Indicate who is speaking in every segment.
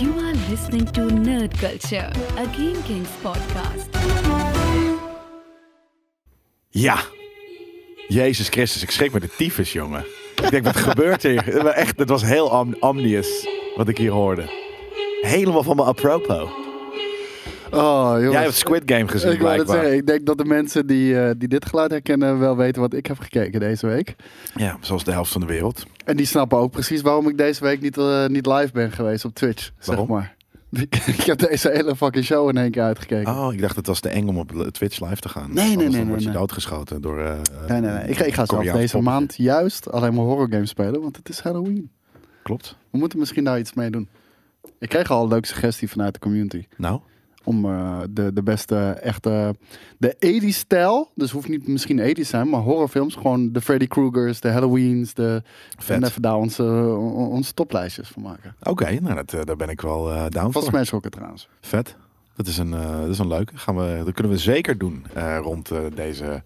Speaker 1: You are listening to Nerd Culture, a Game Kings podcast.
Speaker 2: Ja. Jezus Christus, ik schrik me de tyfus, jongen. Ik denk, wat gebeurt hier? Het was Echt, het was heel am amnius wat ik hier hoorde. Helemaal van me apropos.
Speaker 3: Oh, jongens.
Speaker 2: Jij hebt Squid Game gezien,
Speaker 3: ik wou dat
Speaker 2: blijkbaar.
Speaker 3: zeggen. Ik denk dat de mensen die, eh, die dit geluid herkennen wel weten wat ik heb gekeken deze week.
Speaker 2: Ja, zoals de helft van de wereld.
Speaker 3: En die snappen ook precies waarom ik deze week niet, eh, niet live ben geweest op Twitch.
Speaker 2: Waarom?
Speaker 3: Zeg maar. Ik, heb deze hele fucking show in één keer uitgekeken.
Speaker 2: Oh, ik dacht het was te eng om op Twitch live te gaan.
Speaker 3: nee,
Speaker 2: Anders
Speaker 3: nee,
Speaker 2: dan
Speaker 3: nee,
Speaker 2: word je
Speaker 3: nee.
Speaker 2: doodgeschoten door... eh, eh,
Speaker 3: nee, nee, nee. Ik, ik ga zelf
Speaker 2: Koreaans
Speaker 3: deze
Speaker 2: poppetje.
Speaker 3: maand juist alleen maar horrorgames spelen, want het is Halloween.
Speaker 2: Klopt.
Speaker 3: We moeten misschien daar iets mee doen. Ik kreeg al een leuke suggestie vanuit de community.
Speaker 2: Nou,
Speaker 3: om eh, de, de beste echte. De 80 stijl. Dus hoeft niet misschien 80 zijn, maar horrorfilms. Gewoon de Freddy Krueger's, de Halloween's, de
Speaker 2: vet.
Speaker 3: en even daar onze, on- onze toplijstjes van maken.
Speaker 2: Oké, nou, dat, eh, daar ben ik wel eh down
Speaker 3: Van
Speaker 2: voor.
Speaker 3: Smash Rocket trouwens.
Speaker 2: Vet. Dat is een, eh, dat is een leuke. Gaan we, dat kunnen we zeker doen eh, rond eh, deze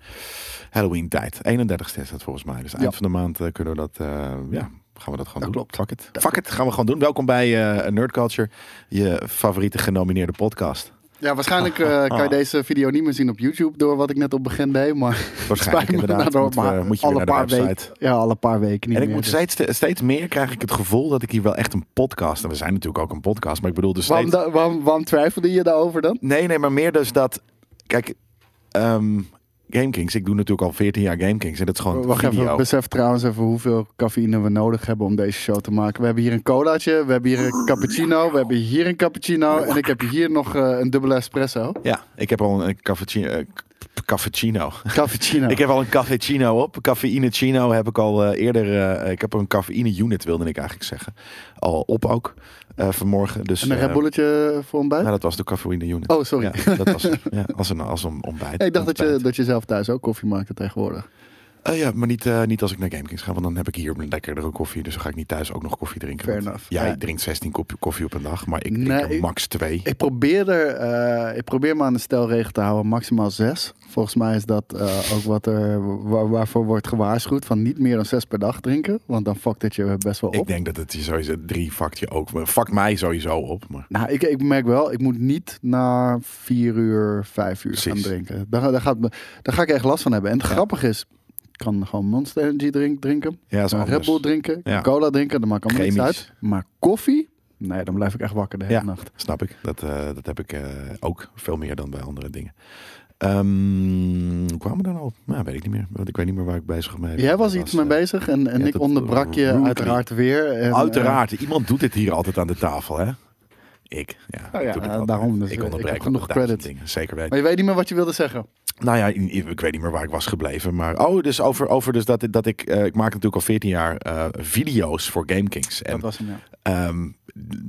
Speaker 2: Halloween-tijd. 31ste is dat volgens mij. Dus eind
Speaker 3: Ja.
Speaker 2: van de maand eh, kunnen we dat. eh, ja, gaan we dat gewoon
Speaker 3: Dat
Speaker 2: doen.
Speaker 3: klopt.
Speaker 2: Fuck it. Fuck it, gaan we gewoon doen. Welkom bij eh Nerd Culture, je favoriete genomineerde podcast.
Speaker 3: Ja, waarschijnlijk
Speaker 2: Ah.
Speaker 3: eh, kan je deze video niet meer zien op YouTube door wat ik net op begin deed. Maar
Speaker 2: Waarschijnlijk
Speaker 3: spijt me
Speaker 2: inderdaad.
Speaker 3: daardoor,
Speaker 2: Moet, we-
Speaker 3: maar
Speaker 2: moet je weer
Speaker 3: alle
Speaker 2: naar de
Speaker 3: paar
Speaker 2: website.
Speaker 3: weken. Ja, alle paar weken niet
Speaker 2: En ik
Speaker 3: meer.
Speaker 2: moet
Speaker 3: dus.
Speaker 2: steeds, steeds meer krijg ik het gevoel dat ik hier wel echt een podcast. En we zijn natuurlijk ook een podcast, maar ik bedoel dus
Speaker 3: waarom,
Speaker 2: steeds.
Speaker 3: da- waarom, waarom twijfelde je daarover dan?
Speaker 2: Nee, nee, maar meer dus dat. Kijk, ehm GameKings. Ik doe natuurlijk al 14 jaar GameKings. En dat is gewoon
Speaker 3: Wacht
Speaker 2: video.
Speaker 3: even, besef trouwens even hoeveel cafeïne we nodig hebben om deze show te maken. We hebben hier een colaatje, we hebben hier een cappuccino, we hebben hier een cappuccino en ik heb hier nog eh, een dubbele espresso.
Speaker 2: Ja, ik heb al een cappuccino. eh, k- Cappuccino.
Speaker 3: Cappuccino.
Speaker 2: Ik heb al een cafecino op. Cafeïnecino heb ik al eh, eerder. eh, ik heb een cafeïne unit, wilde ik eigenlijk zeggen. Al op ook eh, vanmorgen. Dus,
Speaker 3: en een
Speaker 2: eh,
Speaker 3: Red Bulletje voor ontbijt?
Speaker 2: nou, dat was de cafeïne unit.
Speaker 3: Oh, sorry.
Speaker 2: Ja, dat was ja, als een, als een ontbijt.
Speaker 3: ik dacht dat je,
Speaker 2: Ontbijt.
Speaker 3: dat je zelf thuis ook koffie maakte tegenwoordig.
Speaker 2: Eh, ja, maar niet, eh, niet als ik naar GameKings ga, want dan heb ik hier lekkerdere koffie. Dus dan ga ik niet thuis ook nog koffie drinken.
Speaker 3: Fair
Speaker 2: want
Speaker 3: enough.
Speaker 2: Jij
Speaker 3: Ja.
Speaker 2: drinkt 16 kopje koffie op een dag, maar ik drink
Speaker 3: Nee,
Speaker 2: er
Speaker 3: ik-
Speaker 2: max 2.
Speaker 3: Ik probeer, er, eh, ik probeer me aan de stelregel te houden, maximaal zes. Volgens mij is dat eh, ook wat er, waar- waarvoor wordt gewaarschuwd van niet meer dan zes per dag drinken. Want dan fuckt het je best wel op.
Speaker 2: Ik denk dat het je sowieso drie fakt je ook. Fakt mij sowieso op. Maar
Speaker 3: Nou, ik, ik merk wel, ik moet niet na vier uur, vijf uur
Speaker 2: Precies.
Speaker 3: gaan drinken. Daar, daar, gaat, me- daar ga ik echt last van hebben. En het grappige is, ik kan gewoon Monster Energy drink, drinken.
Speaker 2: ja, dat is
Speaker 3: een Red
Speaker 2: anders.
Speaker 3: Bull drinken,
Speaker 2: Ja.
Speaker 3: cola drinken, dat maakt allemaal niks
Speaker 2: Chemisch.
Speaker 3: uit. Maar koffie, nee, dan blijf ik echt wakker de hele
Speaker 2: Ja.
Speaker 3: nacht.
Speaker 2: Snap ik. Dat, eh, dat heb ik eh, ook veel meer dan bij andere dingen. Ehm, hoe kwamen we daar nou op? Nou, weet ik niet meer. Want ik weet niet meer waar ik bezig mee eh,
Speaker 3: Jij was iets mee bezig en, en
Speaker 2: ja,
Speaker 3: ik
Speaker 2: dat
Speaker 3: onderbrak je
Speaker 2: roept
Speaker 3: uiteraard weer. En, eh,
Speaker 2: Uiteraard. Iemand doet dit hier altijd aan de tafel, hè? Ik. Ja,
Speaker 3: Nou ja,
Speaker 2: ik doe dit
Speaker 3: eh,
Speaker 2: altijd.
Speaker 3: daarom, dus
Speaker 2: ik
Speaker 3: ik
Speaker 2: onderbreek
Speaker 3: heb
Speaker 2: ook
Speaker 3: genoeg
Speaker 2: duizend
Speaker 3: credit.
Speaker 2: dingen. Zeker
Speaker 3: eh,
Speaker 2: weten.
Speaker 3: maar je weet niet meer wat je wilde zeggen.
Speaker 2: Nou ja, in- in- ik weet niet meer waar ik was gebleven. Maar oh, dus over, over dus dat, dat ik... eh, ik maak natuurlijk al 14 jaar eh, video's voor GameKings. En
Speaker 3: dat was hem, ja.
Speaker 2: Ehm,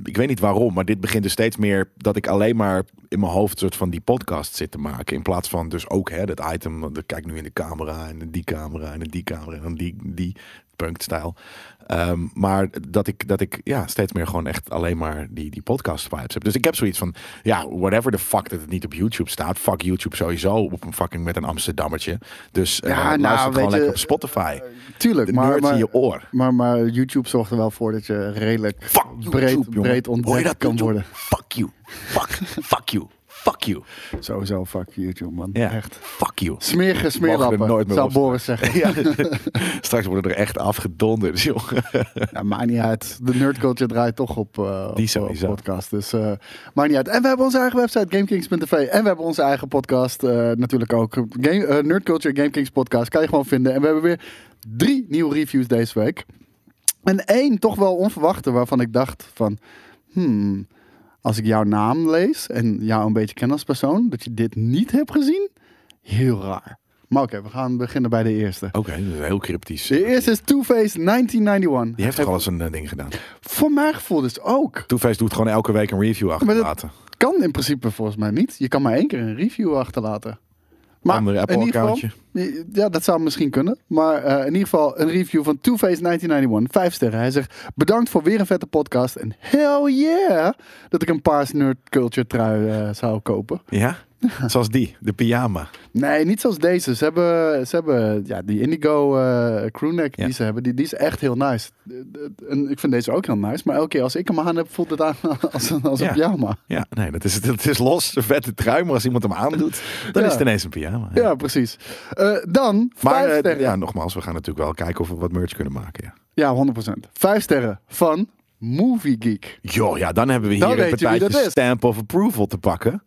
Speaker 2: ik weet niet waarom, maar dit begint dus steeds meer dat ik alleen maar in mijn hoofd soort van die podcast zit te maken. In plaats van dus ook hè, dat item, want ik kijk nu in de camera en in die camera en in die camera en dan die, die punkstijl. Ehm, maar dat ik, dat ik ja, steeds meer gewoon echt alleen maar die, die podcast vibes heb. Dus ik heb zoiets van, ja, whatever the fuck dat het niet op YouTube staat. Fuck YouTube sowieso op een fucking met een Amsterdammertje. Dus eh
Speaker 3: Ja, nou,
Speaker 2: luister
Speaker 3: weet
Speaker 2: gewoon
Speaker 3: je, eh,
Speaker 2: lekker op Spotify.
Speaker 3: Tuurlijk,
Speaker 2: De
Speaker 3: maar,
Speaker 2: nerds in
Speaker 3: maar,
Speaker 2: je oor.
Speaker 3: maar, maar YouTube zorgt er wel voor dat je redelijk
Speaker 2: Fuck YouTube,
Speaker 3: breed,
Speaker 2: jongen.
Speaker 3: breed
Speaker 2: Hoor je
Speaker 3: ontdekt
Speaker 2: dat,
Speaker 3: kan
Speaker 2: YouTube?
Speaker 3: worden.
Speaker 2: Fuck you. Fuck, fuck you. Fuck you.
Speaker 3: Sowieso fuck YouTube, man. Echt.
Speaker 2: Fuck you.
Speaker 3: Smerige
Speaker 2: Mogen we
Speaker 3: smeerlappen,
Speaker 2: er nooit meer
Speaker 3: zou
Speaker 2: opstaan.
Speaker 3: Boris zeggen.
Speaker 2: Ja, straks worden er echt afgedonderd, jongen.
Speaker 3: Ja, maakt niet uit. De nerdculture draait toch op, eh
Speaker 2: Die
Speaker 3: op, op
Speaker 2: sowieso.
Speaker 3: podcast. Dus eh maakt niet uit. En we hebben onze eigen website, gamekings.tv. En we hebben onze eigen podcast eh, natuurlijk ook. Game, eh, nerdculture Gamekings podcast kan je gewoon vinden. En we hebben weer drie nieuwe reviews deze week. En één toch wel onverwachte waarvan ik dacht van... Hmm, als ik jouw naam lees en jou een beetje ken als persoon... dat je dit niet hebt gezien, heel raar. Maar oké, we gaan beginnen bij de eerste.
Speaker 2: Oké, dat is heel cryptisch.
Speaker 3: De eerste is Two-Face 1991.
Speaker 2: Die heeft toch al eens een eh, ding gedaan.
Speaker 3: Voor mijn gevoel dus ook.
Speaker 2: Toeface doet gewoon elke week een review achterlaten.
Speaker 3: Kan in principe volgens mij niet. Je kan maar één keer een review achterlaten. Maar
Speaker 2: Andere
Speaker 3: in ieder geval- ja, dat zou misschien kunnen. Maar eh, in ieder geval een review van Two Face 1991. Vijf sterren. Hij zegt, bedankt voor weer een vette podcast. En hell yeah, dat ik een paars nerd culture trui eh, zou kopen.
Speaker 2: Ja? Zoals die, de pyjama.
Speaker 3: Nee, niet zoals deze. Ze hebben, ze hebben ja, die Indigo eh crewneck
Speaker 2: Ja.
Speaker 3: die ze hebben, die, die is echt heel nice. En ik vind deze ook heel nice, maar elke keer als ik hem aan heb, voelt het aan als, een- als een
Speaker 2: Ja.
Speaker 3: pyjama.
Speaker 2: Ja, nee, dat is, dat is los. Een vette trui, maar als iemand hem aandoet, dan
Speaker 3: Ja.
Speaker 2: is het ineens een pyjama. ja.
Speaker 3: Ja, precies. Eh, dan,
Speaker 2: Maar
Speaker 3: vijf
Speaker 2: eh,
Speaker 3: sterren.
Speaker 2: ja, nogmaals, we gaan natuurlijk wel kijken of we wat merch kunnen maken. Ja.
Speaker 3: Ja, 100%. Vijf sterren van Movie Geek.
Speaker 2: Joh, ja, dan hebben we hier
Speaker 3: Dan
Speaker 2: een
Speaker 3: weet je wie
Speaker 2: partijtje
Speaker 3: dat is.
Speaker 2: stamp of approval te pakken.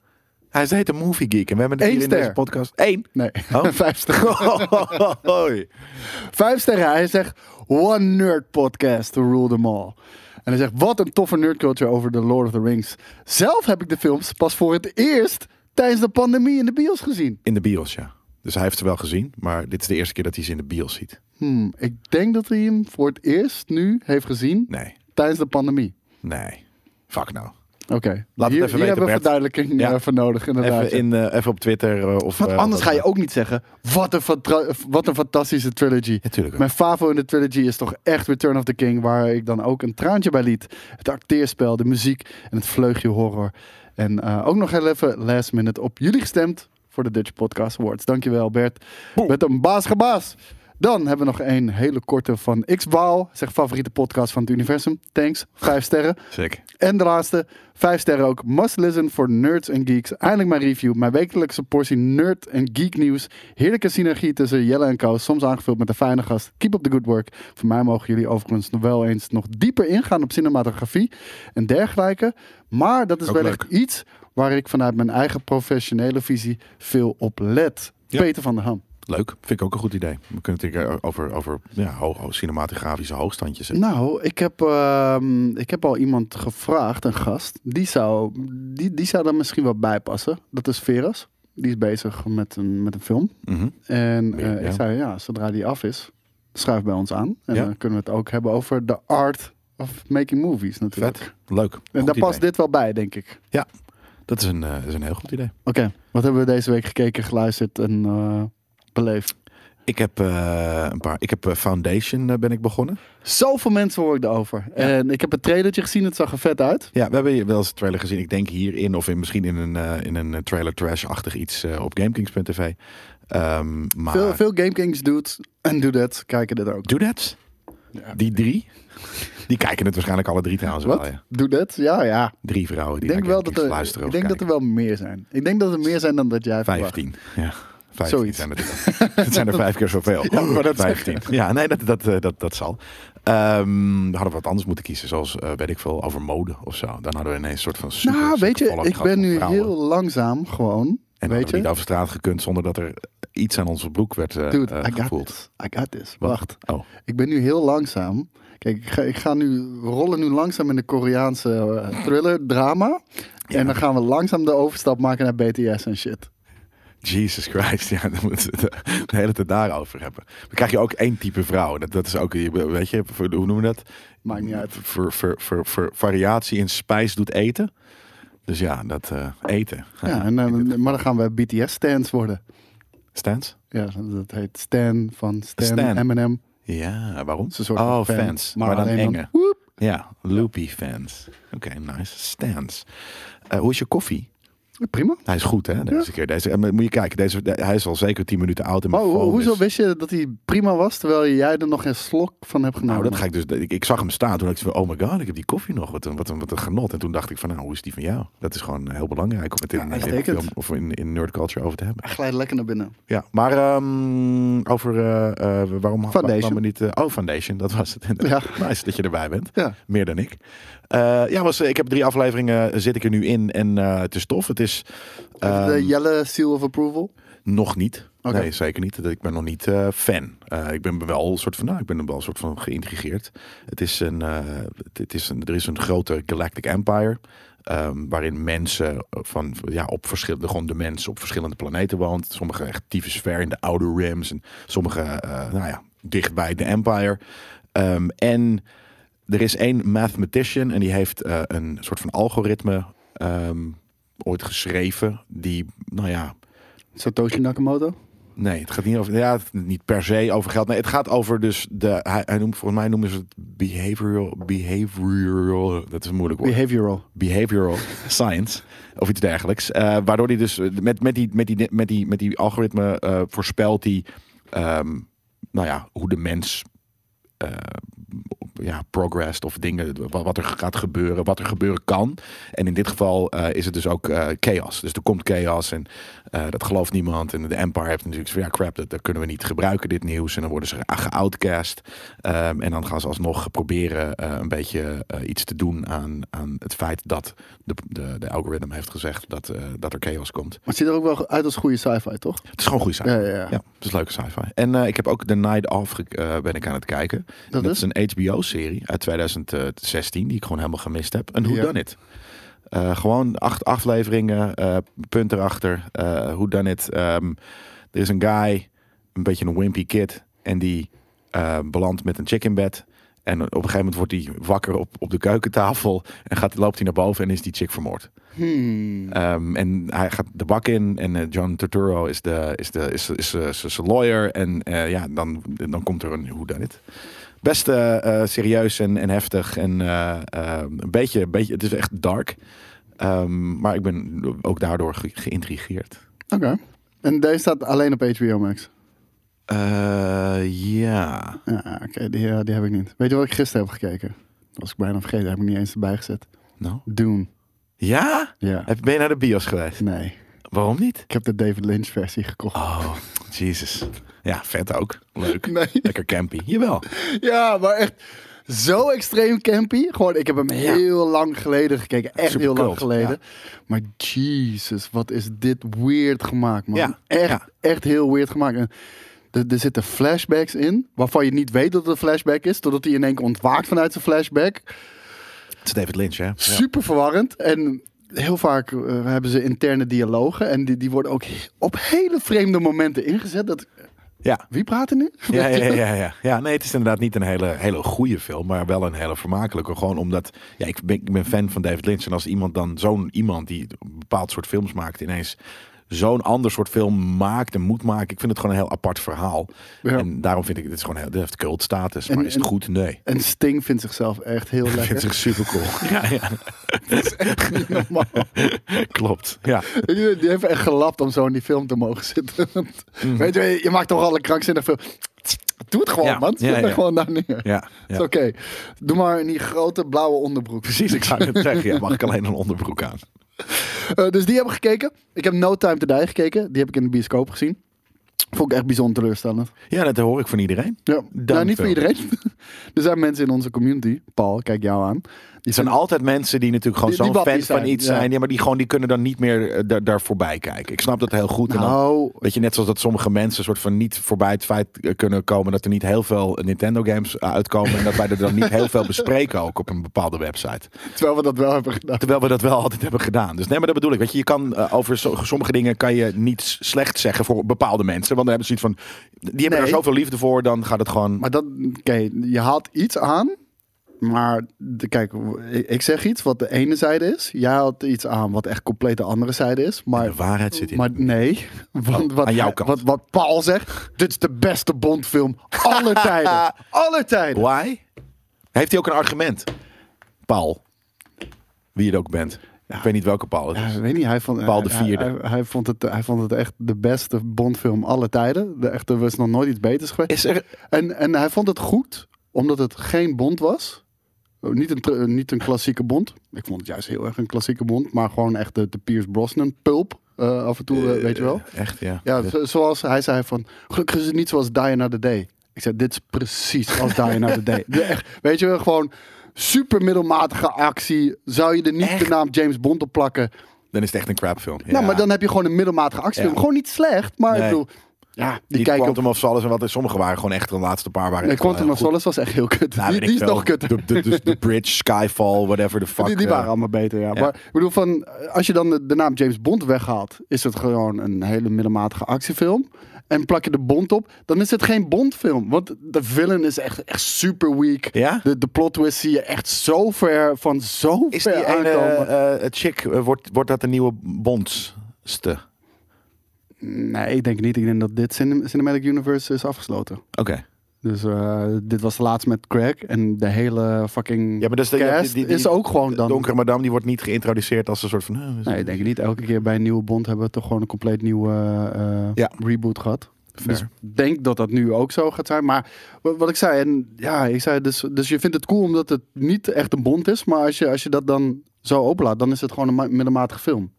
Speaker 2: Hij is heet een movie geek en we hebben het
Speaker 3: Eén
Speaker 2: hier in
Speaker 3: ster.
Speaker 2: deze podcast. Eén.
Speaker 3: Nee,
Speaker 2: Oh.
Speaker 3: vijf sterren.
Speaker 2: Hoi.
Speaker 3: Vijf sterren. Hij zegt, one nerd podcast to rule them all. En hij zegt, wat een toffe nerdculture over The Lord of the Rings. Zelf heb ik de films pas voor het eerst tijdens de pandemie in de bios gezien.
Speaker 2: in de bios, ja. Dus hij heeft ze wel gezien, maar dit is de eerste keer dat hij ze in de bios ziet.
Speaker 3: Hmm, ik denk dat hij hem voor het eerst nu heeft gezien
Speaker 2: Nee,
Speaker 3: tijdens de pandemie.
Speaker 2: nee. Fuck nou.
Speaker 3: Oké,
Speaker 2: het
Speaker 3: hier,
Speaker 2: even
Speaker 3: hier
Speaker 2: weten,
Speaker 3: hebben we
Speaker 2: Bert.
Speaker 3: verduidelijking
Speaker 2: Ja.
Speaker 3: eh, voor nodig inderdaad.
Speaker 2: Even, in, eh, even op Twitter eh, of...
Speaker 3: Want
Speaker 2: eh,
Speaker 3: anders
Speaker 2: wat-
Speaker 3: ga je ook niet zeggen, wat een, fantra- wat een fantastische trilogy.
Speaker 2: Ja, tuurlijk wel.
Speaker 3: Mijn favo in de trilogy is toch echt Return of the King, waar ik dan ook een traantje bij liet. Het acteerspel, de muziek en het vleugje horror. En eh, ook nog heel even last minute op jullie gestemd voor de Dutch Podcast Awards. Dankjewel Bert. Met een baas gebaas. Dan hebben we nog een hele korte van X-Wow. Zeg favoriete podcast van het universum. Thanks. Vijf sterren.
Speaker 2: Sick.
Speaker 3: En de laatste, vijf sterren ook. Must listen for nerds and geeks. Eindelijk mijn review. Mijn wekelijkse portie nerd en geek nieuws. Heerlijke synergie tussen Jelle en Koos. Soms aangevuld met een fijne gast. Keep up the good work. Voor mij mogen jullie overigens nog wel eens nog dieper ingaan op cinematografie en dergelijke. Maar dat is
Speaker 2: Ook
Speaker 3: wellicht
Speaker 2: leuk.
Speaker 3: iets waar ik vanuit mijn eigen professionele visie veel op let.
Speaker 2: Ja.
Speaker 3: Peter van der Ham.
Speaker 2: Leuk. Vind ik ook een goed idee. We kunnen natuurlijk eh, over, over ja, ho- ho- cinematografische hoogstandjes. hebben.
Speaker 3: Nou, ik heb, ehm, ik heb al iemand gevraagd, een gast. Die zou, die, die zou daar misschien wel bij passen. Dat is Veras. Die is bezig met een, met een film.
Speaker 2: Mhm.
Speaker 3: En
Speaker 2: Ja,
Speaker 3: eh,
Speaker 2: ja.
Speaker 3: ik zei, ja, zodra die af is, schuif bij ons aan. En
Speaker 2: Ja.
Speaker 3: dan kunnen we het ook hebben over de art of making movies natuurlijk.
Speaker 2: Vet. Leuk.
Speaker 3: En
Speaker 2: Goed
Speaker 3: daar past
Speaker 2: idee.
Speaker 3: dit wel bij, denk ik.
Speaker 2: Ja, dat is een, eh, dat is een heel goed idee.
Speaker 3: Oké, wat hebben we deze week gekeken, geluisterd en eh, beleefd?
Speaker 2: Ik heb eh, een paar. Ik heb eh, Foundation eh, ben ik begonnen.
Speaker 3: Zoveel mensen hoor ik erover. En ik heb het trailertje gezien, het zag er vet uit.
Speaker 2: Ja, we hebben hier wel eens een trailer gezien. Ik denk hierin of in, misschien in een, eh, in een eh, trailer trash-achtig iets eh, op GameKings.tv. Ehm maar
Speaker 3: Veel, veel Game Kings doet en doet dat, kijken dit ook.
Speaker 2: Doodads? Die drie? Die kijken het waarschijnlijk alle drie trouwens wel.
Speaker 3: Wat?
Speaker 2: ja.
Speaker 3: Doe dat? Ja, ja.
Speaker 2: Drie vrouwen die
Speaker 3: Ik denk,
Speaker 2: naar
Speaker 3: wel
Speaker 2: GameKings
Speaker 3: dat er,
Speaker 2: luisteren.
Speaker 3: ik
Speaker 2: of
Speaker 3: denk dat er
Speaker 2: kijken.
Speaker 3: wel meer zijn. Ik denk dat er meer zijn dan dat jij verwacht.
Speaker 2: Vijftien. Ja. Vijftien
Speaker 3: Zoiets.
Speaker 2: zijn het. Het zijn er vijf keer zoveel.
Speaker 3: Ja, ik wou dat
Speaker 2: Vijftien. Ja, nee, dat, dat, eh, dat, dat zal. Ehm, we hadden wat anders moeten kiezen, zoals, eh, weet ik veel, over mode of zo. Dan hadden we ineens een soort van super,
Speaker 3: Nou,
Speaker 2: super
Speaker 3: weet je,
Speaker 2: volle
Speaker 3: ik
Speaker 2: gat
Speaker 3: ben
Speaker 2: van
Speaker 3: nu
Speaker 2: vrouwen.
Speaker 3: heel langzaam gewoon.
Speaker 2: En dan
Speaker 3: weet
Speaker 2: hadden we
Speaker 3: je?
Speaker 2: niet over straat gekund zonder dat er iets aan onze broek werd eh,
Speaker 3: Dude,
Speaker 2: eh,
Speaker 3: I got
Speaker 2: gevoeld.
Speaker 3: this. I got this.
Speaker 2: Wat?
Speaker 3: Wacht.
Speaker 2: Oh,
Speaker 3: Ik ben nu heel langzaam. Kijk, ik ga, ik ga nu, we rollen nu langzaam in de Koreaanse eh, thriller, drama. En dan gaan we langzaam de overstap maken naar BTS en shit.
Speaker 2: Jesus Christ. Ja, dan moeten we het de hele tijd daarover hebben. Dan krijg je ook één type vrouw. Dat, dat is ook, je- weet je, voor- hoe noemen we dat?
Speaker 3: Maakt niet uit.
Speaker 2: Voor, voor, voor, voor variatie in spijs doet eten. Dus ja, dat eh, eten.
Speaker 3: Ja, en, dan- maar dan gaan we BTS-stands worden.
Speaker 2: Stans?
Speaker 3: Ja, dat heet Stan van Stan,
Speaker 2: Stan.
Speaker 3: Eminem.
Speaker 2: Ja, waarom?
Speaker 3: is een soort
Speaker 2: oh,
Speaker 3: van fan,
Speaker 2: fans. Maar,
Speaker 3: maar
Speaker 2: dan
Speaker 3: alleen dan-
Speaker 2: enge. Ja, loopy fans. Oké, nice. Stans. Eh, hoe is je koffie?
Speaker 3: Prima.
Speaker 2: Hij is goed, hè? Deze keer. Deze, eh, moet je kijken. Deze, de- hij is al zeker 10 minuten oud. En
Speaker 3: Maar
Speaker 2: mijn
Speaker 3: ho-
Speaker 2: phone
Speaker 3: Oh, hoezo
Speaker 2: is-
Speaker 3: wist je dat hij prima was, terwijl jij er nog een slok van hebt genomen?
Speaker 2: Nou, dat ga ik dus. Ik, ik zag hem staan. Toen dacht ik van, oh my god, ik heb die koffie nog. Wat een, wat een, wat een genot. En toen dacht ik van, nou, hoe is die van jou? Dat is gewoon heel belangrijk om het in, in
Speaker 3: uitstekend.
Speaker 2: film of in, in nerd culture over te hebben.
Speaker 3: Hij glijdt lekker naar binnen.
Speaker 2: Ja, maar ehm, over eh, eh, waarom wa-
Speaker 3: Foundation.
Speaker 2: waarom we niet? eh, oh, Foundation, dat was het.
Speaker 3: Ja.
Speaker 2: Nice dat je erbij bent.
Speaker 3: Ja.
Speaker 2: Meer dan ik. Eh, ja, was, eh, ik heb drie afleveringen. eh, Zit ik er nu in en eh, het is tof. Het is ehm,
Speaker 3: de Jelle Seal of Approval.
Speaker 2: nog niet.
Speaker 3: Oké.
Speaker 2: Nee, zeker niet. Ik ben nog niet eh, fan. Eh, ik ben wel een soort van, nou, ik ben er wel een soort van geïntrigeerd. Het is een, eh, het- het is een, er is een grote Galactic Empire. ehm, waarin mensen van, ja, op verschillende, gewoon de mens op verschillende planeten woont. Sommigen echt tyfus ver in de oude rims. En sommigen, eh, nou ja, dicht bij de Empire. Ehm, en er is één mathematician en die heeft eh, een soort van algoritme ehm, ooit geschreven. Die, nou ja,
Speaker 3: Satoshi Nakamoto.
Speaker 2: Nee, het gaat niet over. Ja, het- niet per se over geld. Nee, het gaat over dus de. Hij, hij noemt, volgens mij noemen ze het behavioral. Behavioral. Dat is een moeilijk woord.
Speaker 3: Behavioral.
Speaker 2: behavioral science of iets dergelijks. Eh, waardoor hij dus eh, met, met, die, met, die, met, die, met die algoritme eh, voorspelt hij ehm, nou ja, hoe de mens eh, ja, progressed of dingen, wat, wat er gaat gebeuren, wat er gebeuren kan. En in dit geval eh, is het dus ook eh, chaos. Dus er komt chaos en eh, dat gelooft niemand. En de Empire heeft natuurlijk van ja crap, dat, dat kunnen we niet gebruiken dit nieuws. En dan worden ze ge- geoutcast. Ehm, en dan gaan ze alsnog proberen eh, een beetje eh, iets te doen aan, aan het feit dat de, de, de algoritme heeft gezegd dat, eh, dat er chaos komt.
Speaker 3: Maar het ziet er ook wel uit als goede sci-fi, toch?
Speaker 2: Het is gewoon goed zijn.
Speaker 3: Ja, ja, ja.
Speaker 2: Ja, het is leuke sci-fi. En eh, ik heb ook The Night Of ge- eh, ben ik aan het kijken.
Speaker 3: Dat
Speaker 2: Dat
Speaker 3: is?
Speaker 2: is een HBO-serie uit 2016 die ik gewoon helemaal gemist heb. En hoe
Speaker 3: Ja.
Speaker 2: dan het? gewoon acht afleveringen, eh, punt erachter. Eh, Hoe dan het? Er is een guy, een beetje een wimpy kid, en die eh, belandt met een chick in bed. En op een gegeven moment wordt hij wakker op, op de keukentafel en gaat, loopt hij naar boven en is die chick vermoord.
Speaker 3: Hmm.
Speaker 2: Ehm, en hij gaat de bak in en eh, John Turturro is de, is de is, is, eh, is, is een lawyer. En eh, ja, dan, dan komt er een hoe dan het. Best eh, eh, serieus en, en heftig en eh, eh, een beetje, beetje, het is echt dark. Ehm, maar ik ben ook daardoor ge- geïntrigeerd.
Speaker 3: Oké. En deze staat alleen op HBO Max.
Speaker 2: Eh, ja.
Speaker 3: Ja, oké, die, eh, die heb ik niet. Weet je wat ik gisteren heb gekeken? Dat was ik bijna vergeten, heb ik niet eens erbij gezet.
Speaker 2: Nou.
Speaker 3: Dune.
Speaker 2: Ja?
Speaker 3: Ja.
Speaker 2: Heb- Ben je naar de bios geweest?
Speaker 3: Nee.
Speaker 2: Waarom niet?
Speaker 3: Ik heb de David Lynch versie gekocht.
Speaker 2: Oh, jezus. Ja, vet ook. Leuk.
Speaker 3: Nee.
Speaker 2: Lekker campy. Jawel.
Speaker 3: Ja, maar echt zo extreem campy. Gewoon, ik heb hem heel lang geleden gekeken. Echt
Speaker 2: Super
Speaker 3: heel lang
Speaker 2: cult,
Speaker 3: geleden. Maar Jesus, wat is dit weird gemaakt, man.
Speaker 2: Ja,
Speaker 3: Echt,
Speaker 2: ja.
Speaker 3: echt heel weird gemaakt. En er, er zitten flashbacks in, waarvan je niet weet dat het een flashback is, totdat hij in één keer ontwaakt vanuit zijn flashback.
Speaker 2: Het is David Lynch, hè? Ja.
Speaker 3: Super verwarrend. En heel vaak eh, hebben ze interne dialogen. En die, die worden ook he- op hele vreemde momenten ingezet. Dat,
Speaker 2: ja.
Speaker 3: wie praat er nu?
Speaker 2: Ja, ja, ja, ja, ja. ja, nee, het is inderdaad niet een hele, hele goede film, maar wel een hele vermakelijke. Gewoon omdat, ja, ik ben, ik ben fan van David Lynch. En als iemand dan, zo'n iemand die een bepaald soort films maakt, ineens zo'n ander soort film maakt en moet maken. Ik vind het gewoon een heel apart verhaal.
Speaker 3: Ja.
Speaker 2: En daarom vind ik, dit is gewoon heel, dit heeft cult status. Maar
Speaker 3: En-
Speaker 2: is het
Speaker 3: en-
Speaker 2: goed? Nee.
Speaker 3: En Sting vindt zichzelf echt heel
Speaker 2: Ik
Speaker 3: lekker.
Speaker 2: vind het super cool. ja, ja,
Speaker 3: Niet normaal.
Speaker 2: klopt. Ja.
Speaker 3: Die die heeft echt gelapt om zo in die film te mogen zitten. Want,
Speaker 2: Mhm.
Speaker 3: Weet je, je maakt toch al een krankzinnig film. Doe het gewoon,
Speaker 2: Ja,
Speaker 3: man.
Speaker 2: ja,
Speaker 3: Zet er
Speaker 2: ja.
Speaker 3: gewoon daar neer.
Speaker 2: Ja,
Speaker 3: Is
Speaker 2: ja.
Speaker 3: oké. Doe maar in die grote blauwe onderbroek.
Speaker 2: Precies, ik zou het zeggen. Ja, mag ik alleen een onderbroek aan?
Speaker 3: Eh, dus die hebben we gekeken. Ik heb No Time to Die gekeken. Die heb ik in de bioscoop gezien. Vond ik echt bijzonder teleurstellend.
Speaker 2: Ja, dat hoor ik van iedereen.
Speaker 3: Ja, nou, niet voor
Speaker 2: Dank, Phil.
Speaker 3: iedereen. er zijn mensen in onze community. Paul, kijk jou aan. Die
Speaker 2: Het zijn altijd mensen die natuurlijk gewoon
Speaker 3: Die- die
Speaker 2: zo'n fan
Speaker 3: wappies
Speaker 2: van
Speaker 3: zijn,
Speaker 2: iets
Speaker 3: ja.
Speaker 2: zijn. Ja, maar die gewoon die kunnen dan niet meer eh, daar, daar voorbij kijken. Ik snap dat heel goed. En dan,
Speaker 3: Nou,
Speaker 2: weet je, net zoals dat sommige mensen soort van niet voorbij het feit eh, kunnen komen dat er niet heel veel Nintendo games eh, uitkomen. En dat wij er dan niet heel veel bespreken ook op een bepaalde website.
Speaker 3: terwijl we dat wel hebben gedaan.
Speaker 2: Terwijl we dat wel altijd hebben gedaan. Dus nee, maar dat bedoel ik. Weet je, je kan eh, over zo- sommige dingen kan je niets slecht zeggen voor bepaalde mensen. Want dan hebben ze zoiets van, die hebben
Speaker 3: Nee.
Speaker 2: er zoveel liefde voor, dan gaat het gewoon...
Speaker 3: Maar dat, oké, je haalt iets aan. Maar de- kijk, ik- ik zeg iets wat de ene zijde is. Jij haalt iets aan wat echt compleet de andere zijde is. Maar,
Speaker 2: de waarheid zit in. Oh,
Speaker 3: maar nee, want wat,
Speaker 2: aan jouw
Speaker 3: hij-
Speaker 2: kant.
Speaker 3: Wat, wat Paul zegt, dit is de beste Bondfilm aller tijden. Aller tijden.
Speaker 2: Why? Heeft hij ook een argument? Paul. Wie het ook bent. Ik weet niet welke Paul het
Speaker 3: Ja,
Speaker 2: is.
Speaker 3: ik weet niet, hij vond,
Speaker 2: Paul de
Speaker 3: hij-
Speaker 2: Vierde.
Speaker 3: Hij, hij vond het, hij vond het echt de beste Bondfilm aller tijden. De, echt, er was nog nooit iets beters geweest.
Speaker 2: Is er...
Speaker 3: En, en hij vond het goed, omdat het geen bond was. Oh, Niet een, tr- eh, niet een klassieke bond. Ik vond het juist heel erg een klassieke bond. Maar gewoon echt de, de Pierce Brosnan pulp. eh, af en toe, eh, weet je wel.
Speaker 2: Echt, ja.
Speaker 3: Ja, zo- zoals hij zei van... Gelukkig is het niet zoals Die Another Day. Ik zei, dit is precies als Die Another Day. De- echt, weet je wel, gewoon super middelmatige actie. Zou je er niet de
Speaker 2: Echt?
Speaker 3: naam James Bond op plakken?
Speaker 2: Dan is het echt een crapfilm. Ja.
Speaker 3: Nou, maar dan heb je gewoon een middelmatige actiefilm.
Speaker 2: Ja.
Speaker 3: Gewoon niet slecht, maar ik
Speaker 2: Nee.
Speaker 3: bedoel... Ja, die
Speaker 2: Die
Speaker 3: kijken...
Speaker 2: Quantum of Solace en wat er sommige waren gewoon echt de laatste paar waren.
Speaker 3: Nee,
Speaker 2: echt wel
Speaker 3: Eh, Quantum
Speaker 2: heel
Speaker 3: of
Speaker 2: goed.
Speaker 3: Solace was echt heel kut.
Speaker 2: Nou,
Speaker 3: die
Speaker 2: weet
Speaker 3: die
Speaker 2: ik
Speaker 3: is
Speaker 2: veel.
Speaker 3: nog kut.
Speaker 2: De, de, de, de Bridge, Skyfall, whatever the fuck.
Speaker 3: die, die
Speaker 2: eh,
Speaker 3: waren allemaal beter, ja. Maar ik bedoel, van, eh, als je dan de, de naam James Bond weghaalt, is het gewoon een hele middelmatige actiefilm. En plak je de Bond op, dan is het geen Bondfilm. Want de villain is echt, echt super weak.
Speaker 2: Ja?
Speaker 3: De, de plot twist zie je echt zo ver van zo
Speaker 2: Is die
Speaker 3: ver
Speaker 2: ene
Speaker 3: aankomen.
Speaker 2: eh, eh, chick, eh, wordt, wordt dat de nieuwe Bondste?
Speaker 3: Nee, ik denk niet. Ik denk dat dit cinem- Cinematic Universe is afgesloten.
Speaker 2: Oké.
Speaker 3: Dus eh, dit was de laatste met Craig. En de hele fucking
Speaker 2: Ja, maar dat is de-
Speaker 3: cast
Speaker 2: die- die- die-
Speaker 3: is ook gewoon dan...
Speaker 2: Donkere madame die wordt niet geïntroduceerd als een soort van... eh, we zijn-
Speaker 3: Nee, ik denk niet. Elke keer bij een nieuwe Bond hebben we toch gewoon een compleet nieuwe eh,
Speaker 2: Ja.
Speaker 3: reboot gehad.
Speaker 2: Fair.
Speaker 3: Dus ik denk dat dat nu ook zo gaat zijn. Maar wa- wat ik zei, en ja, ik zei dus, dus je vindt het cool omdat het niet echt een Bond is. Maar als je, als je dat dan zo openlaat, dan is het gewoon een ma- middelmatige film.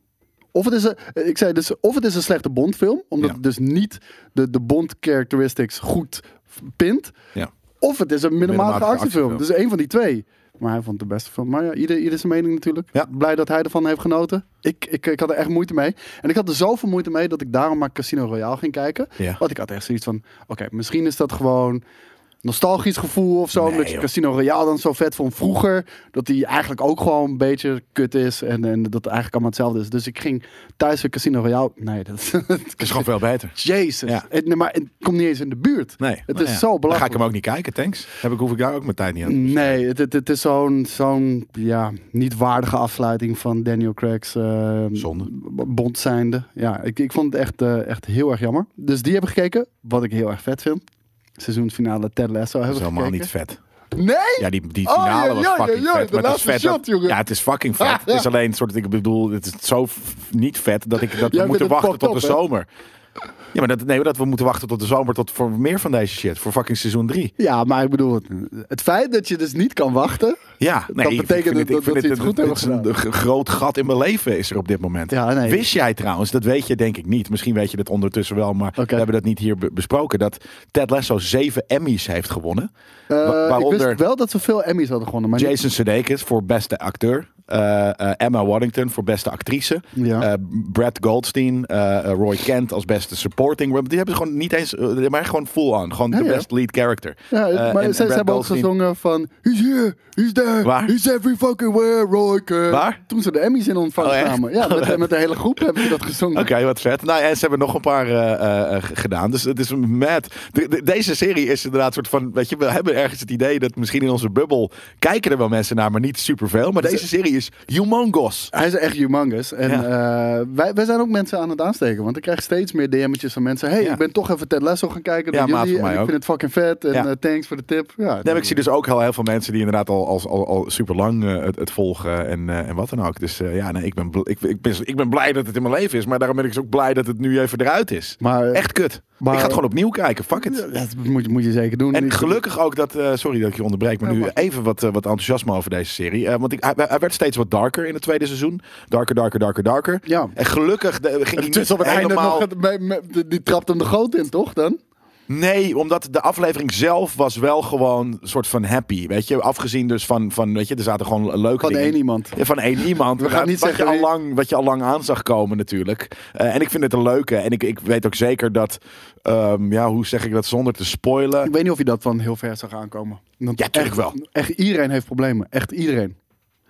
Speaker 3: Of het, is een, eh, ik zei dus, of het is een slechte Bond-film, omdat
Speaker 2: Ja.
Speaker 3: het dus niet de, de Bond-characteristics goed f- pint.
Speaker 2: Ja.
Speaker 3: Of het is een middelmatige
Speaker 2: Middelmatige
Speaker 3: actiefilm.
Speaker 2: actiefilm.
Speaker 3: Dus één van die twee. Maar hij vond het de beste film. Maar ja, ieder, ieder zijn mening natuurlijk.
Speaker 2: Ja.
Speaker 3: Blij dat hij ervan heeft genoten. Ik, ik, ik had er echt moeite mee. En ik had er zoveel moeite mee dat ik daarom maar Casino Royale ging kijken.
Speaker 2: Ja.
Speaker 3: Want ik had echt zoiets van, oké, misschien is dat gewoon nostalgisch gevoel of zo.
Speaker 2: Nee,
Speaker 3: omdat je
Speaker 2: joh.
Speaker 3: Casino Royale dan zo vet vond vroeger. Dat die eigenlijk ook gewoon een beetje kut is. En, en dat het eigenlijk allemaal hetzelfde is. Dus ik ging thuis weer Casino Royale. Nee, dat,
Speaker 2: Het is gewoon veel beter.
Speaker 3: Jezus.
Speaker 2: Ja.
Speaker 3: Het- nee, maar het komt niet eens in de buurt.
Speaker 2: Nee.
Speaker 3: Het
Speaker 2: nou
Speaker 3: is
Speaker 2: ja.
Speaker 3: zo
Speaker 2: Dan ga
Speaker 3: belachelijk. Mm.
Speaker 2: ik hem ook niet kijken, thanks. Heb ik, hoef ik daar ook mijn tijd niet aan. te besteden.
Speaker 3: Nee, het, het, het is zo'n zo'n ja, niet waardige afsluiting van Daniel Craig's eh,
Speaker 2: Zonde.
Speaker 3: b- bond zijnde. Ja, ik, ik vond het echt, eh, echt heel erg jammer. Dus die hebben gekeken, wat ik heel erg vet vind. Seizoensfinale Ted Lasso
Speaker 2: Dat
Speaker 3: hebben
Speaker 2: is
Speaker 3: we
Speaker 2: helemaal
Speaker 3: gekeken.
Speaker 2: niet vet.
Speaker 3: Nee?
Speaker 2: Ja, die, die
Speaker 3: Oh,
Speaker 2: finale
Speaker 3: ja,
Speaker 2: was
Speaker 3: ja, ja,
Speaker 2: fucking
Speaker 3: ja,
Speaker 2: vet.
Speaker 3: de
Speaker 2: maar het is
Speaker 3: laatste
Speaker 2: vet.
Speaker 3: shot, jongen.
Speaker 2: ja, het is fucking vet. Het is alleen een soort, ik bedoel, het is zo f- niet vet dat, ik, dat we moeten
Speaker 3: Jij vindt het
Speaker 2: wachten tot de
Speaker 3: fucked up,
Speaker 2: zomer. Ja, maar dat, nee, maar dat we moeten wachten tot de zomer tot voor meer van deze shit. Voor fucking seizoen 3.
Speaker 3: Ja, maar ik bedoel, het, het feit dat je dus niet kan wachten.
Speaker 2: Ja, nee, ik
Speaker 3: betekent
Speaker 2: vind
Speaker 3: dat-
Speaker 2: ik
Speaker 3: dat-
Speaker 2: vind
Speaker 3: dat ze het goed hebben
Speaker 2: het is een g- groot gat in mijn leven is er op dit moment.
Speaker 3: Ja, nee.
Speaker 2: Wist jij trouwens, dat weet je denk ik niet. Misschien weet je dat ondertussen wel, maar we hebben dat niet hier be- besproken. Dat Ted Lasso zeven Emmys heeft gewonnen.
Speaker 3: eh,
Speaker 2: Wa-
Speaker 3: Ik
Speaker 2: waaronder
Speaker 3: wist wel dat ze veel Emmys hadden gewonnen. Maar niet-
Speaker 2: Jason Sudeikis voor beste acteur. eh, eh, Emma Waddington voor beste actrice.
Speaker 3: Ja.
Speaker 2: Eh, Brad Goldstein, eh, eh, Roy Kent als beste supporting. role. Die hebben ze gewoon niet eens, eh, maar gewoon full on. Gewoon de
Speaker 3: ja.
Speaker 2: best lead character.
Speaker 3: ja,
Speaker 2: Eh,
Speaker 3: maar
Speaker 2: en- en
Speaker 3: ze, ze
Speaker 2: Brad
Speaker 3: hebben ook
Speaker 2: Goldstein-
Speaker 3: gezongen van He's here, he's there,
Speaker 2: Waar?
Speaker 3: he's every fucking where, Roy Kent."
Speaker 2: Waar?
Speaker 3: Toen ze de Emmys in ontvangst
Speaker 2: Oh, echt?
Speaker 3: namen. Ja, met, met de hele groep hebben ze dat gezongen.
Speaker 2: Oké, wat vet. Nou, en ze hebben nog een paar eh, eh, eh, g- gedaan. Dus het is mad. De- de- deze serie is inderdaad soort van, weet je, we hebben ergens het idee dat misschien in onze bubbel kijken er wel mensen naar, maar niet superveel.
Speaker 3: Dus,
Speaker 2: Maar deze
Speaker 3: eh,
Speaker 2: serie is humongous.
Speaker 3: Hij is echt humongous. En eh, wij, wij zijn ook mensen aan het aansteken. Want ik krijg steeds meer DM'tjes van mensen. hey,
Speaker 2: Ja.
Speaker 3: ik ben toch even Ted Lasso gaan kijken
Speaker 2: Ja,
Speaker 3: door
Speaker 2: maat
Speaker 3: jullie.
Speaker 2: van mij
Speaker 3: En ik
Speaker 2: ook.
Speaker 3: vind het fucking vet. En
Speaker 2: Ja.
Speaker 3: eh, thanks voor de tip. Ja,
Speaker 2: Nee, maar ik zie dus ook heel, heel veel mensen die inderdaad al, al, al, al super lang het, het volgen en, eh, en wat dan ook. Dus eh, ja, nee, ik, ben, bl- ik, ik, ben, ik ben blij dat het in mijn leven is, maar daarom ben ik dus ook blij dat het nu even eruit is.
Speaker 3: Maar, eh,
Speaker 2: Echt kut.
Speaker 3: maar-
Speaker 2: ik ga het gewoon opnieuw kijken, fuck it.
Speaker 3: dat moet, je- moet je zeker doen.
Speaker 2: En
Speaker 3: Niet-
Speaker 2: gelukkig ook dat, eh, sorry dat ik je onderbreek, maar
Speaker 3: Ja,
Speaker 2: nu
Speaker 3: mag.
Speaker 2: even wat, eh, wat enthousiasme over deze serie. Eh, want ik, hij, hij werd steeds wat darker in het tweede seizoen. Darker, darker, darker, darker.
Speaker 3: Ja.
Speaker 2: En gelukkig de, ging hij
Speaker 3: Het is
Speaker 2: niet
Speaker 3: op het einde
Speaker 2: helemaal...
Speaker 3: nog... het- me- me- die trapt hem de goot in, toch dan?
Speaker 2: Nee, omdat de aflevering zelf was wel gewoon een soort van happy, weet je. Afgezien dus van, van weet je, er zaten gewoon leuke
Speaker 3: Van
Speaker 2: dingen.
Speaker 3: één iemand.
Speaker 2: Ja, van één iemand.
Speaker 3: We gaan
Speaker 2: Maar
Speaker 3: niet
Speaker 2: wat
Speaker 3: zeggen
Speaker 2: je al
Speaker 3: wie-
Speaker 2: lang, Wat je al lang aan zag komen natuurlijk. Eh, en ik vind het een leuke. En ik, ik weet ook zeker dat, ehm, ja, hoe zeg ik dat zonder te spoilen...
Speaker 3: Ik weet niet of je dat van heel ver zag aankomen. Want
Speaker 2: Ja, tuurlijk
Speaker 3: echt-
Speaker 2: wel.
Speaker 3: Echt iedereen heeft problemen. Echt iedereen.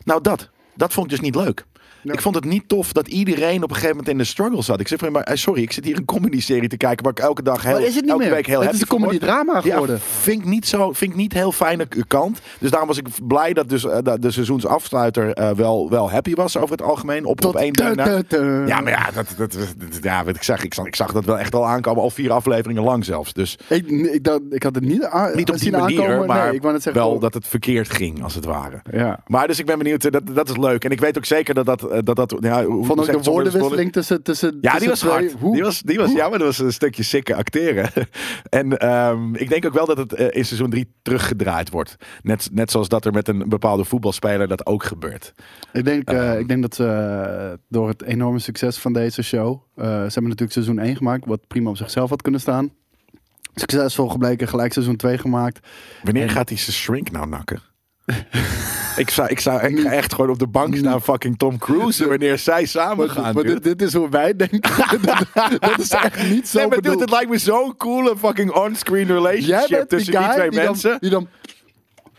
Speaker 2: Nou, dat. Dat vond ik dus niet leuk.
Speaker 3: Ja.
Speaker 2: Ik vond het niet tof dat iedereen op een gegeven moment in de struggle zat. Ik zeg van, maar eh, sorry, ik zit hier een comedy-serie te kijken waar ik elke dag heel,
Speaker 3: Maar is het niet
Speaker 2: elke
Speaker 3: meer?
Speaker 2: week heel
Speaker 3: Het
Speaker 2: happy
Speaker 3: is een
Speaker 2: van word.
Speaker 3: comedy-drama geworden.
Speaker 2: Ja, vind ik niet zo, vind ik niet heel fijne k- kant. Dus daarom was ik blij dat dus eh, dat de seizoensafsluiter eh, wel, wel happy was over het algemeen. Op, op één
Speaker 3: te-
Speaker 2: ding na.
Speaker 3: te- te-
Speaker 2: Ja, maar ja, dat, dat, dat- ja, wat ik zeg, ik zag, ik zag dat wel echt al aankomen, al vier afleveringen lang zelfs. Dus
Speaker 3: Ik, ik, dacht- ik had het niet, aan,
Speaker 2: niet op die
Speaker 3: zien
Speaker 2: manier,
Speaker 3: aankomen.
Speaker 2: maar
Speaker 3: nee, ik wou net zeggen,
Speaker 2: wel
Speaker 3: oh,
Speaker 2: dat het verkeerd ging, als het ware.
Speaker 3: Ja.
Speaker 2: Maar dus ik ben benieuwd, eh, dat, dat is leuk. En ik weet ook zeker dat dat... eh, dat, dat ja, hoe- hoe zeg
Speaker 3: Van
Speaker 2: ik het
Speaker 3: ook
Speaker 2: zonder te
Speaker 3: de
Speaker 2: spoilen?
Speaker 3: woordenwisseling tussen, tussen.
Speaker 2: Ja, die
Speaker 3: tussen
Speaker 2: was
Speaker 3: twee-
Speaker 2: hard.
Speaker 3: Hoe?
Speaker 2: Die was, die was, ja, maar dat was een stukje sikke acteren. en ehm, ik denk ook wel dat het eh, in seizoen 3 teruggedraaid wordt. Net, net zoals dat er met een bepaalde voetbalspeler dat ook gebeurt.
Speaker 3: Ik, denk, eh, ik denk dat ze eh, door het enorme succes van deze show. eh, ze hebben natuurlijk seizoen 1 gemaakt, wat prima op zichzelf had kunnen staan. Succesvol gebleken, gelijk seizoen 2 gemaakt.
Speaker 2: Wanneer gaat die zijn shrink nou nakken? ik zou, ik zou ik ga echt gewoon op de bank staan fucking Tom Cruise wanneer zij samen gaan.
Speaker 3: maar
Speaker 2: dude.
Speaker 3: dit, dit is hoe wij denken. dat is echt niet zo
Speaker 2: Nee, maar dude,
Speaker 3: bedoeld.
Speaker 2: het lijkt me zo'n coole fucking on-screen
Speaker 3: Jij
Speaker 2: relationship
Speaker 3: bent die
Speaker 2: tussen die,
Speaker 3: guy
Speaker 2: twee
Speaker 3: die dan,
Speaker 2: mensen.
Speaker 3: die dan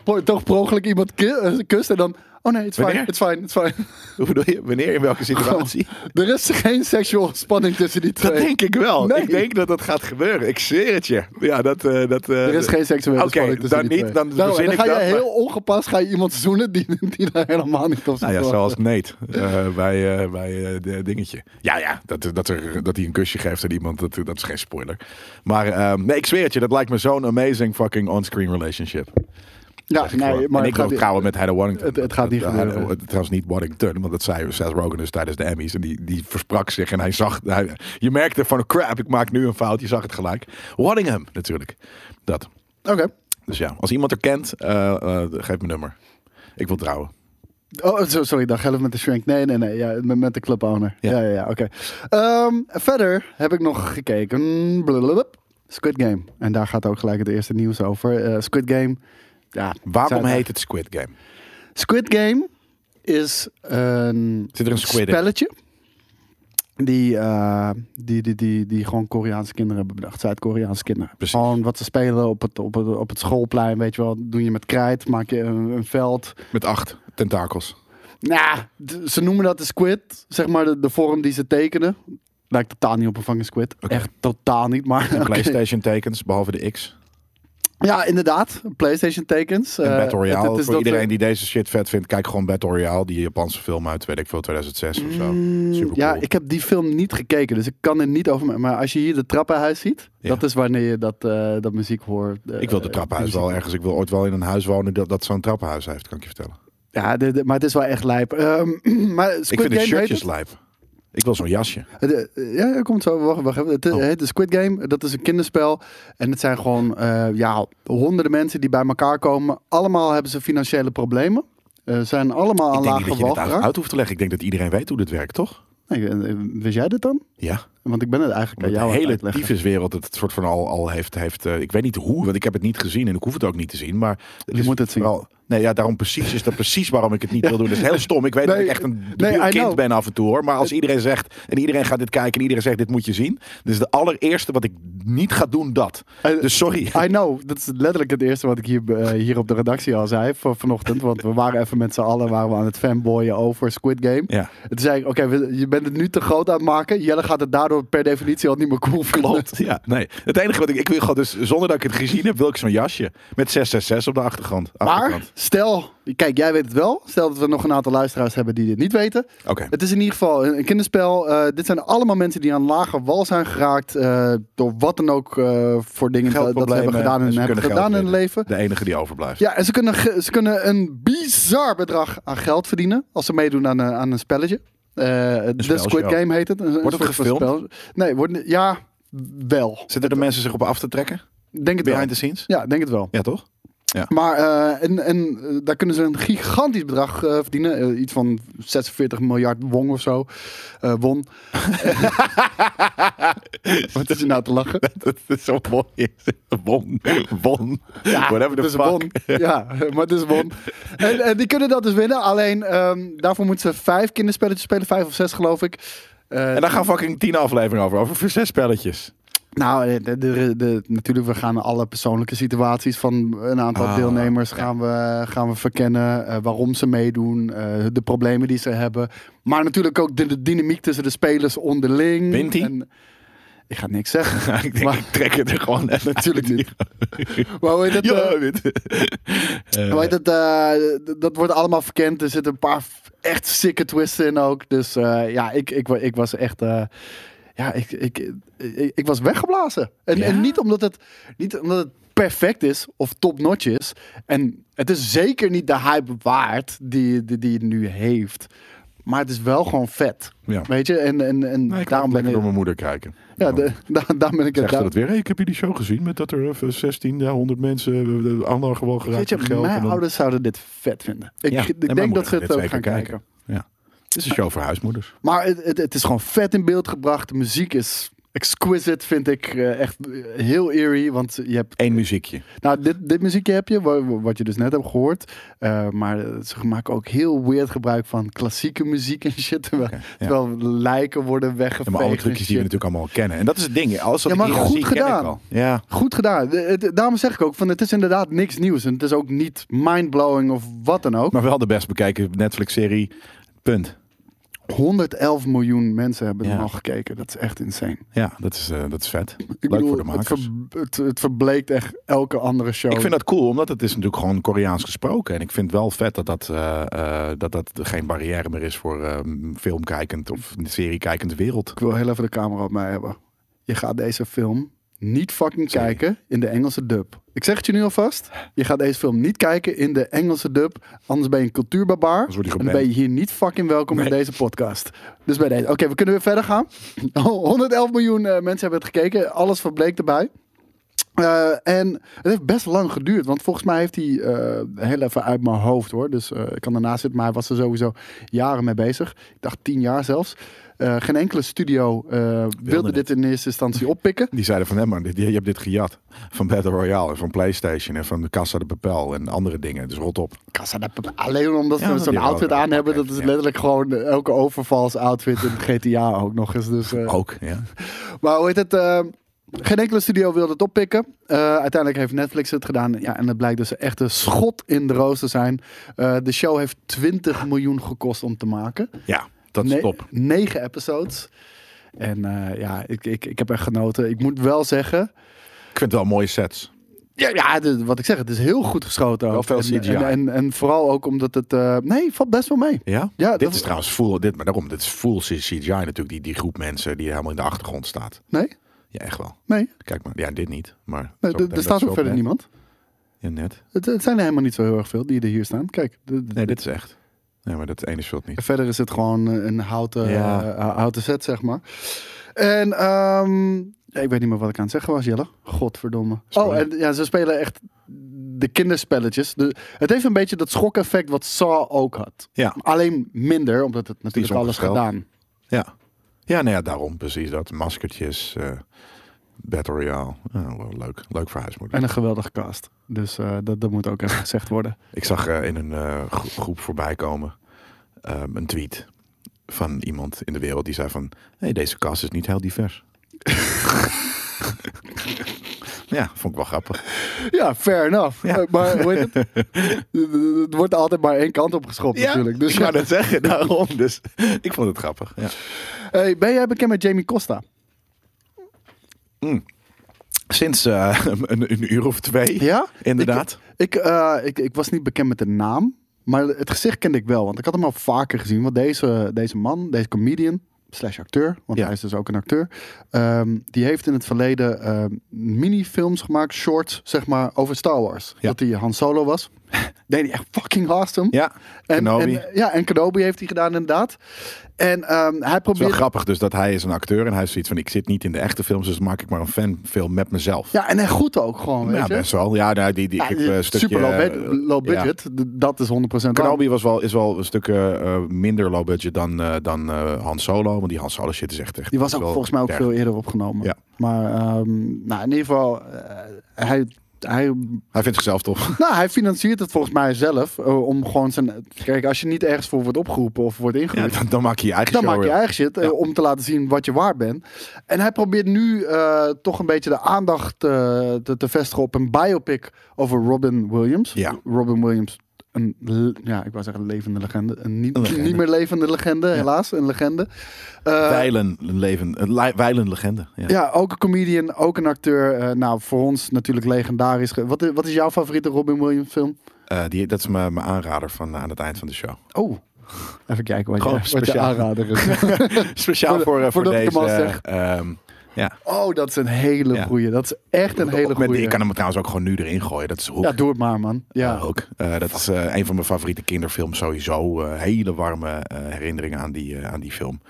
Speaker 3: pro- toch per ongeluk iemand ki- eh, kust en dan... Oh nee, it's fine,
Speaker 2: Wanneer?
Speaker 3: it's fine, it's fine.
Speaker 2: Hoe bedoel je? Wanneer? In welke situatie?
Speaker 3: Er is geen seksuele spanning tussen die twee.
Speaker 2: Dat denk ik wel.
Speaker 3: Oh. Nee.
Speaker 2: Ik denk dat dat gaat gebeuren. Ik zweer het je. Ja, dat... eh, dat eh,
Speaker 3: Er is geen seksuele
Speaker 2: Oké,
Speaker 3: spanning tussen
Speaker 2: dan
Speaker 3: die
Speaker 2: niet,
Speaker 3: twee.
Speaker 2: dan
Speaker 3: Nou,
Speaker 2: verzin
Speaker 3: dan
Speaker 2: ik
Speaker 3: ga
Speaker 2: dat,
Speaker 3: je
Speaker 2: maar-
Speaker 3: heel ongepast ga je iemand zoenen die, die daar helemaal niet op zit.
Speaker 2: Nou ja,
Speaker 3: te wachten.
Speaker 2: zoals Nate eh, bij, eh, bij eh, de dingetje. Ja, ja, dat, dat, er, dat hij een kusje geeft aan iemand, dat, dat is geen spoiler. Maar ehm, nee, ik zweer het je, dat lijkt me zo'n amazing fucking on-screen relationship.
Speaker 3: Ja,
Speaker 2: Zeg ik gewoon.
Speaker 3: nee, maar
Speaker 2: en
Speaker 3: het
Speaker 2: ik wil
Speaker 3: gaat-
Speaker 2: trouwen met Heather Warrington. Eh,
Speaker 3: Het- het gaat niet
Speaker 2: Dat-
Speaker 3: gebeuren.
Speaker 2: Heather- Trouwens niet Warrington, want dat zei Seth Rogen dus tijdens de Emmys. En die, die versprak zich en hij zag... Hij, je merkte van, crap, ik maak nu een fout. Je zag het gelijk. Waddingham, natuurlijk. Dat.
Speaker 3: Oké.
Speaker 2: Dus ja, als iemand er kent, eh, eh, geef me nummer. Ik wil trouwen.
Speaker 3: Oh, zo- sorry, dan geloof met de shrink. Nee, nee, nee. Ja, met, met de club owner. Ja,
Speaker 2: Ja.
Speaker 3: ja, ja. oké. Ehm, verder heb ik nog gekeken. Blablabla. Squid Game. En daar gaat ook gelijk het eerste nieuws over. Eh, Squid Game. Ja,
Speaker 2: Waarom
Speaker 3: zijn-
Speaker 2: heet het Squid Game?
Speaker 3: Squid Game is een,
Speaker 2: Zit er een squid in?
Speaker 3: spelletje. Die, eh, die, die, die, die gewoon Koreaanse kinderen hebben bedacht. Zuid-Koreaanse kinderen.
Speaker 2: Precies.
Speaker 3: Gewoon wat ze spelen op het, op, het, op het schoolplein. Weet je wel, doe je met krijt, maak je een, een veld.
Speaker 2: Met acht tentakels.
Speaker 3: Nou, d- ze noemen dat de squid. Zeg maar de, de vorm die ze tekenen. Lijkt totaal niet op een fucking squid.
Speaker 2: Oké.
Speaker 3: Echt totaal niet, maar...
Speaker 2: En
Speaker 3: oké.
Speaker 2: PlayStation tekens, behalve de X.
Speaker 3: Ja, inderdaad. Playstation tekens.
Speaker 2: En
Speaker 3: Eh,
Speaker 2: Battle Royale.
Speaker 3: het- het is
Speaker 2: Voor
Speaker 3: dat-
Speaker 2: iedereen die deze shit vet vindt, kijk gewoon Battle Royale. Die Japanse film uit, weet ik veel, 2006 of zo.
Speaker 3: Mm,
Speaker 2: Super
Speaker 3: Ja,
Speaker 2: cool.
Speaker 3: ik heb die film niet gekeken, dus ik kan er niet over. ma- Maar als je hier de trappenhuis ziet,
Speaker 2: Ja.
Speaker 3: dat is wanneer je dat, eh, dat muziek hoort. eh,
Speaker 2: Ik wil de
Speaker 3: die
Speaker 2: trappenhuis
Speaker 3: muziek.
Speaker 2: wel ergens. Ik wil ooit wel in een huis wonen dat, dat zo'n trappenhuis heeft, kan ik je vertellen.
Speaker 3: Ja, de- de- maar het is wel echt lijp. Ehm, maar Squid
Speaker 2: ik vind de
Speaker 3: Game heet
Speaker 2: shirtjes lijp. Ik wil zo'n jasje.
Speaker 3: het? Het, eh, ja, ja, komt zo. Wacht, wacht even. Het eh,
Speaker 2: Oh.
Speaker 3: heet de Squid Game. Dat is een kinderspel. En het zijn gewoon eh, ja, honderden mensen die bij elkaar komen. Allemaal hebben ze financiële problemen. Eh zijn allemaal aan
Speaker 2: ik denk niet
Speaker 3: lage
Speaker 2: dat je dit
Speaker 3: wal
Speaker 2: uit,
Speaker 3: geraakt.
Speaker 2: uit hoeft te leggen. Ik denk dat iedereen weet hoe dit werkt, toch?
Speaker 3: Nee, eh, Wist jij dit dan?
Speaker 2: Ja.
Speaker 3: Want ik ben het eigenlijk aan
Speaker 2: Omdat
Speaker 3: jou
Speaker 2: de
Speaker 3: aan het
Speaker 2: hele
Speaker 3: uitleggen.
Speaker 2: tyfuswereld het soort van al, al heeft... heeft eh, ik weet niet hoe, want ik heb het niet gezien en ik hoef het ook niet te zien. Maar
Speaker 3: Je moet het zien.
Speaker 2: Vooral- nee, ja, daarom precies is dat precies waarom ik het niet wil doen. Dat is heel stom. Ik weet dat
Speaker 3: Nee,
Speaker 2: ik echt een
Speaker 3: nee,
Speaker 2: debiel
Speaker 3: I
Speaker 2: kind
Speaker 3: know.
Speaker 2: ben af en toe hoor. Maar als iedereen zegt, en iedereen gaat dit kijken en iedereen zegt dit moet je zien. Dus de allereerste wat ik niet ga doen, dat.
Speaker 3: Eh,
Speaker 2: Dus sorry.
Speaker 3: I know, dat is letterlijk het eerste wat ik hier, eh, hier op de redactie al zei van vanochtend. Want we waren even met z'n allen waren we aan het fanboyen over Squid Game.
Speaker 2: Ja.
Speaker 3: En toen zei ik, oké, we- je bent het nu te groot aan het maken. Jelle gaat het daardoor per definitie al niet meer cool vinden.
Speaker 2: Klopt, ja. Nee. Het enige wat ik... Ik wil gewoon dus, zonder dat ik het gezien heb, wil ik zo'n jasje. Met 666 op de achtergrond.
Speaker 3: Maar
Speaker 2: Achterkant.
Speaker 3: stel, kijk, jij weet het wel. Stel dat we nog een aantal luisteraars hebben die dit niet weten.
Speaker 2: Oké.
Speaker 3: Het is in ieder geval een een kinderspel. Eh, dit zijn allemaal mensen die aan lager wal zijn geraakt. eh, door wat dan ook eh, voor dingen dat dat ze hebben
Speaker 2: Geldproblemen
Speaker 3: gedaan en
Speaker 2: ze
Speaker 3: hebben
Speaker 2: kunnen
Speaker 3: gedaan
Speaker 2: geld
Speaker 3: in hun
Speaker 2: winnen.
Speaker 3: leven.
Speaker 2: De enige die overblijft.
Speaker 3: Ja, en ze kunnen, ge- ze kunnen een bizar bedrag aan geld verdienen als ze meedoen aan, een- aan een spelletje. Eh de
Speaker 2: spelshow.
Speaker 3: Squid Game heet het. Een- een
Speaker 2: Wordt het
Speaker 3: soort van
Speaker 2: gefilmd?
Speaker 3: spel. Nee, wordt, ni- ja, wel.
Speaker 2: Zitten er mensen zich op af te trekken?
Speaker 3: Denk het wel.
Speaker 2: Behind the scenes?
Speaker 3: Ja, denk het wel.
Speaker 2: Ja, toch?
Speaker 3: Maar eh, en, en eh, daar kunnen ze een gigantisch bedrag eh, verdienen. Eh, iets van 46 miljard won of zo. Eh, won. Wat is er nou te lachen?
Speaker 2: Dat is zo mooi. Bon. Bon. Whatever the
Speaker 3: het is
Speaker 2: fuck.
Speaker 3: Dus won. Ja, maar het is won. En, en die kunnen dat dus winnen. Alleen ehm, daarvoor moeten ze vijf kinderspelletjes spelen. Vijf of zes, geloof ik. Eh,
Speaker 2: En daar gaan fucking tien afleveringen over. Over voor zes spelletjes.
Speaker 3: Nou, de, de- de- de- natuurlijk, we gaan alle persoonlijke situaties van een aantal
Speaker 2: Ah,
Speaker 3: deelnemers
Speaker 2: ja.
Speaker 3: gaan, we, gaan we verkennen. eh, waarom ze meedoen, eh, de problemen die ze hebben. Maar natuurlijk ook de, de dynamiek tussen de spelers onderling.
Speaker 2: Wint hij?
Speaker 3: En- Ik ga niks zeggen.
Speaker 2: ik denk,
Speaker 3: Maar-
Speaker 2: ik trek het er gewoon echt
Speaker 3: Natuurlijk niet. Maar hoe heet dat? eh,
Speaker 2: Ja, weet
Speaker 3: hoe heet dat, eh, d- dat wordt allemaal verkend. Er zitten een paar f- echt sikke twists in ook. Dus eh, ja, ik, ik, wa- ik was echt... eh, ja, ik, ik, ik, ik was weggeblazen. En,
Speaker 2: Ja?
Speaker 3: en niet, omdat het, niet omdat het perfect is of topnotch is. En het is zeker niet de hype waard die, die, die het nu heeft. Maar het is wel gewoon vet.
Speaker 2: Ja.
Speaker 3: Weet je? En, en, en
Speaker 2: Nee, ik
Speaker 3: daarom ben ik...
Speaker 2: door mijn moeder kijken.
Speaker 3: Ja,
Speaker 2: Dan
Speaker 3: de, daar, daar ben ik...
Speaker 2: Zegt
Speaker 3: daar-
Speaker 2: ze dat weer? Hey, ik heb jullie show gezien met dat er eh, 1600 mensen eh, de andere gewoon
Speaker 3: Weet
Speaker 2: geraakt
Speaker 3: je,
Speaker 2: met geld.
Speaker 3: mijn
Speaker 2: en dan-
Speaker 3: ouders zouden dit vet vinden. Ik,
Speaker 2: Ja, en
Speaker 3: ik
Speaker 2: mijn
Speaker 3: denk dat
Speaker 2: moeder
Speaker 3: ze
Speaker 2: gaat
Speaker 3: het ook
Speaker 2: dit
Speaker 3: gaan
Speaker 2: zeker
Speaker 3: kijken.
Speaker 2: kijken. Ja. Het is een show voor huismoeders.
Speaker 3: Maar het, het, het is gewoon vet in beeld gebracht. De muziek is Exquisite vind ik eh, echt heel eerie, want je hebt
Speaker 2: Eén muziekje.
Speaker 3: Nou, dit, dit muziekje heb je, wa- wa- wat je dus net hebt gehoord. Eh, maar ze maken ook heel weird gebruik van klassieke muziek en shit. Terwijl, terwijl lijken worden weggeveegd.
Speaker 2: Ja, maar alle
Speaker 3: en
Speaker 2: trucjes die we
Speaker 3: shit.
Speaker 2: natuurlijk allemaal al kennen. En dat is het ding. Alles wat
Speaker 3: Ja, maar
Speaker 2: ik hier al
Speaker 3: goed
Speaker 2: zie, ken ik
Speaker 3: gedaan.
Speaker 2: al. Ja.
Speaker 3: Goed gedaan. De- het- daarom zeg ik ook, van, het is inderdaad niks nieuws. En het is ook niet mindblowing of wat dan ook.
Speaker 2: Maar wel de best bekeken Netflix-serie. Punt.
Speaker 3: 111 miljoen mensen hebben er
Speaker 2: Ja.
Speaker 3: al gekeken. Dat is echt insane.
Speaker 2: Ja, dat is, eh, dat is vet.
Speaker 3: Ik
Speaker 2: Leuk
Speaker 3: bedoel,
Speaker 2: voor de
Speaker 3: het,
Speaker 2: makers.
Speaker 3: ver- het, het verbleekt echt elke andere show.
Speaker 2: Ik vind dat cool, omdat het is natuurlijk gewoon Koreaans gesproken. En ik vind wel vet dat dat, eh, eh, dat, dat geen barrière meer is voor eh, filmkijkend of seriekijkend wereld.
Speaker 3: Ik wil heel even de camera op mij hebben. Je gaat deze film niet fucking
Speaker 2: Sorry.
Speaker 3: kijken in de Engelse dub. Ik zeg het je nu alvast. Je gaat deze film niet kijken in de Engelse dub. Anders ben je een cultuurbarbaar.
Speaker 2: word je
Speaker 3: en dan ben je
Speaker 2: geband.
Speaker 3: hier niet fucking welkom in
Speaker 2: Nee.
Speaker 3: deze podcast. Dus bij deze. Oké, we kunnen weer verder gaan. 111 miljoen eh, mensen hebben het gekeken. Alles verbleek erbij. Eh, en het heeft best lang geduurd, want volgens mij heeft hij eh, heel even uit mijn hoofd hoor. Dus eh, ik kan ernaast zitten, maar hij was er sowieso jaren mee bezig. Ik dacht tien jaar zelfs. Eh, geen enkele studio eh, wilde
Speaker 2: het.
Speaker 3: dit in eerste instantie oppikken.
Speaker 2: Die zeiden van, hé man, dit- je hebt dit gejat. Van Battle Royale en van Playstation en van de Casa de Papel en andere dingen. Dus rot op.
Speaker 3: Kassa, dat- alleen omdat
Speaker 2: Ja,
Speaker 3: we zo'n
Speaker 2: die
Speaker 3: outfit
Speaker 2: oude-
Speaker 3: aan hebben,
Speaker 2: oké,
Speaker 3: dat is
Speaker 2: ja.
Speaker 3: letterlijk gewoon elke overvals outfit in GTA ook nog eens. Dus, eh,
Speaker 2: Ook, ja.
Speaker 3: Maar hoe heet het? eh, geen enkele studio wilde het oppikken. Eh, uiteindelijk heeft Netflix het gedaan. Ja, en het blijkt dus echt een schot in de roos te zijn. Eh, de show heeft 20 miljoen gekost om te maken.
Speaker 2: Ja, dat is
Speaker 3: Ne-
Speaker 2: top.
Speaker 3: Negen episodes. En eh, ja, ik, ik, ik heb echt genoten. Ik moet wel zeggen...
Speaker 2: Ik vind het wel mooie sets.
Speaker 3: Ja, ja dit- wat ik zeg, het is heel goed geschoten. ook.
Speaker 2: Wel veel
Speaker 3: En-
Speaker 2: CGI.
Speaker 3: En, en, en vooral ook omdat het... eh, nee, valt best wel mee.
Speaker 2: Ja?
Speaker 3: Ja,
Speaker 2: dit
Speaker 3: dat-
Speaker 2: is trouwens full, dit, maar daarom, dit is full CGI natuurlijk, die, die groep mensen die helemaal in de achtergrond staat.
Speaker 3: Nee,
Speaker 2: Ja, echt wel.
Speaker 3: nee.
Speaker 2: Kijk maar, ja, dit niet, maar...
Speaker 3: nee
Speaker 2: zo
Speaker 3: d-
Speaker 2: meteen,
Speaker 3: er
Speaker 2: dat
Speaker 3: staat
Speaker 2: is
Speaker 3: ook
Speaker 2: wel
Speaker 3: verder
Speaker 2: net.
Speaker 3: niemand.
Speaker 2: Ja, net.
Speaker 3: Het, het zijn er helemaal niet zo heel erg veel die er hier staan. Kijk, de-
Speaker 2: Nee, dit is echt. Nee, maar dat ene shot niet.
Speaker 3: En Verder is het gewoon eh, een houten,
Speaker 2: Ja.
Speaker 3: eh, houten set, zeg maar. En ehm, ja, ik weet niet meer wat ik aan het zeggen was, Jelle. Godverdomme.
Speaker 2: Sorry.
Speaker 3: Oh, en ja, ze spelen echt de kinderspelletjes. De, het heeft een beetje dat schokeffect wat Saw ook had.
Speaker 2: Ja.
Speaker 3: Alleen minder, omdat het natuurlijk alles
Speaker 2: omgesteld.
Speaker 3: gedaan.
Speaker 2: Ja. Ja, nou ja, daarom precies dat. Maskertjes, eh Battle Royale. Oh, wel leuk. Leuk verhuismoeder.
Speaker 3: En een geweldige cast. Dus eh, dat, dat moet ook even gezegd worden.
Speaker 2: Ik zag eh, in een eh, gro- groep voorbij komen ehm, een tweet van iemand in de wereld die zei van... hey, deze kast is niet heel divers. ja, vond ik wel grappig.
Speaker 3: Ja, fair enough.
Speaker 2: Ja.
Speaker 3: Eh, Maar hoe heet het? het wordt altijd maar één kant op geschopt natuurlijk. Dus
Speaker 2: ik wou dat zeggen, daarom. Dus ik vond het grappig. Ja.
Speaker 3: Hey, ben jij bekend met Jamie Costa?
Speaker 2: Sinds eh, een, een uur of twee,
Speaker 3: Ja?
Speaker 2: inderdaad.
Speaker 3: Ik, eh, ik, ik was niet bekend met de naam, maar het gezicht kende ik wel. Want ik had hem al vaker gezien. Want deze, deze man, deze comedian, slash acteur, want
Speaker 2: Ja.
Speaker 3: hij is dus ook een acteur. ehm, die heeft in het verleden ehm, minifilms gemaakt, shorts, zeg maar, over Star Wars.
Speaker 2: Ja.
Speaker 3: Dat hij Han Solo was. Deed hij echt fucking awesome.
Speaker 2: Ja,
Speaker 3: en,
Speaker 2: Kenobi.
Speaker 3: en- ja, en Kenobi heeft hij gedaan inderdaad. En ehm, hij
Speaker 2: Het is wel
Speaker 3: probeert...
Speaker 2: grappig dus dat hij is een acteur en hij is zoiets van ik zit niet in de echte films, dus maak ik maar een fanfilm met mezelf.
Speaker 3: Ja, en hij goed ook gewoon, weet
Speaker 2: Ja,
Speaker 3: je.
Speaker 2: best wel. Ja, nou, die, die,
Speaker 3: Ja,
Speaker 2: ik heb een stukje,
Speaker 3: super low, bud-
Speaker 2: eh,
Speaker 3: low
Speaker 2: ja.
Speaker 3: budget, D- dat is 100% waar.
Speaker 2: Kenobi was wel, is wel een stuk eh, eh, minder low budget dan, eh, dan eh, Han Solo, want die Han Solo shit is echt... echt
Speaker 3: Die was ook
Speaker 2: wel
Speaker 3: volgens mij ook
Speaker 2: erg.
Speaker 3: veel eerder opgenomen.
Speaker 2: Ja.
Speaker 3: Maar ehm, nou, in ieder geval, eh, hij, hij,
Speaker 2: Hij vindt zichzelf toch.
Speaker 3: nou, hij financiert het volgens mij zelf. eh, om gewoon zijn. Kijk, als je niet ergens voor wordt opgeroepen of wordt ingehuurd.
Speaker 2: Ja, dan, dan maak je je eigen
Speaker 3: Dan
Speaker 2: show
Speaker 3: maak je
Speaker 2: weer.
Speaker 3: eigen shit eh,
Speaker 2: Ja.
Speaker 3: om te laten zien wat je waard bent. En hij probeert nu eh, toch een beetje de aandacht eh, te, te vestigen op een biopic over Robin Williams.
Speaker 2: Ja.
Speaker 3: Robin Williams, een, le- ja, ik wou zeggen levende legende. Een niet,
Speaker 2: Een legende.
Speaker 3: niet meer levende legende, helaas. Een legende. Eh,
Speaker 2: Weilen, leven, een li- weilen legende. Ja.
Speaker 3: Ja, ook een comedian, ook een acteur. Eh, nou, voor ons natuurlijk legendarisch. Ge- Wat, i- wat is jouw favoriete Robin Williams film?
Speaker 2: Eh, die, dat is mijn mijn aanrader van eh, aan het eind van de show.
Speaker 3: Oh, even kijken wat,
Speaker 2: Gewoon
Speaker 3: je, wat je
Speaker 2: speciaal.
Speaker 3: aanrader is.
Speaker 2: Speciaal
Speaker 3: Voor-
Speaker 2: voor, eh, voor,
Speaker 3: voordat ik hem al
Speaker 2: deze...
Speaker 3: zeg.
Speaker 2: ehm, ja.
Speaker 3: oh, dat is een hele
Speaker 2: Ja.
Speaker 3: goeie. Dat is echt een hele
Speaker 2: Met,
Speaker 3: goeie.
Speaker 2: ik kan hem trouwens ook gewoon nu erin gooien. Dat is Hoek.
Speaker 3: Ja, doe het maar, man. Ja.
Speaker 2: Eh, ook. Eh, dat is eh, een van mijn favoriete kinderfilms sowieso. Eh, hele warme eh, herinneringen aan die, eh, aan die film.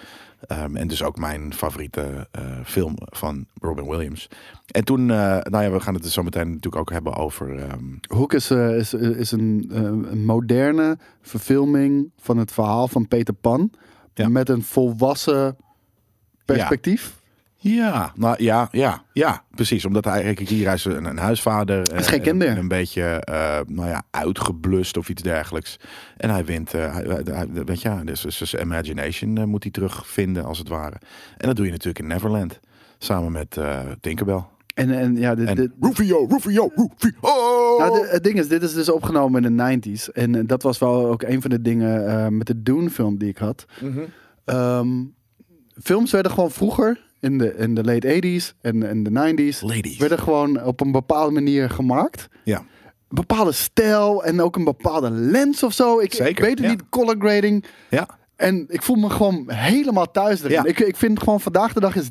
Speaker 2: Ehm, en dus ook mijn favoriete eh, film van Robin Williams. En toen, eh, nou ja, we gaan het dus zo meteen natuurlijk ook hebben over... ehm,
Speaker 3: Hoek is, eh, is, is een, eh, een moderne verfilming van het verhaal van Peter Pan.
Speaker 2: Ja.
Speaker 3: Met een volwassen perspectief.
Speaker 2: Ja, nou ja, ja, ja, precies. Omdat hij, kijk, hier hij is een, een huisvader.
Speaker 3: is
Speaker 2: eh,
Speaker 3: geen
Speaker 2: en-
Speaker 3: kinder.
Speaker 2: en Een beetje, eh, nou ja, uitgeblust of iets dergelijks. En hij wint, eh, hij, hij- hij- weet je, ja, dus, dus zijn imagination eh, moet hij terugvinden als het ware. En dat doe je natuurlijk in Neverland. Samen met eh Tinkerbell.
Speaker 3: En, en ja, de,
Speaker 2: En
Speaker 3: de-
Speaker 2: Rufio, Rufio, Rufio!
Speaker 3: nou, de- het ding is, dit is dus opgenomen in de 90s. En eh, dat was wel ook een van de dingen eh, met de Dune-film die ik had. Ehm, films werden gewoon vroeger, in de, in de late 80s en en de 90s,
Speaker 2: Ladies.
Speaker 3: werden gewoon op een bepaalde manier gemaakt.
Speaker 2: Ja.
Speaker 3: Een bepaalde stijl en ook een bepaalde lens of zo. Ik, ik
Speaker 2: Zeker,
Speaker 3: weet het
Speaker 2: ja.
Speaker 3: niet, color grading.
Speaker 2: ja,
Speaker 3: En ik voel me gewoon helemaal thuis erin.
Speaker 2: Ja.
Speaker 3: Ik, ik vind gewoon vandaag de dag is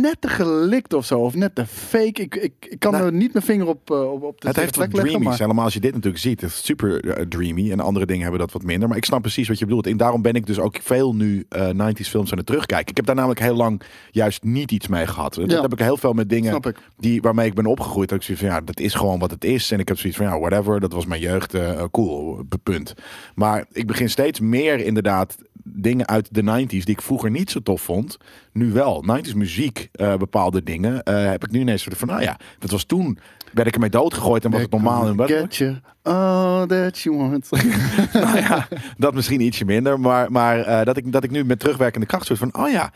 Speaker 3: net te gelikt of zo. Of net te fake. Ik, ik, ik kan
Speaker 2: Nou,
Speaker 3: er niet mijn vinger op, eh, op, op de
Speaker 2: het heeft
Speaker 3: plek
Speaker 2: wat
Speaker 3: leggen.
Speaker 2: dreamies.
Speaker 3: maar-
Speaker 2: Helemaal als je dit natuurlijk ziet. Het is super eh, dreamy. En andere dingen hebben dat wat minder. Maar ik snap precies wat je bedoelt. En daarom ben ik dus ook veel nu eh 90s films aan het terugkijken. Ik heb daar namelijk heel lang juist niet iets mee gehad. Dat
Speaker 3: Ja.
Speaker 2: heb ik heel veel met dingen
Speaker 3: Snap ik.
Speaker 2: die, waarmee ik ben opgegroeid. Dat ik zoiets van, ja, dat is gewoon wat het is. En ik heb zoiets van, ja, whatever. Dat was mijn jeugd. eh, cool. p- Punt. Maar ik begin steeds meer inderdaad dingen uit de 90s die ik vroeger niet zo tof vond, nu wel. 90s muziek, eh, bepaalde dingen, eh, heb ik nu ineens van, nou ja, dat was toen, werd ik ermee doodgegooid en was het normaal. En wat-
Speaker 3: Get you all that you want.
Speaker 2: nou ja, dat misschien ietsje minder. Maar, maar eh, dat, ik, dat ik nu met terugwerkende kracht soort van, oh ja,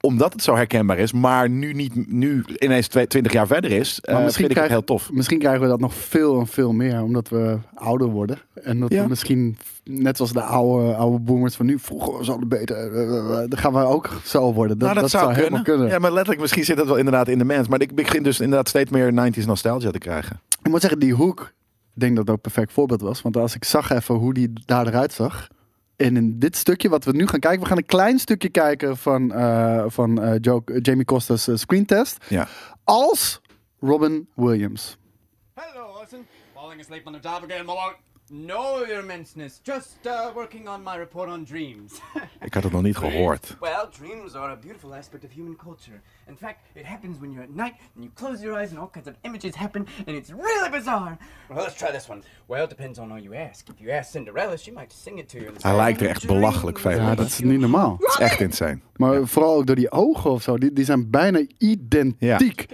Speaker 2: omdat het zo herkenbaar is, maar nu niet, nu ineens twee- 20 jaar verder is, eh,
Speaker 3: Maar
Speaker 2: vind ik het
Speaker 3: krijgen-
Speaker 2: heel tof.
Speaker 3: Misschien krijgen we dat nog veel en veel meer. Omdat we ouder worden. En dat
Speaker 2: Ja.
Speaker 3: we misschien, net zoals de oude, oude boomers van nu. Vroeger was het beter. eh, eh, Dan gaan we ook zo worden. Dat,
Speaker 2: nou, dat, zou,
Speaker 3: helemaal
Speaker 2: kunnen.
Speaker 3: kunnen.
Speaker 2: Ja, maar letterlijk, misschien zit dat wel inderdaad in de mens. Maar ik begin dus inderdaad steeds meer 90s nostalgia te krijgen.
Speaker 3: Ik moet zeggen, die hoek, ik denk dat dat ook een perfect voorbeeld was. Want als ik zag even hoe die daar eruit zag. En in dit stukje wat we nu gaan kijken, we gaan een klein stukje kijken van, eh, van eh, Joe, Jamie Costa's eh, screentest.
Speaker 2: Ja.
Speaker 3: Als Robin Williams.
Speaker 4: Hello, Orson. Falling asleep on the job again, Malone. No, Your Immenseness. Just uh, working on my report on dreams.
Speaker 2: Ik had het nog niet gehoord.
Speaker 4: well, dreams are a beautiful aspect of human culture. In fact, it happens when you're at night and you close your eyes and all kinds of images happen, and it's really bizarre. Well, let's try this one. Well, it depends on who you ask. If you ask Cinderella, she might sing it to you. and
Speaker 2: Hij
Speaker 4: say,
Speaker 2: lijkt er echt belachelijk veel
Speaker 3: Ja,
Speaker 2: op.
Speaker 3: dat is niet normaal.
Speaker 2: Het is echt insane.
Speaker 3: Maar vooral ook door die ogen of zo, die, die zijn bijna identiek.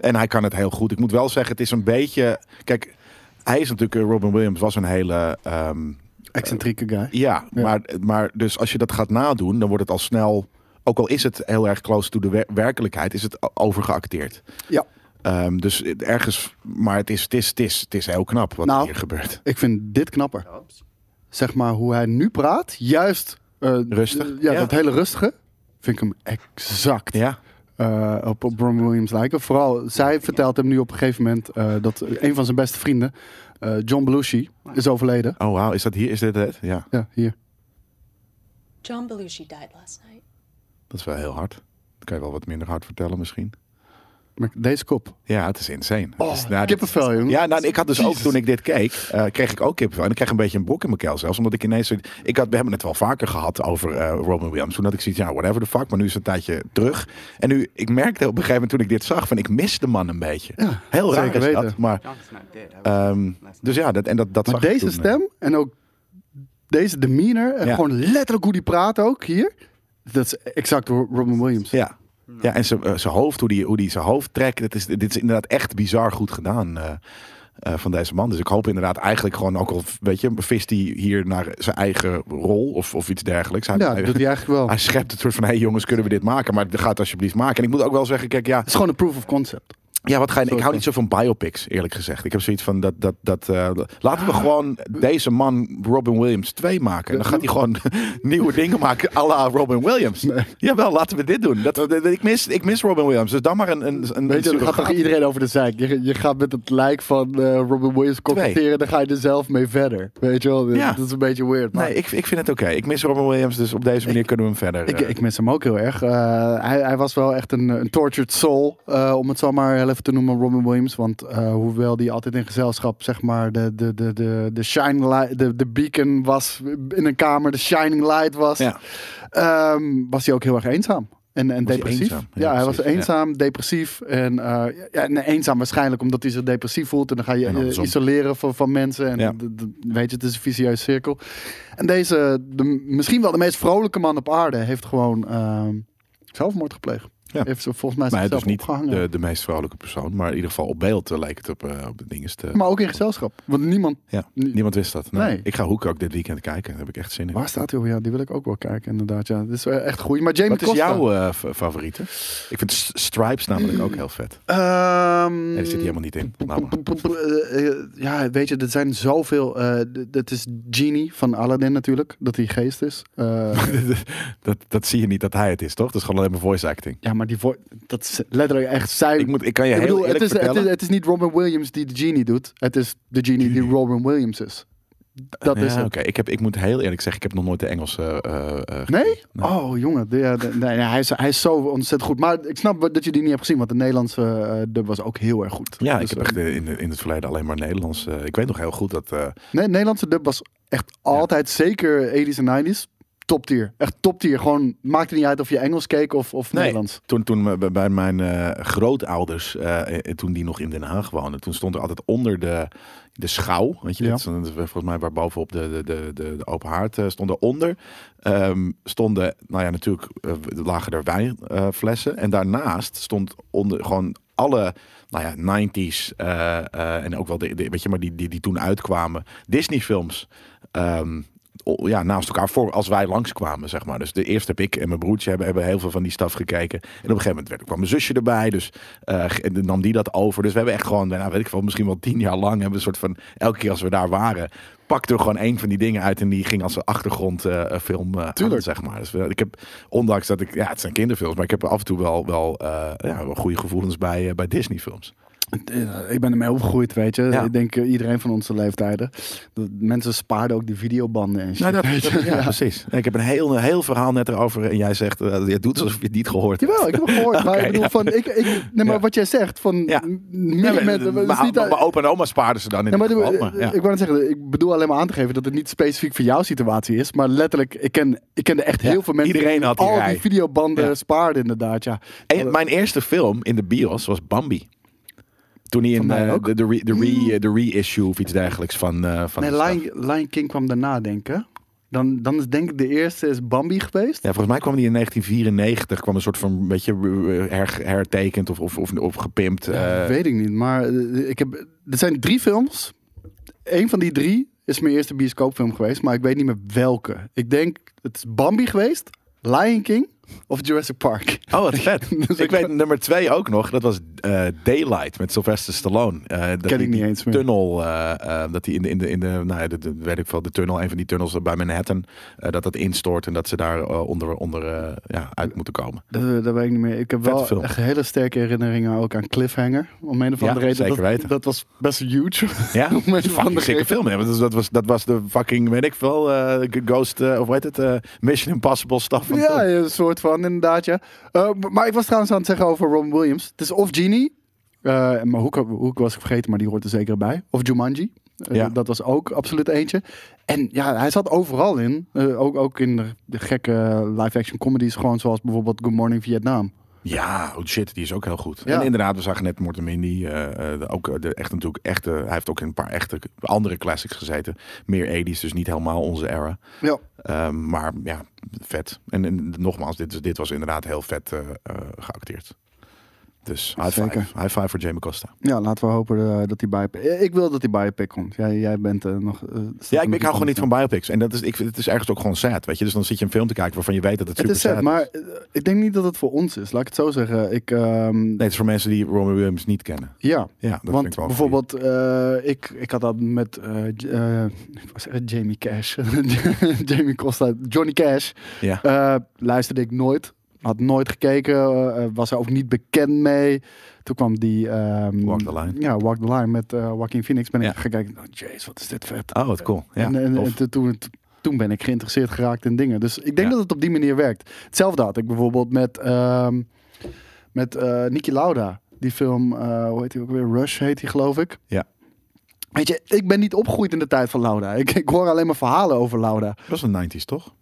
Speaker 2: En hij kan het heel goed. Ik moet wel zeggen, het is een beetje. Kijk, hij is natuurlijk. eh, Robin Williams was een hele. ehm,
Speaker 3: Excentrieke guy.
Speaker 2: ja,
Speaker 3: Ja.
Speaker 2: Maar, maar dus als je dat gaat nadoen, dan wordt het al snel. Ook al is het heel erg close to de wer- werkelijkheid, is het o- overgeacteerd.
Speaker 3: Ja,
Speaker 2: Ehm, dus het- ergens. Maar het is, het, is, het, is, het is heel knap wat
Speaker 3: Nou.
Speaker 2: hier gebeurt.
Speaker 3: ik vind dit knapper. Zeg maar hoe hij nu praat, juist... eh,
Speaker 2: Rustig.
Speaker 3: Ja,
Speaker 2: Ja.
Speaker 3: dat hele rustige. Vind ik hem exact.
Speaker 2: Ja.
Speaker 3: eh, op, op Robin Williams lijken. Vooral, zij vertelt hem nu op een gegeven moment eh, dat een van zijn beste vrienden, eh, John Belushi, is overleden.
Speaker 2: Oh, wauw. Is dat hier? Is dit het? Ja.
Speaker 3: Ja, hier.
Speaker 5: John Belushi died last night.
Speaker 2: Dat is wel heel hard. Dat kan je wel wat minder hard vertellen, misschien.
Speaker 3: Maar Deze kop.
Speaker 2: Ja, het is insane. Het is,
Speaker 3: Oh,
Speaker 2: nou, dit-
Speaker 3: kippenvel, jongen.
Speaker 2: Ja, nou, ik had dus ook toen ik dit keek, eh, kreeg ik ook kippenvel. En ik kreeg een beetje een broek in mijn keel zelfs. Omdat ik ineens... Ik had, we hebben het wel vaker gehad over eh, Robin Williams. Toen had ik zoiets, ja, whatever the fuck. Maar nu is het een tijdje terug. En nu, ik merkte op een gegeven moment toen ik dit zag, van ik mis de man een beetje. Heel raar
Speaker 3: zeker
Speaker 2: is dat,
Speaker 3: weten.
Speaker 2: Maar,
Speaker 4: John's not dead. I was
Speaker 2: ehm, dus ja, dat, en dat, dat
Speaker 3: Maar
Speaker 2: zag ik
Speaker 3: deze
Speaker 2: toen, eh.
Speaker 3: stem en ook deze demeanor en
Speaker 2: Ja.
Speaker 3: gewoon letterlijk hoe die praat ook hier. Dat is exact Ro- Robin Williams.
Speaker 2: Ja. Ja, en zijn eh, zijn hoofd, hoe die, hoe die zijn hoofd trekt. Het is, dit is inderdaad echt bizar goed gedaan eh, eh, van deze man. Dus ik hoop inderdaad eigenlijk gewoon ook al, weet je, vist hij hier naar zijn eigen rol of, of iets dergelijks. Hij,
Speaker 3: Ja, dat doet hij eigenlijk wel.
Speaker 2: hij
Speaker 3: Het
Speaker 2: schept het soort van, hé hey jongens, kunnen we dit maken? Maar ga het alsjeblieft maken. En ik moet ook wel zeggen, kijk, ja,
Speaker 3: is gewoon een proof of concept.
Speaker 2: ja wat ga je, ik hou
Speaker 3: Sorry.
Speaker 2: niet zo van biopics, eerlijk gezegd. Ik heb zoiets van, dat, dat, dat, eh, laten we gewoon deze man, Robin Williams, 2 maken. En dan gaat hij gewoon nieuwe dingen maken à la Robin Williams. Jawel, laten we dit doen. Dat, dat- ik, mis, ik mis Robin Williams, dus dan maar een... een, een
Speaker 3: Nou, Weet je,
Speaker 2: een
Speaker 3: dan gaat toch
Speaker 2: surrogaat.
Speaker 3: iedereen over de zijk. Je, je gaat met het lijk van eh, Robin Williams confronteren, dan ga je er zelf mee verder. Weet je wel,
Speaker 2: Ja.
Speaker 3: dat is een beetje weird. Maar
Speaker 2: Nee, ik, ik vind het oké. Ik mis Robin Williams, dus op deze manier kunnen we hem verder...
Speaker 3: Ik,
Speaker 2: eh,
Speaker 3: ik mis hem ook heel erg. Eh, hij, hij was wel echt een, een tortured soul, eh, om het zo maar heel even te noemen, Robin Williams. Want eh, hoewel die altijd in gezelschap, zeg maar, de, de, de, de, de, shining light, de, de beacon was in een kamer, de shining light was,
Speaker 2: Ja.
Speaker 3: ehm, was hij ook heel erg eenzaam. En, en
Speaker 2: hij
Speaker 3: depressief.
Speaker 2: eenzaam?
Speaker 3: Ja,
Speaker 2: Ja,
Speaker 3: hij was
Speaker 2: precies, ja.
Speaker 3: eenzaam, depressief. En, eh, ja, en eenzaam waarschijnlijk omdat hij zich depressief voelt. En dan ga je
Speaker 2: En
Speaker 3: eh,
Speaker 2: andersom.
Speaker 3: isoleren van, van mensen. En
Speaker 2: Ja.
Speaker 3: d- d- weet je, het is een vicieuze cirkel. En deze, de, misschien wel de meest vrolijke man op aarde, heeft gewoon ehm, zelfmoord gepleegd.
Speaker 2: Ja.
Speaker 3: Heeft ze volgens mij
Speaker 2: Maar het
Speaker 3: zichzelf
Speaker 2: is dus niet
Speaker 3: opgehangen.
Speaker 2: de, de meest vrolijke persoon. Maar in ieder geval op beeld eh, leek het op, eh, op de dingen te...
Speaker 3: Maar ook in gezelschap. Want niemand...
Speaker 2: ja,
Speaker 3: ni-
Speaker 2: niemand wist dat. Nee.
Speaker 3: Nee.
Speaker 2: Ik ga Hoek ook dit weekend kijken. Daar heb ik echt zin in.
Speaker 3: Waar staat hij op? Ja, die wil ik ook wel kijken, inderdaad. Ja, dit is eh, echt goed. Maar Jamie
Speaker 2: Wat is
Speaker 3: Costa.
Speaker 2: jouw eh, fa- favoriete? Ik vind S- Stripes namelijk ook heel vet.
Speaker 3: Ehm,
Speaker 2: Nee, die zit hier helemaal niet in. Nou, maar.
Speaker 3: Eh, eh, Ja, weet je, er zijn zoveel. eh, d- dat is Genie van Aladdin natuurlijk, dat hij geest is. Eh,
Speaker 2: dat, dat zie je niet dat hij het is, toch? Dat is gewoon alleen maar voice acting.
Speaker 3: ja, maar die vo- dat is letterlijk echt zijn.
Speaker 2: Ik, moet, ik kan je
Speaker 3: Ik
Speaker 2: heel
Speaker 3: bedoel,
Speaker 2: eerlijk
Speaker 3: het is, het,
Speaker 2: vertellen.
Speaker 3: is, het is niet Robin Williams die de Genie doet. Het is de Genie, die Robin Williams is. Dat
Speaker 2: Ja,
Speaker 3: is
Speaker 2: Oké,
Speaker 3: het.
Speaker 2: ik, heb- ik moet heel eerlijk zeggen, ik heb nog nooit de Engelse... eh, eh, gekeken.
Speaker 3: Nee? Oh, jongen. de- ja, de- nee, nee, hij, is, hij is zo ontzettend goed. Maar ik snap dat je die niet hebt gezien, want de Nederlandse eh, dub was ook heel erg goed.
Speaker 2: Ja,
Speaker 3: Dus,
Speaker 2: ik heb
Speaker 3: eh,
Speaker 2: echt eh, in, in het verleden alleen maar Nederlands. eh, ik weet nog heel goed dat... eh,
Speaker 3: Nee, Nederlandse dub was echt altijd, zeker 80s en 90s, top tier. Echt top tier. Gewoon, maakte niet uit of je Engels keek of, of Nederlands.
Speaker 2: Toen, toen we bij- bij mijn eh, grootouders, eh, eh, toen die nog in Den Haag woonden, toen stond er altijd onder de, de schouw, weet je,
Speaker 3: Ja.
Speaker 2: dat is, dat is volgens mij waar bovenop de, de, de, de, de open haard eh, stond eronder, ehm, stonden, nou ja, natuurlijk eh, lagen er wijnflessen en daarnaast stond onder gewoon alle, nou ja, 90s eh, eh, en ook wel, de, de- weet je, maar die, die, die toen uitkwamen, Disney films. ehm, o- ja, naast elkaar voor als wij langskwamen, zeg maar. Dus de eerste heb ik en mijn broertje hebben, hebben heel veel van die staf gekeken. En op een gegeven moment werd, kwam mijn zusje erbij, dus eh, ge- en dan nam die dat over. Dus we hebben echt gewoon, nou, weet ik veel, misschien wel tien jaar lang hebben we een soort van, elke keer als we daar waren, pakte er gewoon één van die dingen uit en die ging als een achtergrondfilm eh aan,
Speaker 3: Tuurlijk.
Speaker 2: zeg maar. Dus we- ik heb, ondanks dat ik, ja, het zijn kinderfilms, maar ik heb er af en toe wel, wel, eh, ja, wel goede gevoelens bij, eh, bij Disney-films.
Speaker 3: Eh, Ik ben ermee opgegroeid, weet je.
Speaker 2: Ja.
Speaker 3: Ik denk eh, iedereen van onze leeftijden. Dat mensen spaarden ook die videobanden en shit.
Speaker 2: Nou, dat,
Speaker 3: weet je.
Speaker 2: ja, precies. Ik heb een heel, een heel verhaal net erover en jij zegt, eh, je doet alsof je het niet gehoord hebt.
Speaker 3: Jawel, ik heb het gehoord. maar
Speaker 2: Oké,
Speaker 3: ik bedoel,
Speaker 2: ja.
Speaker 3: van, ik, ik, nee, maar
Speaker 2: Ja.
Speaker 3: wat jij zegt, van...
Speaker 2: Ja.
Speaker 3: m-
Speaker 2: Ja,
Speaker 3: Niet
Speaker 2: maar,
Speaker 3: met, het is
Speaker 2: maar,
Speaker 3: niet,
Speaker 2: maar mijn opa en oma spaarden ze dan in
Speaker 3: Ja, maar
Speaker 2: dit geval,
Speaker 3: de-
Speaker 2: maar, ja.
Speaker 3: Ik wou net zeggen, ik bedoel alleen maar aan te geven dat het niet specifiek voor jouw situatie is. Maar letterlijk, ik, ken, ik kende echt heel veel mensen
Speaker 2: iedereen had die
Speaker 3: al
Speaker 2: rij.
Speaker 3: die videobanden
Speaker 2: Ja.
Speaker 3: spaarden inderdaad, ja.
Speaker 2: En mijn eerste film in de bios was Bambi. Toen hij in
Speaker 3: mij
Speaker 2: eh,
Speaker 3: ook. Hmm.
Speaker 2: de, de, re, de, re, eh, de reissue of iets dergelijks van, eh van
Speaker 3: Nee,
Speaker 2: de stad.
Speaker 3: Lion, Lion King kwam daarna, denk ik. Dan, dan is denk ik de eerste is Bambi geweest.
Speaker 2: Ja, volgens mij kwam die in 1994, kwam een soort van een beetje eh, her, hertekend of, of, of, of gepimpt. eh,
Speaker 3: Weet ik niet, maar eh, ik heb, er zijn drie films. Eén van die drie is mijn eerste bioscoopfilm geweest, maar ik weet niet meer welke. Ik denk, het is Bambi geweest, Lion King of Jurassic Park.
Speaker 2: Oh, wat vet.
Speaker 3: Dus
Speaker 2: ik
Speaker 3: ik-
Speaker 2: weet nummer twee ook nog. Dat was eh, Daylight met Sylvester Stallone. Eh, dat
Speaker 3: ik
Speaker 2: die-
Speaker 3: niet
Speaker 2: die
Speaker 3: eens meer.
Speaker 2: Tunnel, eh, eh, dat hij in de, in de, in de nou ja, de, de- weet ik veel, de tunnel, een van die tunnels bij Manhattan, eh, dat dat instort en dat ze daar eh, onder, onder eh, ja, uit moeten komen.
Speaker 3: Dat, dat weet ik niet meer. Ik heb
Speaker 2: Vette
Speaker 3: wel
Speaker 2: film.
Speaker 3: echt hele sterke herinneringen ook aan Cliffhanger. Om een of
Speaker 2: Ja,
Speaker 3: andere reden.
Speaker 2: zeker
Speaker 3: dat,
Speaker 2: weten.
Speaker 3: dat was best huge.
Speaker 2: Ja,
Speaker 3: Om een of
Speaker 2: fucking
Speaker 3: andere
Speaker 2: sikke
Speaker 3: reden.
Speaker 2: film. hè. Want Dat, dat, was, dat was de fucking, weet ik veel, eh, Ghost, eh, of hoe heet het, eh, Mission Impossible stuff. van
Speaker 3: Ja,
Speaker 2: toen.
Speaker 3: een soort van, inderdaad. Ja. Eh, maar ik was trouwens aan het zeggen over Robin Williams. Het is of Genie, eh, maar Hoek, Hoek was ik vergeten, maar die hoort er zeker bij. Of Jumanji. Eh,
Speaker 2: Ja.
Speaker 3: Dat was ook absoluut eentje. En ja, hij zat overal in. Eh, ook, ook in de, de gekke live-action comedies, gewoon zoals bijvoorbeeld Good Morning Vietnam.
Speaker 2: Ja, oh shit, die is ook heel goed.
Speaker 3: Ja.
Speaker 2: En inderdaad, we zagen net Mortemini. eh eh, ook eh, de, echt natuurlijk echte. Hij heeft ook in een paar echte andere classics gezeten. Meer 80s, dus niet helemaal onze era.
Speaker 3: Ja.
Speaker 2: Ehm, maar ja, vet. En, en nogmaals, dit, is- dit was inderdaad heel vet eh, eh, geacteerd. Dus high
Speaker 3: Zeker.
Speaker 2: five. High five voor Jamie Costa.
Speaker 3: ja, laten we hopen eh, dat hij bij je pick- eh, Ik wil dat hij bij je pick komt. Jij, jij bent eh, nog... eh, staat
Speaker 2: Ja, ik,
Speaker 3: nog
Speaker 2: ik hou gewoon niet van biopics. En dat is, ik, vind- het is ergens ook gewoon sad, weet je. Dus dan zit je een film te kijken waarvan je weet dat het super
Speaker 3: Het is sad,
Speaker 2: sad
Speaker 3: maar
Speaker 2: is.
Speaker 3: eh, ik denk niet dat het voor ons is. Laat ik het zo zeggen. Ik, ehm,
Speaker 2: Nee, het is voor mensen die Robin Williams niet kennen.
Speaker 3: Ja,
Speaker 2: Ja, dat vind ik
Speaker 3: want
Speaker 2: wel een
Speaker 3: bijvoorbeeld, eh, ik, ik had dat met eh, J- eh, ik wou zeggen Jamie Cash, Jamie Costa, Johnny Cash.
Speaker 2: Ja.
Speaker 3: Eh, luisterde ik nooit, had nooit gekeken, eh, was er ook niet bekend mee. Toen kwam die... ehm,
Speaker 2: Walk the Line.
Speaker 3: Ja, Walk the Line met eh Joaquin Phoenix. Ben
Speaker 2: Ja.
Speaker 3: ik gaan kijken, oh, jeez, wat is dit vet.
Speaker 2: Oh, wat cool. Ja,
Speaker 3: en en-
Speaker 2: tof.
Speaker 3: en toen- toen, toen ben ik geïnteresseerd geraakt in dingen. Dus ik denk
Speaker 2: Ja.
Speaker 3: dat het op die manier werkt. Hetzelfde had ik bijvoorbeeld met, ehm met eh Niki Lauda. Die film, eh, hoe heet die ook weer? Rush heet die, geloof ik.
Speaker 2: ja.
Speaker 3: Weet je, ik ben niet opgegroeid in de tijd van Lauda. Ik, ik hoor alleen maar verhalen over Lauda.
Speaker 2: Dat was een 90s, toch?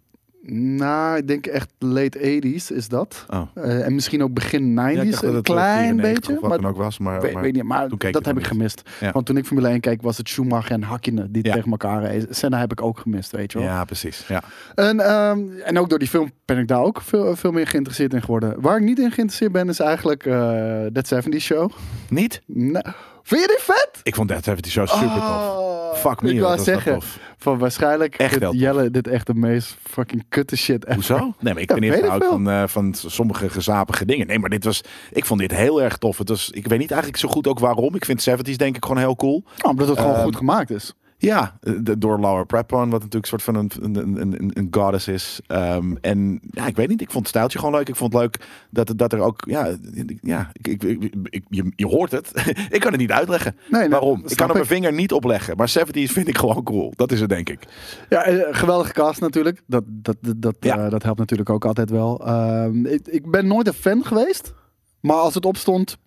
Speaker 3: Nou, ik denk echt late 80s is dat.
Speaker 2: Oh.
Speaker 3: Eh, en misschien ook begin 90s,
Speaker 2: Ja, ik dacht dat
Speaker 3: een
Speaker 2: het eh,
Speaker 3: klein
Speaker 2: 94
Speaker 3: beetje.
Speaker 2: Of wat
Speaker 3: maar
Speaker 2: dan ook was. Maar,
Speaker 3: weet,
Speaker 2: maar
Speaker 3: weet niet, maar
Speaker 2: toen keek
Speaker 3: dat
Speaker 2: je
Speaker 3: heb
Speaker 2: nog
Speaker 3: ik
Speaker 2: niet.
Speaker 3: gemist.
Speaker 2: Ja.
Speaker 3: Want toen ik Formule 1 keek, was het Schumacher en Hakkinen die
Speaker 2: Ja.
Speaker 3: tegen elkaar reden. Senna heb ik ook gemist, weet je wel.
Speaker 2: Ja, precies. Ja.
Speaker 3: En, ehm, en ook door die film ben ik daar ook veel, veel meer geïnteresseerd in geworden. Waar ik niet in geïnteresseerd ben, is eigenlijk eh That 70 Show.
Speaker 2: Niet?
Speaker 3: Nou, vind je die vet?
Speaker 2: Ik vond Dead Heavy Show super
Speaker 3: Oh,
Speaker 2: tof. Fuck me,
Speaker 3: ik
Speaker 2: wat
Speaker 3: wou
Speaker 2: was dat
Speaker 3: zeggen,
Speaker 2: tof.
Speaker 3: van waarschijnlijk
Speaker 2: Echt
Speaker 3: vindt
Speaker 2: wel tof.
Speaker 3: Jelle dit echt de meest fucking kutte shit ever.
Speaker 2: Hoezo? Nee, maar ik
Speaker 3: Ja,
Speaker 2: ben niet
Speaker 3: weet ik
Speaker 2: verhoud
Speaker 3: veel.
Speaker 2: van, eh, van s- sommige gezapige dingen. Nee, maar dit was... Ik vond dit heel erg tof. Het was, ik weet niet eigenlijk zo goed ook waarom. Ik vind 70s denk ik gewoon heel cool.
Speaker 3: Oh, omdat het gewoon
Speaker 2: ehm,
Speaker 3: goed gemaakt is.
Speaker 2: Ja, eh, de- door Laura Prepon, wat natuurlijk een soort van een, een, een, een- een goddess is. Ehm, en ja, ik weet niet, ik vond het stijltje gewoon leuk. Ik vond het leuk dat, dat er ook, ja, ja ik, ik, ik- je, je hoort het. ik kan het niet uitleggen
Speaker 3: Nee, nee,
Speaker 2: waarom.
Speaker 3: dat
Speaker 2: Ik kan
Speaker 3: snap
Speaker 2: er mijn
Speaker 3: ik.
Speaker 2: vinger niet op leggen. Maar 70s vind ik gewoon cool. Dat is het, denk ik.
Speaker 3: Ja, eh, geweldige cast natuurlijk. Dat, dat, dat, dat,
Speaker 2: Ja.
Speaker 3: eh, dat helpt natuurlijk ook altijd wel. Ehm, ik, ik ben nooit een fan geweest. Maar als het opstond,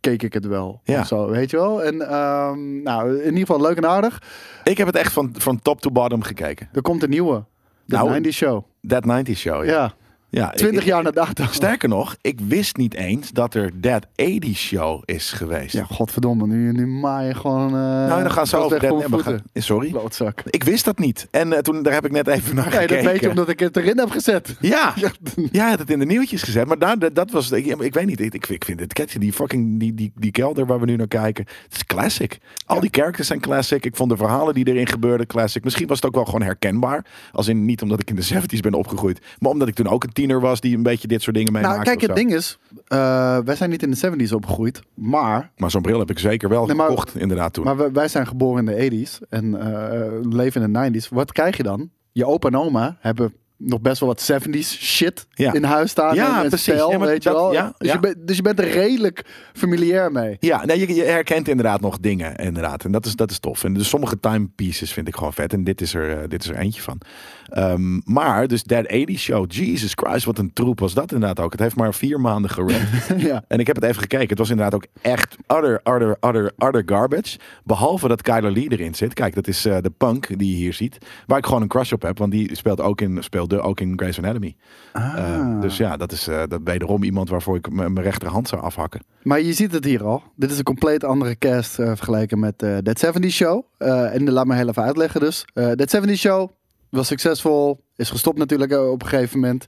Speaker 3: keek ik het wel.
Speaker 2: Ja.
Speaker 3: Of zo, weet je wel. En ehm, nou, in ieder geval leuk en aardig.
Speaker 2: Ik heb het echt van, van top to bottom gekeken.
Speaker 3: Er komt een nieuwe. De
Speaker 2: Nou,
Speaker 3: 90 show.
Speaker 2: That 90s show. Ja.
Speaker 3: Ja,
Speaker 2: ja
Speaker 3: 20
Speaker 2: ik-
Speaker 3: jaar na dato.
Speaker 2: Sterker nog, ik wist niet eens dat er That 80s show is geweest.
Speaker 3: Ja, godverdomme. Nu, nu maai je gewoon... eh,
Speaker 2: nou, dan gaan ze over That...
Speaker 3: Dead
Speaker 2: nee, we gaan- Sorry.
Speaker 3: Blootzak.
Speaker 2: Ik wist dat niet. En eh, toen, daar heb ik net even naar
Speaker 3: Nee,
Speaker 2: gekeken.
Speaker 3: dat weet je omdat ik het erin heb gezet.
Speaker 2: Ja,
Speaker 3: Ja.
Speaker 2: jij had het in de nieuwtjes gezet. Maar daar, dat, dat was, ik, ik weet niet, ik, ik vind- ik vind het catchy. Die fucking, die, die, die kelder waar we nu naar kijken. Het is classic. Al die characters zijn classic. Ik vond de verhalen die erin gebeurden classic. Misschien was het ook wel gewoon herkenbaar. Als in, niet omdat ik in de 70s ben opgegroeid. Maar omdat ik toen ook een tiener was die een beetje dit soort dingen meemaakte.
Speaker 3: Nou, kijk,
Speaker 2: of
Speaker 3: het
Speaker 2: zo.
Speaker 3: ding is... eh, wij zijn niet in de 70s opgegroeid. Maar
Speaker 2: Maar zo'n bril heb ik zeker wel
Speaker 3: Nee, maar-
Speaker 2: gekocht inderdaad toen.
Speaker 3: Maar wij, wij zijn geboren in de 80s en eh, leven in de 90s. Wat krijg je dan? Je opa en oma hebben nog best wel wat 70s shit
Speaker 2: Ja.
Speaker 3: in huis staan.
Speaker 2: Ja,
Speaker 3: en, en
Speaker 2: precies.
Speaker 3: stijl,
Speaker 2: Ja, maar
Speaker 3: weet
Speaker 2: dat-
Speaker 3: je wel.
Speaker 2: ja,
Speaker 3: dus,
Speaker 2: ja.
Speaker 3: Je bent- dus je bent er redelijk familiair mee.
Speaker 2: Ja, nee, je, je herkent inderdaad nog dingen. Inderdaad. En dat is, dat is tof. En dus sommige timepieces vind ik gewoon vet. En dit is er, eh, dit is er eentje van. Ehm, maar, dus Dead 80 Show. Jesus Christ, wat een troep was dat inderdaad ook. Het heeft maar vier maanden gerend.
Speaker 3: Ja.
Speaker 2: En ik heb het even gekeken. Het was inderdaad ook echt utter, utter, utter, utter garbage. Behalve dat Kyler Lee erin zit. Kijk, dat is eh, de punk die je hier ziet. Waar ik gewoon een crush op heb. Want die speelt ook in, speelde ook in Grey's Anatomy. Eh, dus ja, dat is eh, dat wederom iemand waarvoor ik m- mijn rechterhand zou afhakken.
Speaker 3: Maar je ziet het hier al. Dit is een compleet andere cast eh, vergeleken met eh That 70 Show. Eh, en laat me heel even uitleggen dus. Eh That 70 Show was succesvol. Is gestopt natuurlijk eh, op een gegeven moment.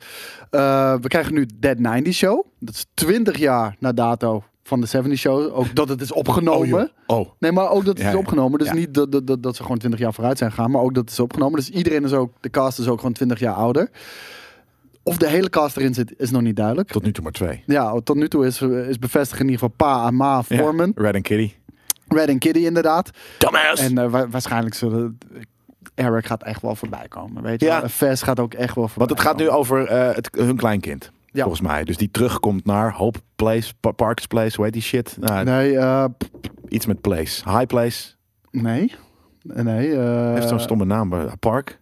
Speaker 3: Eh, we krijgen nu Dead 90 Show. Dat is 20 jaar na dato van de 70 Show. Ook dat het is opgenomen.
Speaker 2: Oh, joh. Oh.
Speaker 3: Nee, maar ook dat het
Speaker 2: Ja,
Speaker 3: is
Speaker 2: ja.
Speaker 3: opgenomen. Dus
Speaker 2: Ja.
Speaker 3: niet dat, dat, dat, dat ze gewoon 20 jaar vooruit zijn gegaan. Maar ook dat het is opgenomen. Dus iedereen is ook, de cast is ook gewoon 20 jaar ouder. Of de hele cast erin zit, is nog niet duidelijk.
Speaker 2: Tot nu toe maar twee.
Speaker 3: Ja, tot nu toe is, is bevestigd in ieder geval pa en ma vormen.
Speaker 2: Ja, Red and Kitty.
Speaker 3: Red en Kitty inderdaad.
Speaker 2: Dumbass!
Speaker 3: En eh, wa- waarschijnlijk zullen... Eric gaat echt wel voorbij komen, weet je
Speaker 2: Ja.
Speaker 3: wel. Ves gaat ook echt wel voorbij
Speaker 2: Want het gaat nu over eh, het, hun kleinkind.
Speaker 3: Ja.
Speaker 2: Volgens mij. Dus die terugkomt naar Hope Place, Pa- Parks Place, hoe heet die shit? Nou,
Speaker 3: Nee, eh, p-
Speaker 2: Iets met place. High Place.
Speaker 3: nee. Nee, eh,
Speaker 2: Heeft zo'n stomme naam. maar Park.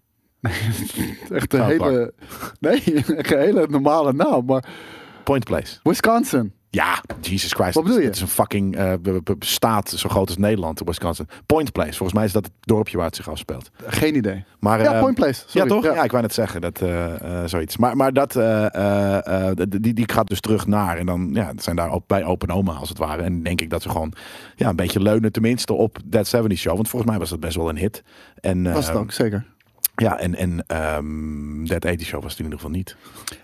Speaker 3: echt een
Speaker 2: South
Speaker 3: hele... Nee, een hele normale naam, maar...
Speaker 2: Point Place.
Speaker 3: Wisconsin.
Speaker 2: Ja, Jesus Christ.
Speaker 3: Wat bedoel je?
Speaker 2: Het is een fucking eh, b- b- staat zo groot als Nederland, Wisconsin. Point Place. Volgens mij is dat het dorpje waar het zich afspeelt.
Speaker 3: Geen idee.
Speaker 2: Maar,
Speaker 3: Ja,
Speaker 2: eh,
Speaker 3: Point Place. Sorry.
Speaker 2: Ja, toch? Ja.
Speaker 3: Ja.
Speaker 2: ik wou net zeggen dat eh, eh, zoiets. Maar, maar dat, eh, eh, eh, d- die, die gaat dus terug naar. En dan ja, het zijn daar ook bij open oma als het ware. En denk ik dat ze gewoon ja, een beetje leunen, tenminste op That 70 Show. Want volgens mij was dat best wel een hit. En,
Speaker 3: Was het
Speaker 2: ehm,
Speaker 3: ook, zeker.
Speaker 2: Ja, en, en ehm That 80 Show was het in ieder geval niet.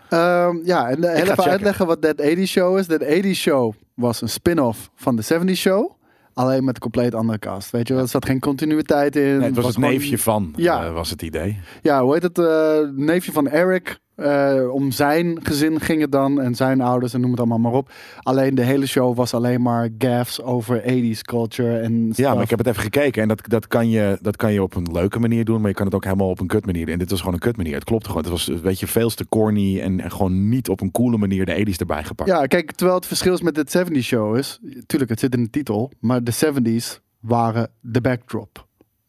Speaker 3: Ehm, ja, en eh, heel even
Speaker 2: checken.
Speaker 3: uitleggen wat That 80 Show is. That 80 Show was een spin-off van de 70 Show. Alleen met een compleet andere cast. Weet je wel, er zat geen continuïteit in.
Speaker 2: Nee, het was, het
Speaker 3: gewoon-
Speaker 2: neefje van,
Speaker 3: Ja.
Speaker 2: eh, was het idee.
Speaker 3: Ja, hoe heet het? eh, neefje van Eric. Eh, om zijn gezin ging het dan. En zijn ouders en noem het allemaal maar op. Alleen de hele show was alleen maar gaffs over 80s culture en
Speaker 2: Ja, maar
Speaker 3: stuff.
Speaker 2: ik heb het even gekeken. En dat, dat, kan je, dat kan je op een leuke manier doen. Maar je kan het ook helemaal op een kut manier. doen. En dit was gewoon een kut manier. Het klopt gewoon. Het was eh, weet je, veel te corny. En, en gewoon niet op een coole manier de 80s erbij gepakt.
Speaker 3: Ja, kijk, terwijl het verschil is met de 70s show is, tuurlijk, het zit in de titel, maar de 70s waren de backdrop.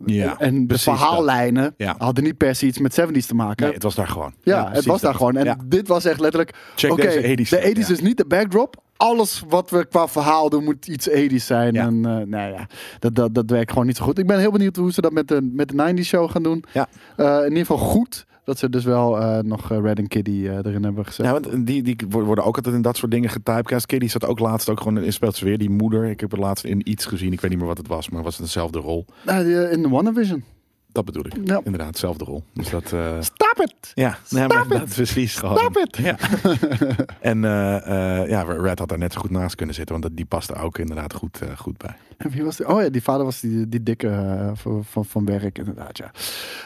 Speaker 2: Ja,
Speaker 3: en de
Speaker 2: precies
Speaker 3: verhaallijnen
Speaker 2: Ja.
Speaker 3: hadden niet per se iets met 70s te maken.
Speaker 2: Nee, het was daar gewoon.
Speaker 3: ja,
Speaker 2: precies
Speaker 3: het was daar
Speaker 2: dat.
Speaker 3: gewoon. En
Speaker 2: Ja.
Speaker 3: dit was echt letterlijk.
Speaker 2: Check
Speaker 3: oké,
Speaker 2: deze 80s.
Speaker 3: De 80s
Speaker 2: Ja.
Speaker 3: is niet de backdrop. Alles wat we qua verhaal doen moet iets 80s zijn.
Speaker 2: Ja.
Speaker 3: En eh, nou ja, dat, dat, dat werkt gewoon niet zo goed. Ik ben heel benieuwd hoe ze dat met de, met de 90s show gaan doen.
Speaker 2: Ja.
Speaker 3: Eh, in ieder geval goed. Dat ze dus wel eh, nog eh, Red en Kitty eh, erin hebben gezet.
Speaker 2: Ja, want die, die wo- worden ook altijd in dat soort dingen getypecast. Kitty zat ook laatst ook gewoon in speelt ze weer die moeder. Ik heb het laatst in iets gezien. Ik weet niet meer wat het was, maar was het dezelfde rol.
Speaker 3: Nou, die, eh, in de WandaVision.
Speaker 2: Dat bedoel ik.
Speaker 3: Ja.
Speaker 2: Inderdaad, dezelfde rol. Dus dat. eh,
Speaker 3: Stop it!
Speaker 2: ja, nee, maar
Speaker 3: Stop
Speaker 2: dat
Speaker 3: it!
Speaker 2: is precies gewoon.
Speaker 3: Stop it!
Speaker 2: Ja. en eh, eh, ja, Red had daar net zo goed naast kunnen zitten, want dat- die paste ook inderdaad goed, eh, goed bij.
Speaker 3: En wie was die? Oh ja, die vader was die, die dikke eh, van, van, van werk, inderdaad, ja.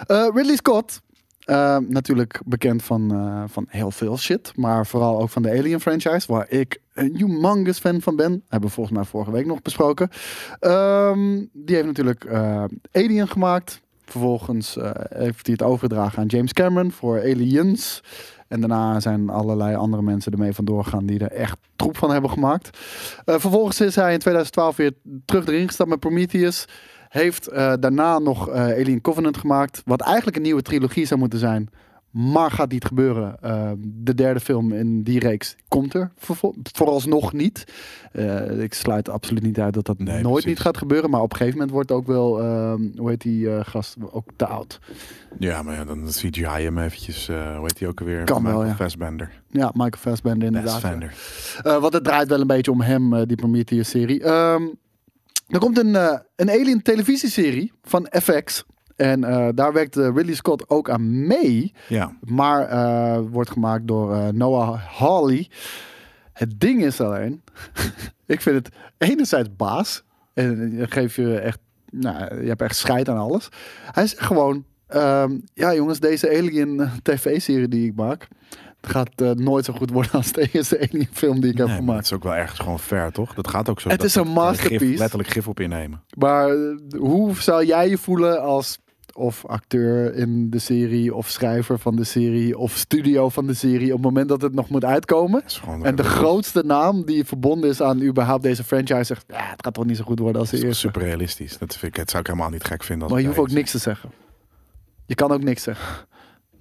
Speaker 3: Eh, Ridley Scott. eh, natuurlijk bekend van, eh, van heel veel shit. Maar vooral ook van de Alien franchise. Waar ik een humongous fan van ben. Hebben we volgens mij vorige week nog besproken. Ehm, die heeft natuurlijk eh, Alien gemaakt. Vervolgens eh, heeft hij het overgedragen aan James Cameron voor Aliens. En daarna zijn allerlei andere mensen ermee vandoor gegaan die er echt troep van hebben gemaakt. Eh, vervolgens is hij in 2012 weer terug erin gestapt met Prometheus. Heeft eh, daarna nog eh, Alien Covenant gemaakt. Wat eigenlijk een nieuwe trilogie zou moeten zijn. Maar gaat niet gebeuren. Eh, de derde film in die reeks komt er vervol- vooralsnog niet. Eh, ik sluit absoluut niet uit dat dat
Speaker 2: Nee,
Speaker 3: nooit
Speaker 2: precies.
Speaker 3: niet gaat gebeuren. Maar op een gegeven moment wordt ook wel, ehm, hoe heet die eh, gast, ook te oud.
Speaker 2: Ja, maar ja, dan CGI hem eventjes, eh, hoe heet die ook alweer?
Speaker 3: Kan wel,
Speaker 2: Michael
Speaker 3: ja.
Speaker 2: Fassbender.
Speaker 3: Ja, Michael Fassbender inderdaad.
Speaker 2: Fassbender.
Speaker 3: Eh, want het draait wel een beetje om hem, eh, die Prometheus-serie. Ehm, er komt een, eh, een Alien televisieserie van FX. En eh, daar werkt eh, Ridley Scott ook aan mee.
Speaker 2: Ja.
Speaker 3: Maar eh, wordt gemaakt door eh, Noah Hawley. Het ding is alleen... ik vind het enerzijds baas. En eh, je geeft je echt... Nou, je hebt echt scheid aan alles. Hij is gewoon... ehm, ja jongens, deze Alien eh, tv-serie die ik maak... Het gaat eh, nooit zo goed worden als de eerste Alien film die ik heb
Speaker 2: Nee, maar het
Speaker 3: gemaakt.
Speaker 2: is ook wel ergens gewoon ver, toch? Dat gaat ook zo.
Speaker 3: Het
Speaker 2: dat
Speaker 3: is een
Speaker 2: ze er gif-
Speaker 3: masterpiece.
Speaker 2: letterlijk gif op innemen.
Speaker 3: Maar eh, hoe zou jij je voelen als of acteur in de serie, of schrijver van de serie, of studio van de serie, op het moment dat het nog moet uitkomen?
Speaker 2: is gewoon-
Speaker 3: En de grootste naam die verbonden is aan überhaupt deze franchise zegt, ja, het gaat toch niet zo goed worden als de
Speaker 2: Dat is toch
Speaker 3: eerste.
Speaker 2: super realistisch. Dat, vind ik, dat zou ik helemaal niet gek vinden. Als
Speaker 3: Maar je
Speaker 2: het
Speaker 3: hoeft ook
Speaker 2: bij is.
Speaker 3: niks te zeggen. Je kan ook niks zeggen.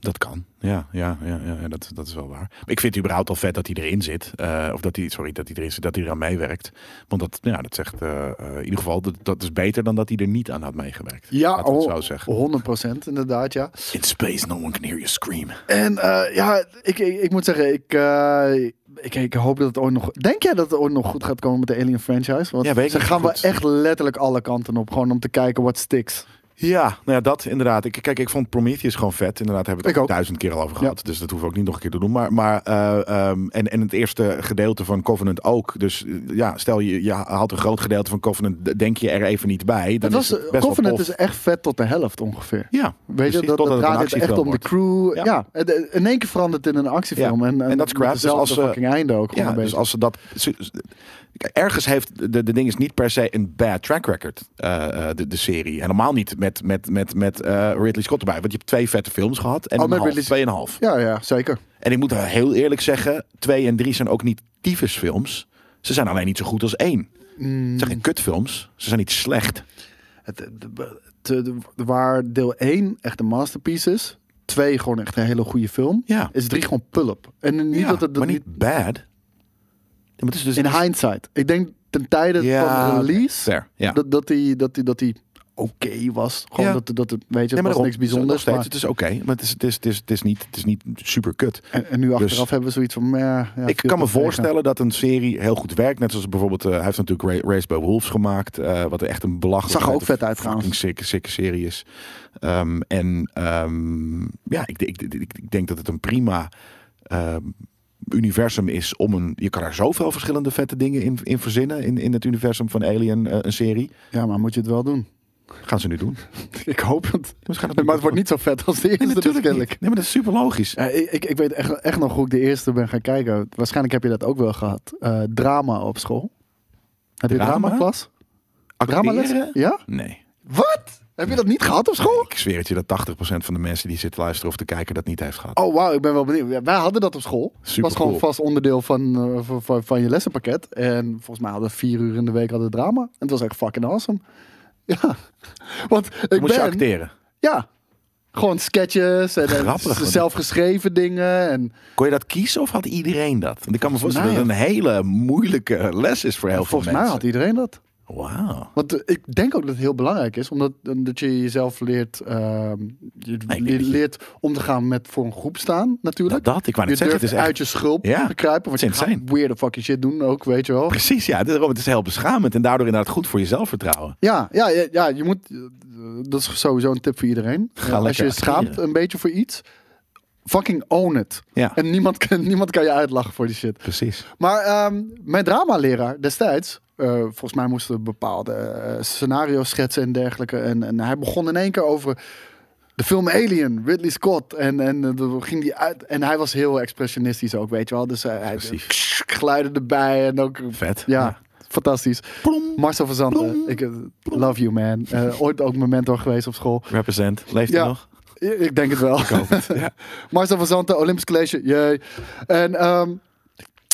Speaker 2: Dat kan. Ja, ja, ja, ja, ja, dat, dat is wel waar. Maar ik vind het überhaupt al vet dat hij erin zit. Eh, of dat hij, sorry, dat hij erin zit, dat hij eraan meewerkt. Want dat, ja, dat zegt eh, eh, in ieder geval, dat, dat is beter dan dat hij er niet aan had meegewerkt.
Speaker 3: Ja,
Speaker 2: Laten we het
Speaker 3: oh,
Speaker 2: zo zeggen.
Speaker 3: 100% inderdaad, ja.
Speaker 2: In space, no one can hear you scream.
Speaker 3: En eh, ja, ik, ik, ik moet zeggen, ik, eh, ik, ik hoop dat het ooit nog... Denk jij dat het ooit nog goed gaat komen met de Alien franchise? Want
Speaker 2: Ja, weet ik
Speaker 3: ze
Speaker 2: niet
Speaker 3: gaan wel
Speaker 2: goed.
Speaker 3: echt letterlijk alle kanten op. Gewoon om te kijken wat sticks.
Speaker 2: Ja, nou ja, dat inderdaad. Ik, kijk, ik vond Prometheus gewoon vet. Inderdaad, hebben we
Speaker 3: Ik
Speaker 2: het
Speaker 3: ook.
Speaker 2: duizend keer al over gehad. Dus dat hoeven we ook niet nog een keer te doen. Maar, maar eh, ehm, en, en het eerste gedeelte van Covenant ook. Dus eh, ja, stel je, je haalt een groot gedeelte van Covenant, d- denk je er even niet bij. Dan
Speaker 3: Het was, eh,
Speaker 2: is het best
Speaker 3: Covenant
Speaker 2: wel tof.
Speaker 3: is echt vet tot de helft ongeveer.
Speaker 2: Ja,
Speaker 3: Weet
Speaker 2: precies,
Speaker 3: je, dat,
Speaker 2: totdat
Speaker 3: dat
Speaker 2: het een
Speaker 3: draait het echt
Speaker 2: actiefilm
Speaker 3: om de
Speaker 2: wordt.
Speaker 3: crew.
Speaker 2: Ja.
Speaker 3: Ja. en de- in één keer verandert het in een actiefilm.
Speaker 2: Ja.
Speaker 3: En,
Speaker 2: En dat is
Speaker 3: met
Speaker 2: crap. Dus
Speaker 3: dezelfde
Speaker 2: als ze-
Speaker 3: fucking einde ook gewoon
Speaker 2: Ja,
Speaker 3: een
Speaker 2: dus
Speaker 3: beetje.
Speaker 2: als ze dat. ze- ze- Kijk, Ergens heeft de, de ding is niet per se een bad track record, eh, eh, de, de serie. Helemaal niet met, met, met, met eh, Ridley Scott erbij. Want je hebt twee vette films gehad en
Speaker 3: Oh,
Speaker 2: een
Speaker 3: met
Speaker 2: half,
Speaker 3: Ridley-
Speaker 2: tweeënhalf.
Speaker 3: Ja, ja, zeker.
Speaker 2: En ik moet heel eerlijk zeggen, twee en drie zijn ook niet tyfusfilms. Ze zijn alleen niet zo goed als één.
Speaker 3: Mm.
Speaker 2: Ze zijn geen kutfilms. Ze zijn niet slecht.
Speaker 3: Het, de- de- de- waar deel 1 echt een masterpiece is. 2 gewoon echt een hele goede film.
Speaker 2: Ja.
Speaker 3: Is 3 gewoon pull-up. En niet
Speaker 2: Ja,
Speaker 3: dat het dat
Speaker 2: maar
Speaker 3: niet,
Speaker 2: niet bad. Ja, maar het is dus
Speaker 3: in hindsight. Ik denk ten tijde
Speaker 2: Ja,
Speaker 3: van
Speaker 2: oké,
Speaker 3: release
Speaker 2: fair, ja.
Speaker 3: dat, dat die, dat die, dat die oké was. Gewoon
Speaker 2: Ja.
Speaker 3: dat, dat het, weet je,
Speaker 2: Nee,
Speaker 3: het
Speaker 2: maar
Speaker 3: was
Speaker 2: daarom,
Speaker 3: niks bijzonders.
Speaker 2: Het is nog
Speaker 3: maar-
Speaker 2: steeds, het is oké, maar het is, het, is, het, is, het, is niet, het is niet super kut.
Speaker 3: en, en nu achteraf
Speaker 2: Dus-
Speaker 3: hebben we zoiets van... meh, ja,
Speaker 2: ik
Speaker 3: viel
Speaker 2: kan me
Speaker 3: toch tegen.
Speaker 2: voorstellen dat een serie heel goed werkt. Net zoals bijvoorbeeld, eh, hij heeft natuurlijk Ra- Race by Wolves gemaakt. eh, wat echt een belachelijk
Speaker 3: Zag er ook
Speaker 2: vette,
Speaker 3: vet uit trouwens.
Speaker 2: fucking sick, sick serie is. Ehm, en ehm, ja, ik, ik, ik, ik denk dat het een prima ehm, universum is om een... Je kan er zoveel verschillende vette dingen in, in verzinnen. In, in het universum van Alien, eh, een serie.
Speaker 3: Ja, maar moet je het wel doen?
Speaker 2: Gaan ze nu doen.
Speaker 3: Ik hoop het.
Speaker 2: Maar ze gaan het
Speaker 3: maar het
Speaker 2: doen.
Speaker 3: wordt niet zo vet als de eerste.
Speaker 2: Nee, natuurlijk
Speaker 3: dus
Speaker 2: niet.
Speaker 3: kennelijk.
Speaker 2: Nee, maar dat is super logisch.
Speaker 3: Ja, ik, ik- ik weet echt, echt nog hoe ik de eerste ben gaan kijken. Waarschijnlijk heb je dat ook wel gehad. Eh, drama op school. Heb je
Speaker 2: Drama?
Speaker 3: drama klas? Dramales?
Speaker 2: Acteren?
Speaker 3: Ja?
Speaker 2: Nee.
Speaker 3: Wat? Heb je dat niet gehad op school?
Speaker 2: Ik zweer het je dat 80% van de mensen die zitten luisteren of te kijken dat niet heeft gehad.
Speaker 3: Oh, wauw, ik ben wel benieuwd. Ja, wij hadden dat op school. Het was gewoon
Speaker 2: Supercool.
Speaker 3: vast onderdeel van, eh, van, van, van je lessenpakket. En volgens mij hadden we vier uur in de week hadden we drama. En het was echt fucking awesome. Ja. Want ik
Speaker 2: Moest je
Speaker 3: ben...
Speaker 2: acteren?
Speaker 3: Ja. Gewoon sketches en, en
Speaker 2: Grappig, want-
Speaker 3: zelfgeschreven dingen. En
Speaker 2: Kon je dat kiezen of had iedereen dat? Want ik kan me voorstellen
Speaker 3: mij
Speaker 2: dat het een hele moeilijke les is voor heel veel
Speaker 3: volgens
Speaker 2: mensen.
Speaker 3: mij had iedereen dat.
Speaker 2: Wauw.
Speaker 3: Want eh, ik denk ook dat het heel belangrijk is, omdat eh, dat je jezelf leert, ehm, je
Speaker 2: denk
Speaker 3: le-
Speaker 2: dat je-
Speaker 3: leert om te gaan met voor een groep staan, natuurlijk.
Speaker 2: Nou, dat, ik wou
Speaker 3: je
Speaker 2: net zeggen,
Speaker 3: durft
Speaker 2: het is echt-
Speaker 3: uit je schulp
Speaker 2: Ja,
Speaker 3: te kruipen, want
Speaker 2: het
Speaker 3: je
Speaker 2: is
Speaker 3: gaat
Speaker 2: insane.
Speaker 3: weirde fucking shit doen ook, weet je wel.
Speaker 2: Precies, ja. Daarom, het is heel beschamend en daardoor inderdaad goed voor je zelfvertrouwen.
Speaker 3: Ja, ja, ja, ja, je moet, eh, dat is sowieso een tip voor iedereen. Eh, Als
Speaker 2: lekker
Speaker 3: je schaamt
Speaker 2: acteren.
Speaker 3: een beetje voor iets, fucking own it.
Speaker 2: Ja.
Speaker 3: En niemand kan, niemand kan je uitlachen voor die shit.
Speaker 2: Precies.
Speaker 3: Maar ehm, mijn dramaleraar destijds, eh, volgens mij moesten we bepaalde eh, scenario's schetsen en dergelijke. En, en hij begon in één keer over de film Alien, Ridley Scott. En, en eh, dan ging die uit. En hij was heel expressionistisch ook, weet je wel. Dus eh, hij
Speaker 2: Expressief.
Speaker 3: geluiden erbij en ook.
Speaker 2: Vet.
Speaker 3: Ja.
Speaker 2: Ja.
Speaker 3: Fantastisch.
Speaker 2: Plom.
Speaker 3: Marcel van Zanten,
Speaker 2: Plom.
Speaker 3: ik eh, love you man. Eh, ooit ook mijn mentor geweest op school.
Speaker 2: Represent. Leeft hij nog?
Speaker 3: I- Ik denk het wel. Marcel van Zanten, Olympisch College, jee. En ehm,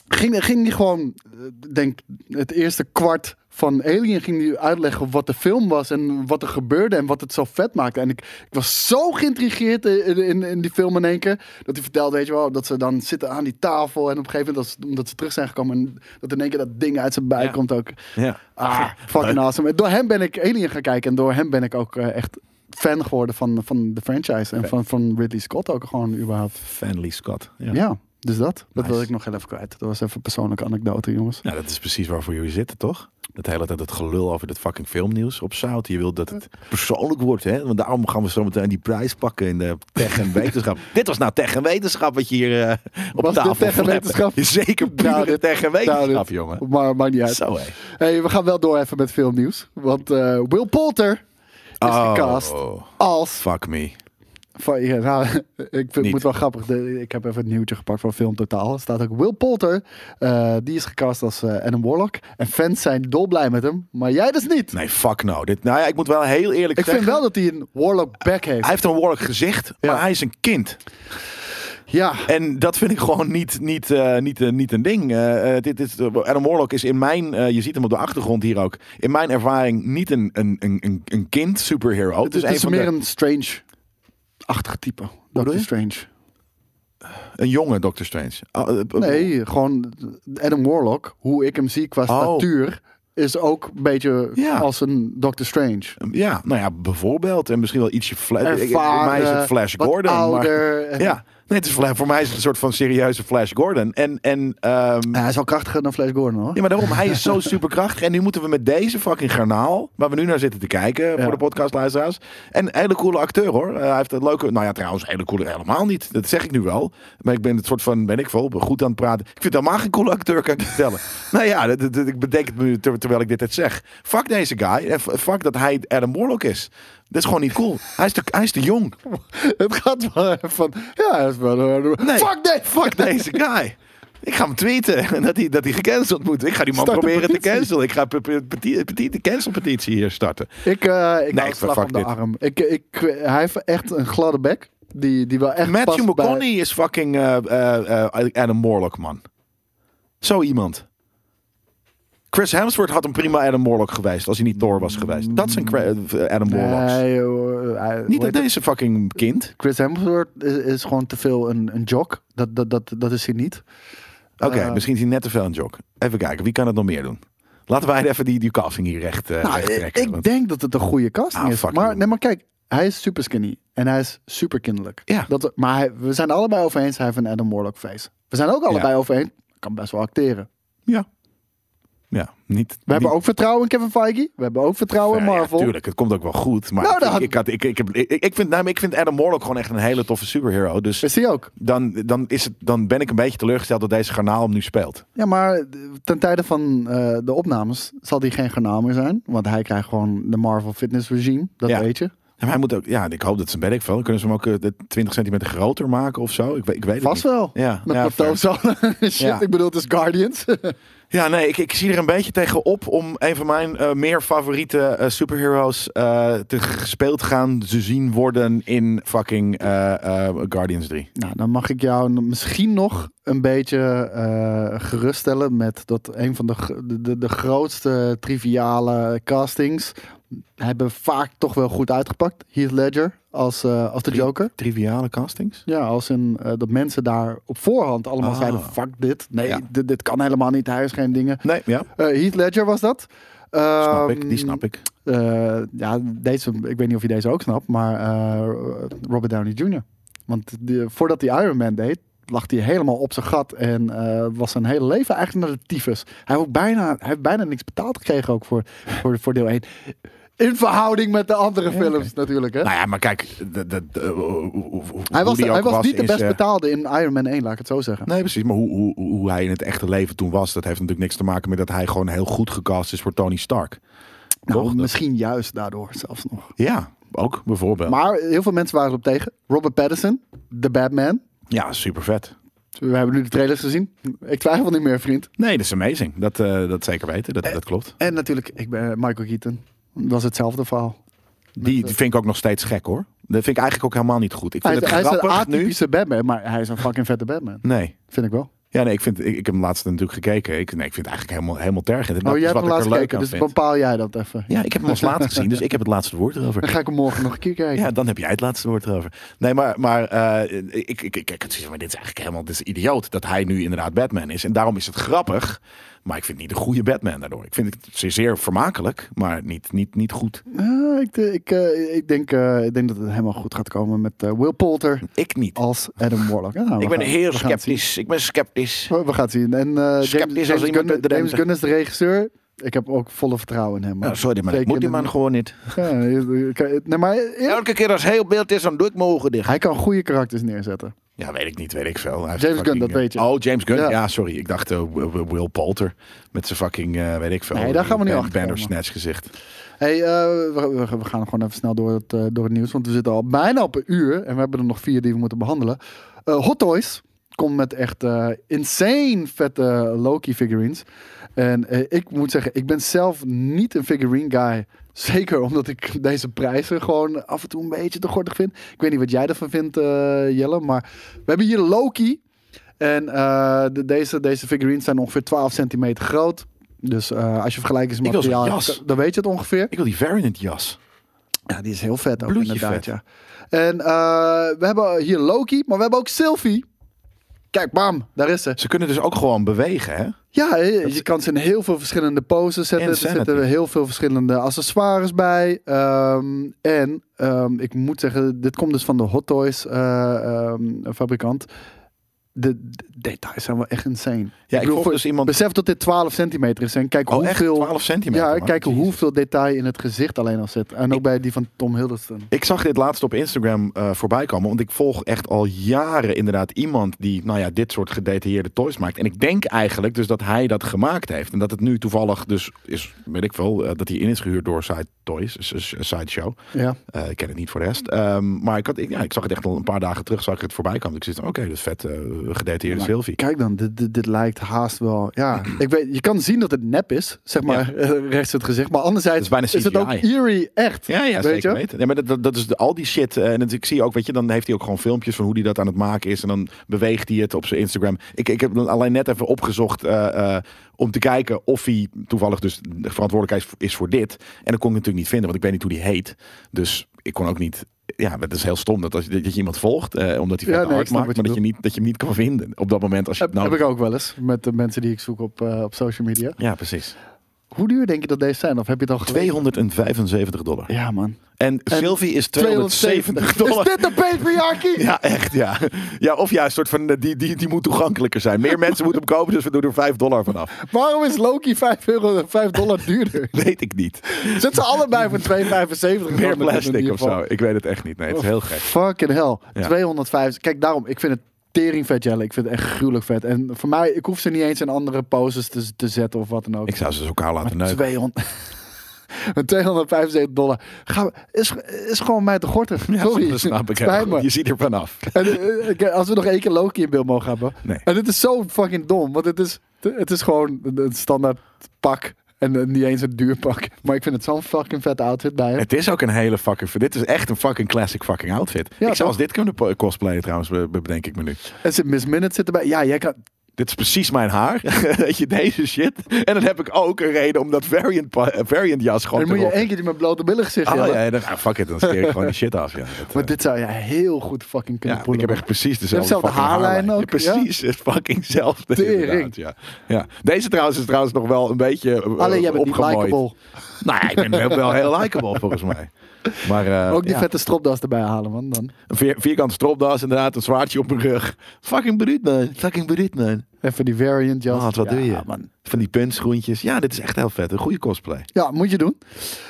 Speaker 3: ging, ging die gewoon, eh, denk het eerste kwart van Alien, ging die uitleggen wat de film was en wat er gebeurde en wat het zo vet maakte. En ik, ik was zo geïntrigeerd in, in, in die film in één keer, dat hij vertelde, weet je wel, dat ze dan zitten aan die tafel en op een gegeven moment, als- omdat ze terug zijn gekomen, en dat in één keer dat ding uit zijn buik
Speaker 2: Ja.
Speaker 3: komt ook.
Speaker 2: Ja.
Speaker 3: Ah, fucking awesome. En door hem ben ik Alien gaan kijken. En door hem ben ik ook eh, echt fan geworden van, van de franchise. En van, van Ridley Scott ook gewoon überhaupt.
Speaker 2: Fanley Scott. Ja.
Speaker 3: Ja, dus dat. Dat
Speaker 2: Nice.
Speaker 3: wil ik nog heel even kwijt. Dat was even een persoonlijke anekdote, jongens.
Speaker 2: Nou, dat is precies waarvoor jullie zitten, toch? Dat hele tijd het gelul over dat fucking filmnieuws op zout. Je wilt dat het persoonlijk wordt, hè? Want daarom gaan we zo meteen die prijs pakken in de tech en wetenschap. dit was nou tech en wetenschap wat je hier eh, op
Speaker 3: Was dit
Speaker 2: tafel
Speaker 3: tech en
Speaker 2: flappen.
Speaker 3: wetenschap?
Speaker 2: Zeker pure
Speaker 3: dit-
Speaker 2: tech en
Speaker 3: Nou,
Speaker 2: wetenschap,
Speaker 3: dit-
Speaker 2: jongen.
Speaker 3: Maar maakt niet uit.
Speaker 2: Zo, hé.
Speaker 3: Hey, we gaan wel door even met filmnieuws. Want eh, Will Poulter is
Speaker 2: Oh.
Speaker 3: gecast als...
Speaker 2: Fuck me.
Speaker 3: Van, ja, nou, ik vind het
Speaker 2: Niet.
Speaker 3: moet wel grappig. de- ik heb even het nieuwtje gepakt van Film Totaal. Er staat ook Will Poulter. eh, die is gecast als eh, Adam Warlock. En fans zijn dolblij met hem. Maar jij dus niet.
Speaker 2: Nee, fuck no. Dit, nou ja, ik moet wel heel eerlijk
Speaker 3: Ik
Speaker 2: zeggen.
Speaker 3: vind wel dat hij een Warlock back heeft.
Speaker 2: Hij heeft een Warlock gezicht,
Speaker 3: Ja.
Speaker 2: maar hij is een kind.
Speaker 3: ja.
Speaker 2: En dat vind ik gewoon niet, niet, eh, niet, eh, niet een ding. Eh, eh, dit is, Adam Warlock is in mijn, eh, je ziet hem op de achtergrond hier ook, in mijn ervaring niet een, een, een, een- een kind superhero.
Speaker 3: Het is,
Speaker 2: een
Speaker 3: meer
Speaker 2: de-
Speaker 3: een strange-achtig type. Dat
Speaker 2: bedoel
Speaker 3: is
Speaker 2: je?
Speaker 3: strange.
Speaker 2: een jonge Doctor Strange. Oh, eh, eh,
Speaker 3: Nee, gewoon Adam Warlock, hoe ik hem zie qua statuur, is ook een beetje
Speaker 2: Oh. Ja.
Speaker 3: als een Doctor Strange.
Speaker 2: Ja, nou ja, bijvoorbeeld. En misschien wel ietsje Flash.
Speaker 3: Ervaren,
Speaker 2: voor mij is het Flash
Speaker 3: wat
Speaker 2: Gordon.
Speaker 3: ouder.
Speaker 2: Maar, ja, nee, het is, Fla- voor mij is het een soort van serieuze Flash Gordon. En, en ehm,
Speaker 3: Ja, hij is al krachtiger dan Flash Gordon, hoor.
Speaker 2: Ja, maar daarom, hij is zo superkrachtig. En nu moeten we met deze fucking garnaal, waar we nu naar zitten te kijken voor
Speaker 3: Ja.
Speaker 2: de podcastluisteraars. En een hele coole acteur hoor. Eh, hij heeft het leuke, nou ja, trouwens, hele coole helemaal niet. Dat zeg ik nu wel. Maar ik ben het soort van, ben ik veel, goed aan het praten. Ik vind helemaal geen coole acteur, kan ik je vertellen. nou ja, dat, dat- dat- ik bedenk het me nu ter- terwijl ik dit het zeg. Fuck deze guy. En f- fuck dat hij Adam Warlock is. Dat is gewoon niet cool. Hij is te, hij is te jong.
Speaker 3: Het gaat wel even van... Ja, hij is wel...
Speaker 2: Nee.
Speaker 3: Fuck nee!
Speaker 2: Fuck deze guy. Ik ga hem tweeten en dat hij, dat hij gecanceld moet. Ik ga die man
Speaker 3: Start een
Speaker 2: proberen te
Speaker 3: petitie.
Speaker 2: cancelen. Ik ga pe- pe- peti- peti- de cancelpetitie hier starten.
Speaker 3: Ik, eh ik hou
Speaker 2: ik-
Speaker 3: slag
Speaker 2: fuck
Speaker 3: om de
Speaker 2: dit.
Speaker 3: arm. Ik, ik, hij heeft echt een gladde bek. Die, die wel echt
Speaker 2: Matthew
Speaker 3: past bij-
Speaker 2: McConaughey is fucking eh, eh, eh, Adam Morlock, man. Zo iemand. Chris Hemsworth had een prima Adam Morlock geweest als hij niet Thor was geweest. Dat zijn Cra- eh, Adam Morlocks.
Speaker 3: Nee, hoor, hij- hoe
Speaker 2: Niet dat
Speaker 3: heet
Speaker 2: deze fucking kind.
Speaker 3: Chris Hemsworth is, is gewoon te veel een, een jock. Dat, dat, dat, dat is hij niet.
Speaker 2: Oké,
Speaker 3: Eh,
Speaker 2: misschien is hij net te veel een jog. Even kijken, wie kan het nog meer doen? Laten wij even die, die casting hier recht, eh,
Speaker 3: Nou,
Speaker 2: recht
Speaker 3: ik,
Speaker 2: trekken.
Speaker 3: ik
Speaker 2: want-
Speaker 3: denk dat het een goede casting
Speaker 2: Ah,
Speaker 3: is.
Speaker 2: fuck
Speaker 3: Maar,
Speaker 2: you.
Speaker 3: nee, maar kijk, hij is super skinny. En hij is super kinderlijk.
Speaker 2: Ja.
Speaker 3: Dat, maar hij, we zijn er allebei over eens. Hij heeft een Adam Warlock face. We zijn er ook allebei over eens. Kan best wel acteren.
Speaker 2: Ja. Ja, niet.
Speaker 3: We hebben ook vertrouwen in Kevin Feige. We hebben ook vertrouwen in Marvel.
Speaker 2: Eh, tuurlijk, het komt ook wel goed. Maar
Speaker 3: Nou,
Speaker 2: ik-
Speaker 3: dan had-
Speaker 2: ik, ik, had, ik, ik, heb- ik, ik, vind, nou, maar ik vind Adam Warlock gewoon echt een hele toffe superhero. Dus
Speaker 3: Is hij ook?
Speaker 2: dan, dan, is het, dan ben ik een beetje teleurgesteld dat deze garnaal hem nu speelt.
Speaker 3: Ja, maar ten tijde van eh, de opnames zal die geen garnaal meer zijn. Want hij krijgt gewoon de Marvel Fitness Regime. Dat
Speaker 2: Ja.
Speaker 3: weet je.
Speaker 2: En hij moet ook, ja, ik hoop dat ze ben ik veel. Kunnen ze hem ook eh, de 20 centimeter groter maken of zo? Ik, weet- ik weet het
Speaker 3: Vast
Speaker 2: niet.
Speaker 3: wel.
Speaker 2: Ja,
Speaker 3: Met
Speaker 2: ja,
Speaker 3: plateauzolen. Shit,
Speaker 2: Ja.
Speaker 3: ik bedoel, het is Guardians.
Speaker 2: Ja, nee, ik, ik zie er een beetje tegenop om een van mijn eh, meer favoriete eh, superheroes eh, te gespeeld gaan te zien worden in fucking eh, eh, Guardians 3.
Speaker 3: nou, dan mag ik jou n- misschien nog een beetje eh, geruststellen met dat een van de, gr- de, de, de grootste triviale castings hebben vaak toch wel goed uitgepakt. Heath Ledger als, eh, als de Joker.
Speaker 2: Triviale castings?
Speaker 3: Ja, als in eh, dat mensen daar op voorhand allemaal
Speaker 2: Ah.
Speaker 3: zeiden: fuck dit. Nee,
Speaker 2: Ja.
Speaker 3: dit, dit kan helemaal niet. Hij is geen dingen.
Speaker 2: Nee, ja.
Speaker 3: Eh, Heath Ledger was dat. Eh,
Speaker 2: Snap ik, die snap ik.
Speaker 3: Eh, ja, deze, ik weet niet of je deze ook snapt, maar eh, Robert Downey Jr. Want die- voordat hij Iron Man deed, lag hij helemaal op zijn gat en eh, was zijn hele leven eigenlijk naar de tyfus. Hij, heeft ook bijna, hij heeft bijna niks betaald gekregen ook voor, voor, voor deel 1. In verhouding met de andere films natuurlijk. Hè?
Speaker 2: Nou ja, maar kijk, de, de, de- hoe- hoe- hoe
Speaker 3: hij was,
Speaker 2: die
Speaker 3: hij
Speaker 2: ook
Speaker 3: was niet de
Speaker 2: is,
Speaker 3: best
Speaker 2: eh,
Speaker 3: betaalde in Iron Man 1, laat ik het zo zeggen.
Speaker 2: Nee, precies. Maar hoe, hoe, hoe hij in het echte leven toen was, dat heeft natuurlijk niks te maken met dat hij gewoon heel goed gecast is voor Tony Stark.
Speaker 3: Nou,
Speaker 2: Toch?
Speaker 3: misschien juist daardoor zelfs nog.
Speaker 2: Ja, ook bijvoorbeeld.
Speaker 3: Maar heel veel mensen waren erop tegen. Robert Pattinson, de Batman.
Speaker 2: ja, super vet.
Speaker 3: We hebben nu de trailers gezien. Ik twijfel niet meer, vriend.
Speaker 2: Nee, dat is amazing. Dat, eh, dat zeker weten. Dat, dat klopt.
Speaker 3: En natuurlijk, ik ben eh, Michael Keaton. Dat was hetzelfde verhaal.
Speaker 2: Die, die vind ik ook nog steeds gek hoor. Dat vind ik eigenlijk ook helemaal niet goed. Ik
Speaker 3: Hij
Speaker 2: vind
Speaker 3: is,
Speaker 2: het
Speaker 3: hij is een
Speaker 2: grappig nu.
Speaker 3: atypische Batman, maar hij is een fucking vette Batman.
Speaker 2: Nee.
Speaker 3: Vind ik wel.
Speaker 2: Ja, nee, ik, vind, ik, ik heb hem laatst natuurlijk gekeken. Ik, nee, ik vind het eigenlijk helemaal, helemaal terg. En dat
Speaker 3: Oh,
Speaker 2: is
Speaker 3: jij hebt
Speaker 2: wat
Speaker 3: hem
Speaker 2: ik er
Speaker 3: laatst
Speaker 2: leuk
Speaker 3: gekeken,
Speaker 2: aan
Speaker 3: dus
Speaker 2: vind.
Speaker 3: bepaal jij dat even.
Speaker 2: Ja, ik heb hem als laatst gezien, dus ik heb het laatste woord
Speaker 3: Dan
Speaker 2: erover.
Speaker 3: ga ik hem morgen nog een keer kijken.
Speaker 2: Ja, dan heb jij het laatste woord erover. Nee, maar, maar eh, ik, ik, ik, ik had zoiets van, maar dit is eigenlijk helemaal dit is idioot dat hij nu inderdaad Batman is. En daarom is het grappig, maar ik vind het niet de goede Batman daardoor. Ik vind het zeer, zeer vermakelijk, maar niet, niet, niet goed.
Speaker 3: Ah, ik, de- ik, eh, ik, denk, eh, ik denk dat het helemaal goed gaat komen met eh, Will Poulter
Speaker 2: Ik niet.
Speaker 3: als Adam Warlock. Ja, nou, Oh, we
Speaker 2: ik ben
Speaker 3: gaan-
Speaker 2: heel
Speaker 3: we gaan het
Speaker 2: sceptisch. Ik ben sceptisch.
Speaker 3: zien. We we gaan het zien. En eh, James,
Speaker 2: Sceptisch als
Speaker 3: James
Speaker 2: iemand
Speaker 3: Gunn,
Speaker 2: uit de
Speaker 3: James
Speaker 2: ruimte.
Speaker 3: Gunn is de regisseur. Ik heb ook volle vertrouwen in hem.
Speaker 2: Nou, sorry, maar ik
Speaker 3: Zeker
Speaker 2: moet die
Speaker 3: in de-
Speaker 2: man gewoon niet.
Speaker 3: Ja, ik- nee, maar eerlijk,
Speaker 2: Elke keer als heel beeld is, dan doe ik mijn ogen dicht.
Speaker 3: hij kan goede karakters neerzetten.
Speaker 2: Ja, weet ik niet, weet ik veel. Hij heeft
Speaker 3: James
Speaker 2: fucking,
Speaker 3: Gunn, dat
Speaker 2: eh,
Speaker 3: weet je.
Speaker 2: Oh, James Gunn,
Speaker 3: Ja.
Speaker 2: ja, sorry. Ik dacht eh, Will- Will Will Poulter met zijn fucking, eh, weet ik veel.
Speaker 3: Nee, daar gaan we niet
Speaker 2: ban-
Speaker 3: achter komen.
Speaker 2: Bandersnatch gezicht.
Speaker 3: Hey, eh, we, we- we gaan gewoon even snel door het, eh, door het nieuws. Want we zitten al bijna op een uur. En we hebben er nog vier die we moeten behandelen. Eh, Hot Toys komt met echt eh, insane vette Loki figurines. En eh, ik moet zeggen, ik ben zelf niet een figurine guy. Zeker omdat ik deze prijzen gewoon af en toe een beetje te gortig vind. Ik weet niet wat jij ervan vindt, eh, Jelle. Maar we hebben hier Loki. En eh, de- deze, deze figurines zijn ongeveer 12 centimeter groot. Dus eh, als je
Speaker 2: Ik wil zo'n
Speaker 3: vergelijkingsmateriaal
Speaker 2: jas.
Speaker 3: dan weet je het ongeveer.
Speaker 2: Ik wil die variant jas.
Speaker 3: Ja, die is heel vet ook
Speaker 2: Bloedje vet.
Speaker 3: inderdaad, ja. En eh, we hebben hier Loki, maar we hebben ook Sylvie. Kijk, bam, daar is ze.
Speaker 2: Ze kunnen dus ook gewoon bewegen, hè?
Speaker 3: Ja, je, je kan ze in heel veel verschillende poses zetten. Er
Speaker 2: Insanity.
Speaker 3: zitten heel veel verschillende accessoires bij. Ehm, en ehm, ik moet zeggen, dit komt dus van de Hot Toys eh, ehm, fabrikant. De, de details zijn wel echt insane.
Speaker 2: Ja, ik
Speaker 3: bedoel,
Speaker 2: volg
Speaker 3: voor-
Speaker 2: dus iemand-
Speaker 3: Besef dat dit 12 centimeter is. En kijk
Speaker 2: Oh, echt?
Speaker 3: hoeveel...
Speaker 2: 12 centimeter,
Speaker 3: Ja,
Speaker 2: man.
Speaker 3: kijk
Speaker 2: Jezus.
Speaker 3: hoeveel detail in het gezicht alleen al zit. En ook bij die van Tom Hiddleston.
Speaker 2: Ik zag dit laatst op Instagram eh, voorbij komen. Want ik volg echt al jaren inderdaad iemand die nou ja, dit soort gedetailleerde toys maakt. En ik denk eigenlijk dus dat hij dat gemaakt heeft. En dat het nu toevallig dus is, weet ik veel, eh, dat hij in is gehuurd door Side Toys, s- s- Sideshow.
Speaker 3: Ja.
Speaker 2: Eh, ik ken het niet voor de rest. Ehm, maar ik, had, ik, ja, ik zag het echt al een paar dagen terug, zag ik het voorbij komen. Dus ik zit, oké, dat is vet, eh, gedetailleerde
Speaker 3: Maar
Speaker 2: Sylvie.
Speaker 3: Kijk dan, dit, dit, dit lijkt haast wel. Ja, ik weet, je kan zien dat het nep is, zeg maar, rechts het gezicht. Maar anderzijds
Speaker 2: Het is bijna
Speaker 3: het ook
Speaker 2: CGI.
Speaker 3: eerie echt.
Speaker 2: Ja, ja
Speaker 3: weet
Speaker 2: zeker
Speaker 3: je?
Speaker 2: weten. Nee, maar dat, dat, dat is de, al die shit. eh, en het- ik zie ook, weet je, dan heeft hij ook gewoon filmpjes van hoe hij dat aan het maken is. En dan beweegt hij het op zijn Instagram. Ik, ik heb dan alleen net even opgezocht eh, eh, om te kijken of hij toevallig dus de verantwoordelijkheid is voor- is voor dit. En dat kon ik natuurlijk niet vinden, want ik weet niet hoe die heet. Dus ik kon ook niet... Ja, dat is heel stom dat, als je- dat je iemand volgt, eh, omdat hij
Speaker 3: Ja,
Speaker 2: vet
Speaker 3: nee,
Speaker 2: hard
Speaker 3: ik snap
Speaker 2: maakt, maar
Speaker 3: wat je
Speaker 2: dat je, niet, dat je hem niet kan vinden op dat moment als je
Speaker 3: Heb,
Speaker 2: het nou...
Speaker 3: heb ik ook wel eens met de mensen die ik zoek op, eh, op social media.
Speaker 2: Ja, precies.
Speaker 3: Hoe duur denk je dat deze zijn? Of heb je het al gelezen?
Speaker 2: 275 dollar.
Speaker 3: Ja, man.
Speaker 2: En Sylvie is 270 dollar.
Speaker 3: Is dit de patriarchy?
Speaker 2: Ja, echt, ja. Ja, of ja, een soort van, eh, die, die, die moet toegankelijker zijn. Meer mensen moeten hem kopen, dus we doen er 5 dollar vanaf.
Speaker 3: Waarom is Loki 5, euro, 5 dollar duurder?
Speaker 2: Weet ik niet.
Speaker 3: Zet ze allebei voor 2,75
Speaker 2: Meer
Speaker 3: dan in
Speaker 2: plastic
Speaker 3: ieder
Speaker 2: of
Speaker 3: geval.
Speaker 2: zo. Ik weet het echt niet. Nee, het is heel gek.
Speaker 3: Fucking hell.
Speaker 2: Ja.
Speaker 3: 250. Kijk, daarom, ik vind het tering vet, Jelle. Ik vind het echt gruwelijk vet. En voor mij, ik hoef ze niet eens in andere poses te, te zetten of wat dan ook.
Speaker 2: Ik zou ze dus elkaar laten neuken.
Speaker 3: 200. Met 275 dollar. Ga, is, is gewoon mij te gortig. Sorry.
Speaker 2: Dat snap ik
Speaker 3: Spijt
Speaker 2: helemaal
Speaker 3: me.
Speaker 2: goed. Je ziet er vanaf.
Speaker 3: En, eh, eh, als we nog één keer Loki in beeld mogen hebben.
Speaker 2: Nee.
Speaker 3: En dit is zo fucking dom. Want het is, het is gewoon een een standaard pak. En eh, niet eens een duur pak. Maar ik vind het zo'n fucking vet outfit bij hem.
Speaker 2: Het is ook een hele fucking... Dit is echt een fucking classic fucking outfit. ik zou
Speaker 3: toch?
Speaker 2: als dit kunnen po- cosplayen trouwens, be- be- bedenk ik me nu.
Speaker 3: En zit Miss Minute zit erbij. Ja, jij kan...
Speaker 2: dit is precies mijn haar. Weet je, deze shit. En dan heb ik ook een reden om dat variant, pa- eh, variant jas gewoon
Speaker 3: Dan
Speaker 2: te
Speaker 3: moet je
Speaker 2: rocken.
Speaker 3: één keer met blote billen gezicht
Speaker 2: Ah,
Speaker 3: hebben.
Speaker 2: ja, dan, ah, fuck it, dan steer ik gewoon die shit af. Ja, Dat,
Speaker 3: Maar
Speaker 2: eh,
Speaker 3: dit zou je heel goed fucking kunnen
Speaker 2: ja, ik
Speaker 3: pullen.
Speaker 2: heb echt precies dezelfde
Speaker 3: dezelfde
Speaker 2: fucking
Speaker 3: haarlijn
Speaker 2: Ja,
Speaker 3: ook, ja.
Speaker 2: precies, het fucking zelfde
Speaker 3: Tering.
Speaker 2: inderdaad, ja. ja. Deze trouwens is trouwens nog wel een beetje eh,
Speaker 3: Alleen jij bent niet
Speaker 2: opgemooid.
Speaker 3: likable.
Speaker 2: Nou ja, ik ben wel, wel heel likable volgens mij. Maar, eh,
Speaker 3: Ook die
Speaker 2: ja.
Speaker 3: vette stropdas erbij halen, man. Dan.
Speaker 2: Een vier, vierkante stropdas, inderdaad, een zwaardje op mijn rug. Fucking bruut, man. Fucking bruut, man.
Speaker 3: Even die variant jas.
Speaker 2: Maat, Oh, wat
Speaker 3: ja,
Speaker 2: doe je?
Speaker 3: Man.
Speaker 2: Van die puntschoentjes. Ja, dit is echt heel vet. Een goede cosplay.
Speaker 3: Ja, moet je doen.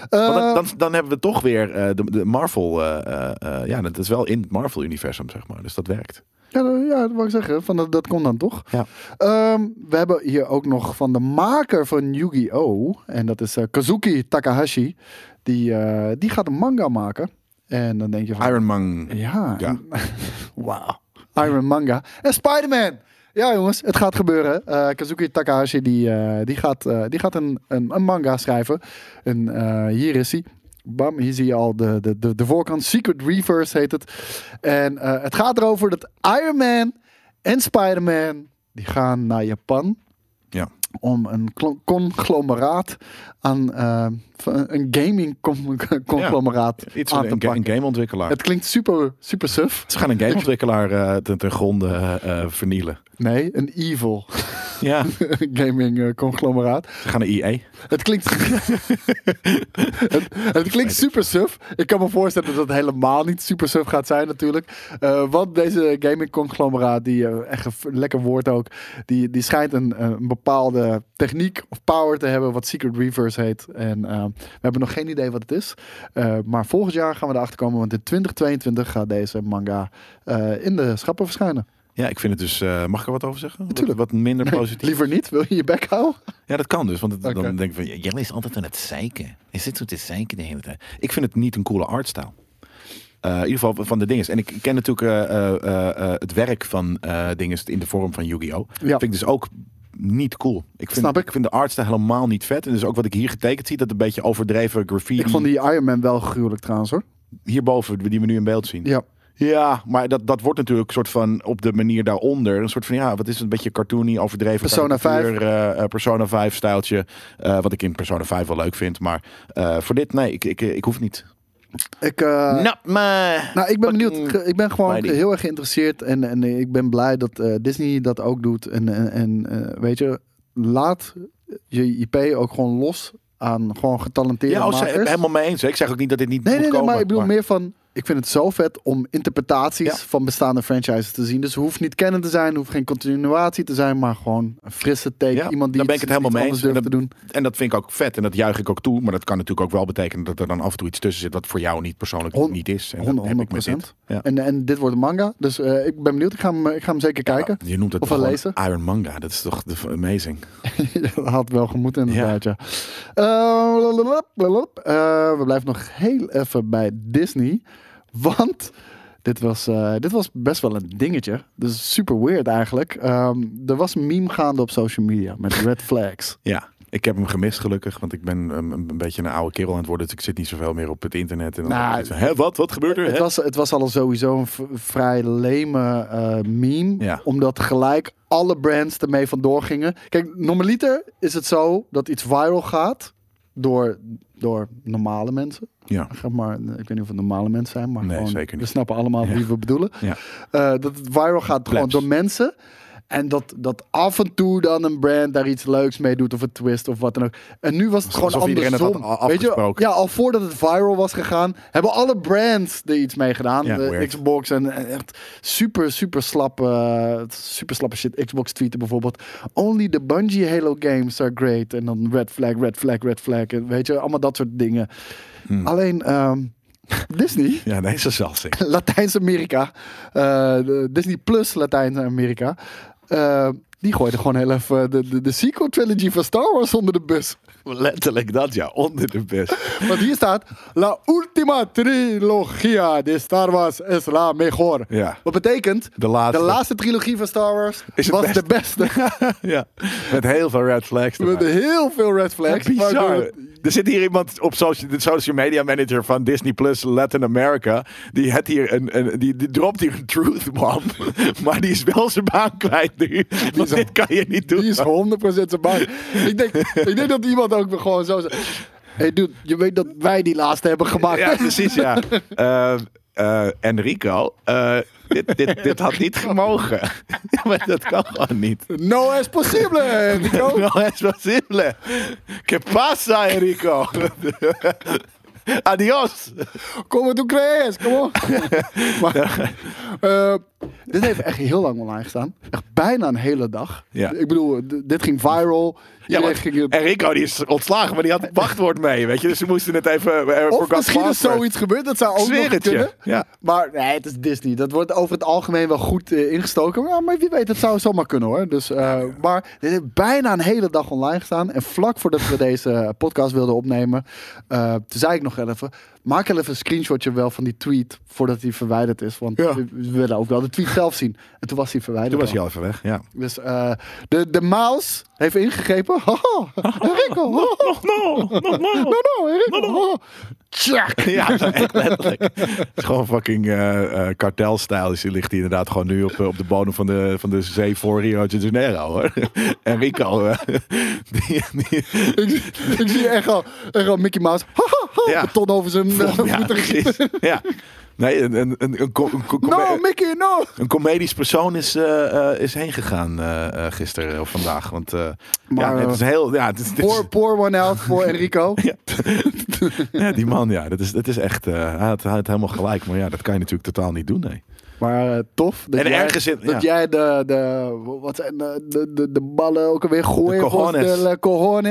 Speaker 3: Eh,
Speaker 2: Want dan, dan, dan hebben we toch weer eh, de, de Marvel. eh, eh, eh, ja, dat is wel in het Marvel-universum, zeg maar. Dus dat werkt.
Speaker 3: Ja, dat- ja, dat wou ik zeggen. Van dat, dat kon dan toch?
Speaker 2: Ja.
Speaker 3: Ehm, we hebben hier ook nog van de maker van Yu-Gi-Oh! En dat is eh, Kazuki Takahashi. Die, eh, die gaat een manga maken. En dan denk je van...
Speaker 2: Iron Man.
Speaker 3: Ja.
Speaker 2: Ja.
Speaker 3: Wauw. Iron Manga. En Spider-Man. Ja, jongens, het gaat gebeuren. Eh, Kazuki Takahashi die, eh, die gaat, eh, die gaat een, een, een manga schrijven. En eh, hier is hij. Bam, hier zie je al de, de, de, de voorkant. Secret Reverse heet het. En eh, het gaat erover dat Iron Man en Spider-Man... die gaan naar Japan
Speaker 2: Ja.
Speaker 3: om een klo- conglomeraat aan... eh, van een gaming con- conglomeraat
Speaker 2: Iets
Speaker 3: aan
Speaker 2: een,
Speaker 3: te
Speaker 2: een, ga-
Speaker 3: pakken.
Speaker 2: een gameontwikkelaar.
Speaker 3: Het klinkt super, super suf.
Speaker 2: Ze gaan een gameontwikkelaar eh ten, ten gronde eh, eh, vernielen.
Speaker 3: Nee, een evil
Speaker 2: Ja,
Speaker 3: gaming eh, conglomeraat.
Speaker 2: ze gaan E naar EA.
Speaker 3: Het klinkt, het, het klinkt super suf. Ik kan me voorstellen dat het helemaal niet super suf gaat zijn natuurlijk. Eh want deze gaming conglomeraat, die eh, echt een f- lekker woord ook, die, die schijnt een, eh, een bepaalde techniek of power te hebben wat Secret Reverse heet. En eh, we hebben nog geen idee wat het is. Eh, maar volgend jaar gaan we erachter komen, want in 2022 gaat deze manga eh, in de schappen verschijnen.
Speaker 2: Ja, ik vind het dus. eh, mag ik er wat over zeggen?
Speaker 3: Natuurlijk.
Speaker 2: Wat, wat minder positief.
Speaker 3: Liever niet, wil je je bek houden?
Speaker 2: Ja, dat kan dus. Want het-
Speaker 3: Oké.
Speaker 2: dan denk ik van, j- Jelle is altijd aan het zeiken. Hij zit zo te zeiken de hele tijd. Ik vind het niet een coole artstijl. Eh, in ieder geval van de dinges. En ik ken natuurlijk eh, eh, eh, eh, het werk van eh dinges in de vorm van Yu-Gi-Oh! Vind ik dus ook niet cool. Ik vind,
Speaker 3: Snap ik.
Speaker 2: vind de artstijl helemaal niet vet. En dus ook wat ik hier getekend zie, dat een beetje overdreven graffiti.
Speaker 3: Ik vond die Iron Man wel gruwelijk trouwens hoor.
Speaker 2: Hierboven, die we nu in beeld zien.
Speaker 3: Ja.
Speaker 2: Ja, maar dat, dat wordt natuurlijk een soort van op de manier daaronder. Een soort van, ja, wat is het, een beetje cartoony, overdreven.
Speaker 3: Persona
Speaker 2: karikatuur, eh, eh, Persona 5 stijltje. eh, wat ik in Persona 5 wel leuk vind. Maar eh, voor dit, nee, ik, ik, ik hoef niet.
Speaker 3: Ik, eh,
Speaker 2: nou, maar...
Speaker 3: Nou, ik ben benieuwd.
Speaker 2: fucking
Speaker 3: Ge- Ik ben gewoon
Speaker 2: lady.
Speaker 3: heel erg geïnteresseerd. En, en ik ben blij dat eh, Disney dat ook doet. En, en, en eh, weet je, laat je IP ook gewoon los aan gewoon getalenteerde
Speaker 2: Ja, oh, ze-
Speaker 3: makers.
Speaker 2: helemaal mee eens. hè. Ik zeg ook niet dat dit niet
Speaker 3: Nee,
Speaker 2: moet
Speaker 3: nee, nee,
Speaker 2: komen,
Speaker 3: maar ik bedoel meer van... Ik vind het zo vet om interpretaties
Speaker 2: Ja.
Speaker 3: van bestaande franchises te zien. Dus het hoeft niet kennen te zijn, hoeft geen continuatie te zijn, maar gewoon een frisse take.
Speaker 2: Ja,
Speaker 3: Iemand die
Speaker 2: daar ben ik het
Speaker 3: iets-
Speaker 2: helemaal
Speaker 3: iets
Speaker 2: mee
Speaker 3: anders
Speaker 2: eens.
Speaker 3: durft
Speaker 2: En
Speaker 3: te
Speaker 2: dat-
Speaker 3: doen.
Speaker 2: En dat vind ik ook vet en dat juich ik ook toe. Maar dat kan natuurlijk ook wel betekenen dat er dan af en toe iets tussen zit... wat voor jou niet persoonlijk
Speaker 3: Hon-
Speaker 2: niet is. En dat heb ik met
Speaker 3: 100%.
Speaker 2: dit. Ja.
Speaker 3: En, en dit wordt een manga, dus eh, ik ben benieuwd. Ik ga hem, ik ga hem zeker kijken.
Speaker 2: Je noemt het
Speaker 3: Of
Speaker 2: toch
Speaker 3: wel
Speaker 2: gewoon Iron Manga. Dat is toch de- amazing.
Speaker 3: dat had wel gemoed inderdaad, ja. Eh, lalalap, lalalap. Eh, we blijven nog heel even bij Disney. Want dit was, eh, dit was best wel een dingetje. Dus super weird eigenlijk. Ehm, er was een meme gaande op social media met red flags.
Speaker 2: Ja, ik heb hem gemist gelukkig, want ik ben um, een, een beetje een oude kerel aan het worden. Dus ik zit niet zoveel meer op het internet. En dan
Speaker 3: Nou,
Speaker 2: heb ik zoiets van, Hè, wat? Wat gebeurt er?
Speaker 3: Het
Speaker 2: Hè?
Speaker 3: was, het was al sowieso een v- vrij leme eh, meme.
Speaker 2: Ja.
Speaker 3: Omdat gelijk alle brands ermee vandoor gingen. Kijk, normaliter is het zo dat iets viral gaat door, door normale mensen.
Speaker 2: Ja.
Speaker 3: Zeg maar, ik weet niet of het normale mensen zijn, maar
Speaker 2: Nee,
Speaker 3: gewoon,
Speaker 2: zeker niet.
Speaker 3: we snappen allemaal wie we bedoelen.
Speaker 2: Ja.
Speaker 3: Eh, dat het viral gaat gewoon
Speaker 2: Plebs.
Speaker 3: door mensen. En dat, dat af en toe dan een brand daar iets leuks mee doet of een twist of wat dan ook. En nu was het gewoon
Speaker 2: Alsof iedereen het
Speaker 3: andersom.
Speaker 2: had a-
Speaker 3: Weet je,
Speaker 2: afgesproken.
Speaker 3: ja, al voordat het viral was gegaan, hebben alle brands er iets mee gedaan.
Speaker 2: Ja,
Speaker 3: de
Speaker 2: weird.
Speaker 3: Xbox en en echt super, super slappe, eh, super slappe shit. Xbox tweeten bijvoorbeeld. Only the Bungie Halo games are great. En dan red flag, red flag, red flag. En weet je, allemaal dat soort dingen. Alleen ehm, Disney.
Speaker 2: Ja, nee, zo zal ze.
Speaker 3: Latijns-Amerika, eh, de- Disney Plus Latijns-Amerika, eh, die gooide gewoon heel even de, de, de sequel trilogy van Star Wars onder de bus.
Speaker 2: Letterlijk dat, ja. Onder de best.
Speaker 3: Want hier staat, la ultima trilogia de Star Wars es la mejor.
Speaker 2: Ja.
Speaker 3: Wat betekent,
Speaker 2: De laatste.
Speaker 3: trilogie van Star Wars
Speaker 2: Is het
Speaker 3: was
Speaker 2: beste.
Speaker 3: de beste.
Speaker 2: ja. Met heel veel red flags.
Speaker 3: Met
Speaker 2: erbij.
Speaker 3: heel veel red flags. waardoor
Speaker 2: Bizar.
Speaker 3: het-
Speaker 2: Er zit hier iemand op social, de social media manager van Disney Plus Latin America. Die, had hier een, een, die, die dropt hier een truth bomb. maar die is wel zijn baan kwijt nu. Want dit kan je niet doen.
Speaker 3: Die is 100% zijn bang. ik, denk, ik denk dat iemand ook gewoon zo zegt. Hey dude, je weet dat wij die laatste hebben gemaakt.
Speaker 2: Ja, precies, ja. Eh, eh, Enrico, eh, dit, dit, dit had niet gemogen. Ja, maar dat kan gewoon niet.
Speaker 3: No es posible, Nico.
Speaker 2: No es posible. ¿Qué pasa, Enrico? Adios.
Speaker 3: Kom tu crees? Kom op. Maar, eh, dit heeft echt heel lang online gestaan. Echt bijna een hele dag.
Speaker 2: Ja.
Speaker 3: Ik bedoel, d- dit ging viral.
Speaker 2: Ja,
Speaker 3: Iedereen
Speaker 2: want
Speaker 3: ging het-
Speaker 2: Enrico die is ontslagen, maar die had het wachtwoord mee, weet je. Dus ze moesten het even... eh,
Speaker 3: of
Speaker 2: forgot
Speaker 3: misschien is
Speaker 2: password.
Speaker 3: zoiets gebeurd. Dat zou ook
Speaker 2: Ik zweer
Speaker 3: nog
Speaker 2: het je,
Speaker 3: kunnen.
Speaker 2: ja.
Speaker 3: Maar nee, het is Disney. Dat wordt over het algemeen wel goed eh, ingestoken. Maar, maar wie weet, dat zou zomaar kunnen hoor. Dus, eh, Maar dit heeft bijna een hele dag online gestaan. En vlak voordat we deze eh, podcast wilden opnemen, eh, toen zei ik nog even... Maak even een screenshotje wel van die tweet voordat die verwijderd is. Want
Speaker 2: Ja.
Speaker 3: we willen ook wel de tweet zelf zien. En toen was die verwijderd.
Speaker 2: Toen was
Speaker 3: al.
Speaker 2: hij al even weg, ja.
Speaker 3: Dus eh, de, de mouse heeft ingegrepen. Haha, Enrico. No,
Speaker 2: No, no, no.
Speaker 3: no, Enrico. Oh. Tjak.
Speaker 2: Ja, nou, echt letterlijk. Het is gewoon fucking eh eh kartelstijl. Dus die ligt hier inderdaad gewoon nu op, eh, op de bodem van de, van de zee voor Rio de Janeiro. Hoor. En Rico, eh, die, die,
Speaker 3: ik, zie- ik zie echt al, echt al Mickey Mouse. Ha, ha, ha,
Speaker 2: Ja.
Speaker 3: een ton over zijn eh,
Speaker 2: ja,
Speaker 3: voeten gieten.
Speaker 2: precies. Ja. Nee, een, een, een, een, co- een co-
Speaker 3: No, Mickey, no!
Speaker 2: een comedisch persoon is, eh eh is heen gegaan eh, eh, gisteren of vandaag. Want eh,
Speaker 3: Maar,
Speaker 2: ja, het is heel. Ja, het is, het is-
Speaker 3: Pour, pour one out voor Enrico.
Speaker 2: Ja. Ja, die man, ja, dat is, dat is echt. eh, hij, had, hij had helemaal gelijk, maar ja, dat kan je natuurlijk totaal niet doen. Nee.
Speaker 3: Maar eh, tof dat
Speaker 2: En
Speaker 3: jij,
Speaker 2: ergens in-
Speaker 3: dat
Speaker 2: ja.
Speaker 3: jij de, de, wat zijn de, de, de, de ballen ook alweer gooien.
Speaker 2: De
Speaker 3: volgens
Speaker 2: cojones.
Speaker 3: De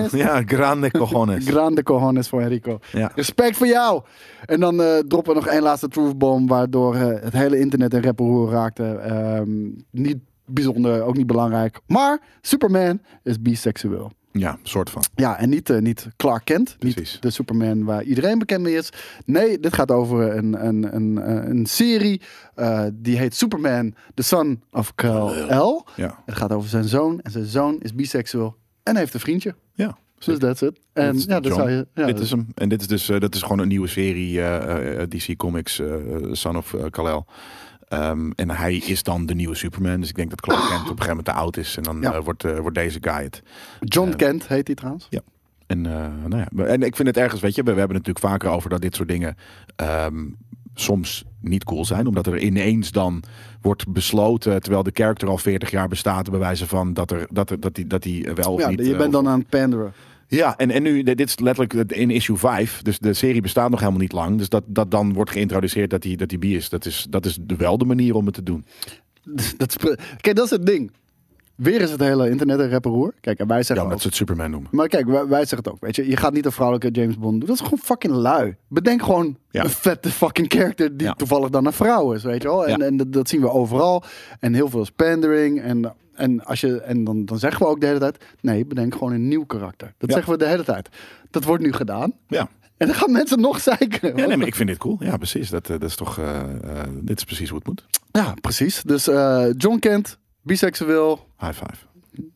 Speaker 3: cojones.
Speaker 2: Ja, grande cojones.
Speaker 3: Grande cojones voor Enrico.
Speaker 2: Ja.
Speaker 3: Respect voor jou! En dan eh, droppen we nog één laatste truthbomb... waardoor eh, het hele internet in rep en roer raakte. Ehm, niet bijzonder, ook niet belangrijk. Maar Superman is biseksueel.
Speaker 2: Ja, soort van.
Speaker 3: Ja, en niet, eh, niet Clark Kent,
Speaker 2: Precies.
Speaker 3: niet de Superman waar iedereen bekend mee is. Nee, dit gaat over een, een, een, eh, een serie eh, die heet Superman, The Son of Kal-El.
Speaker 2: Ja.
Speaker 3: Het gaat over zijn zoon en zijn zoon is biseksueel en heeft een vriendje.
Speaker 2: Ja.
Speaker 3: Dus that's it. En
Speaker 2: Dit is
Speaker 3: ja, dat
Speaker 2: John.
Speaker 3: zou je... Ja,
Speaker 2: dit is hem. En dit is dus eh, dat is gewoon een nieuwe serie eh, eh, DC Comics, eh, eh, Son of eh, Kal-El. Ehm, en hij is dan de nieuwe Superman. Dus ik denk dat Clark Kent op een gegeven moment te oud is. En dan
Speaker 3: Ja.
Speaker 2: eh, wordt, eh, wordt deze guy het.
Speaker 3: John Kent heet hij trouwens.
Speaker 2: Ja. En, eh, nou ja. en ik vind het ergens, weet je, we, we hebben het natuurlijk vaker over dat dit soort dingen ehm, soms niet cool zijn. Omdat er ineens dan wordt besloten, terwijl de character al 40 jaar bestaat, bij wijze van dat, er, dat, er, dat, die, dat die wel of
Speaker 3: ja,
Speaker 2: niet...
Speaker 3: je
Speaker 2: eh,
Speaker 3: bent dan aan het panderen.
Speaker 2: ja, en, en nu, dit is letterlijk het- in issue 5. Dus de serie bestaat nog helemaal niet lang. Dus dat, dat dan wordt geïntroduceerd dat die, dat die bi is. Dat is, dat is de- wel de manier om het te doen.
Speaker 3: Dat spre- Kijk, dat is het ding. Weer is het hele internet een rep en roer. Kijk, en wij
Speaker 2: Ja,
Speaker 3: zeggen ook-
Speaker 2: omdat ze het Superman noemen.
Speaker 3: Maar kijk, wij, wij zeggen het ook, weet je. Je gaat niet een vrouwelijke James Bond doen. Dat is gewoon fucking lui. Bedenk gewoon
Speaker 2: Ja.
Speaker 3: een vette fucking character die
Speaker 2: Ja.
Speaker 3: toevallig dan een vrouw is, weet je wel. En,
Speaker 2: Ja.
Speaker 3: en dat, dat zien we overal. En heel veel spandering. En, en, als je, en dan, dan zeggen we ook de hele tijd, nee, bedenk gewoon een nieuw karakter. Dat
Speaker 2: Ja.
Speaker 3: zeggen we de hele tijd. Dat wordt nu gedaan.
Speaker 2: Ja.
Speaker 3: En dan gaan mensen nog zeiken.
Speaker 2: Ja, nee, maar ik vind dit cool. Ja, precies. Dat, eh, dat is toch, eh, eh, dit is precies hoe het moet.
Speaker 3: Ja, precies. Dus eh, John Kent, biseksueel,
Speaker 2: High five.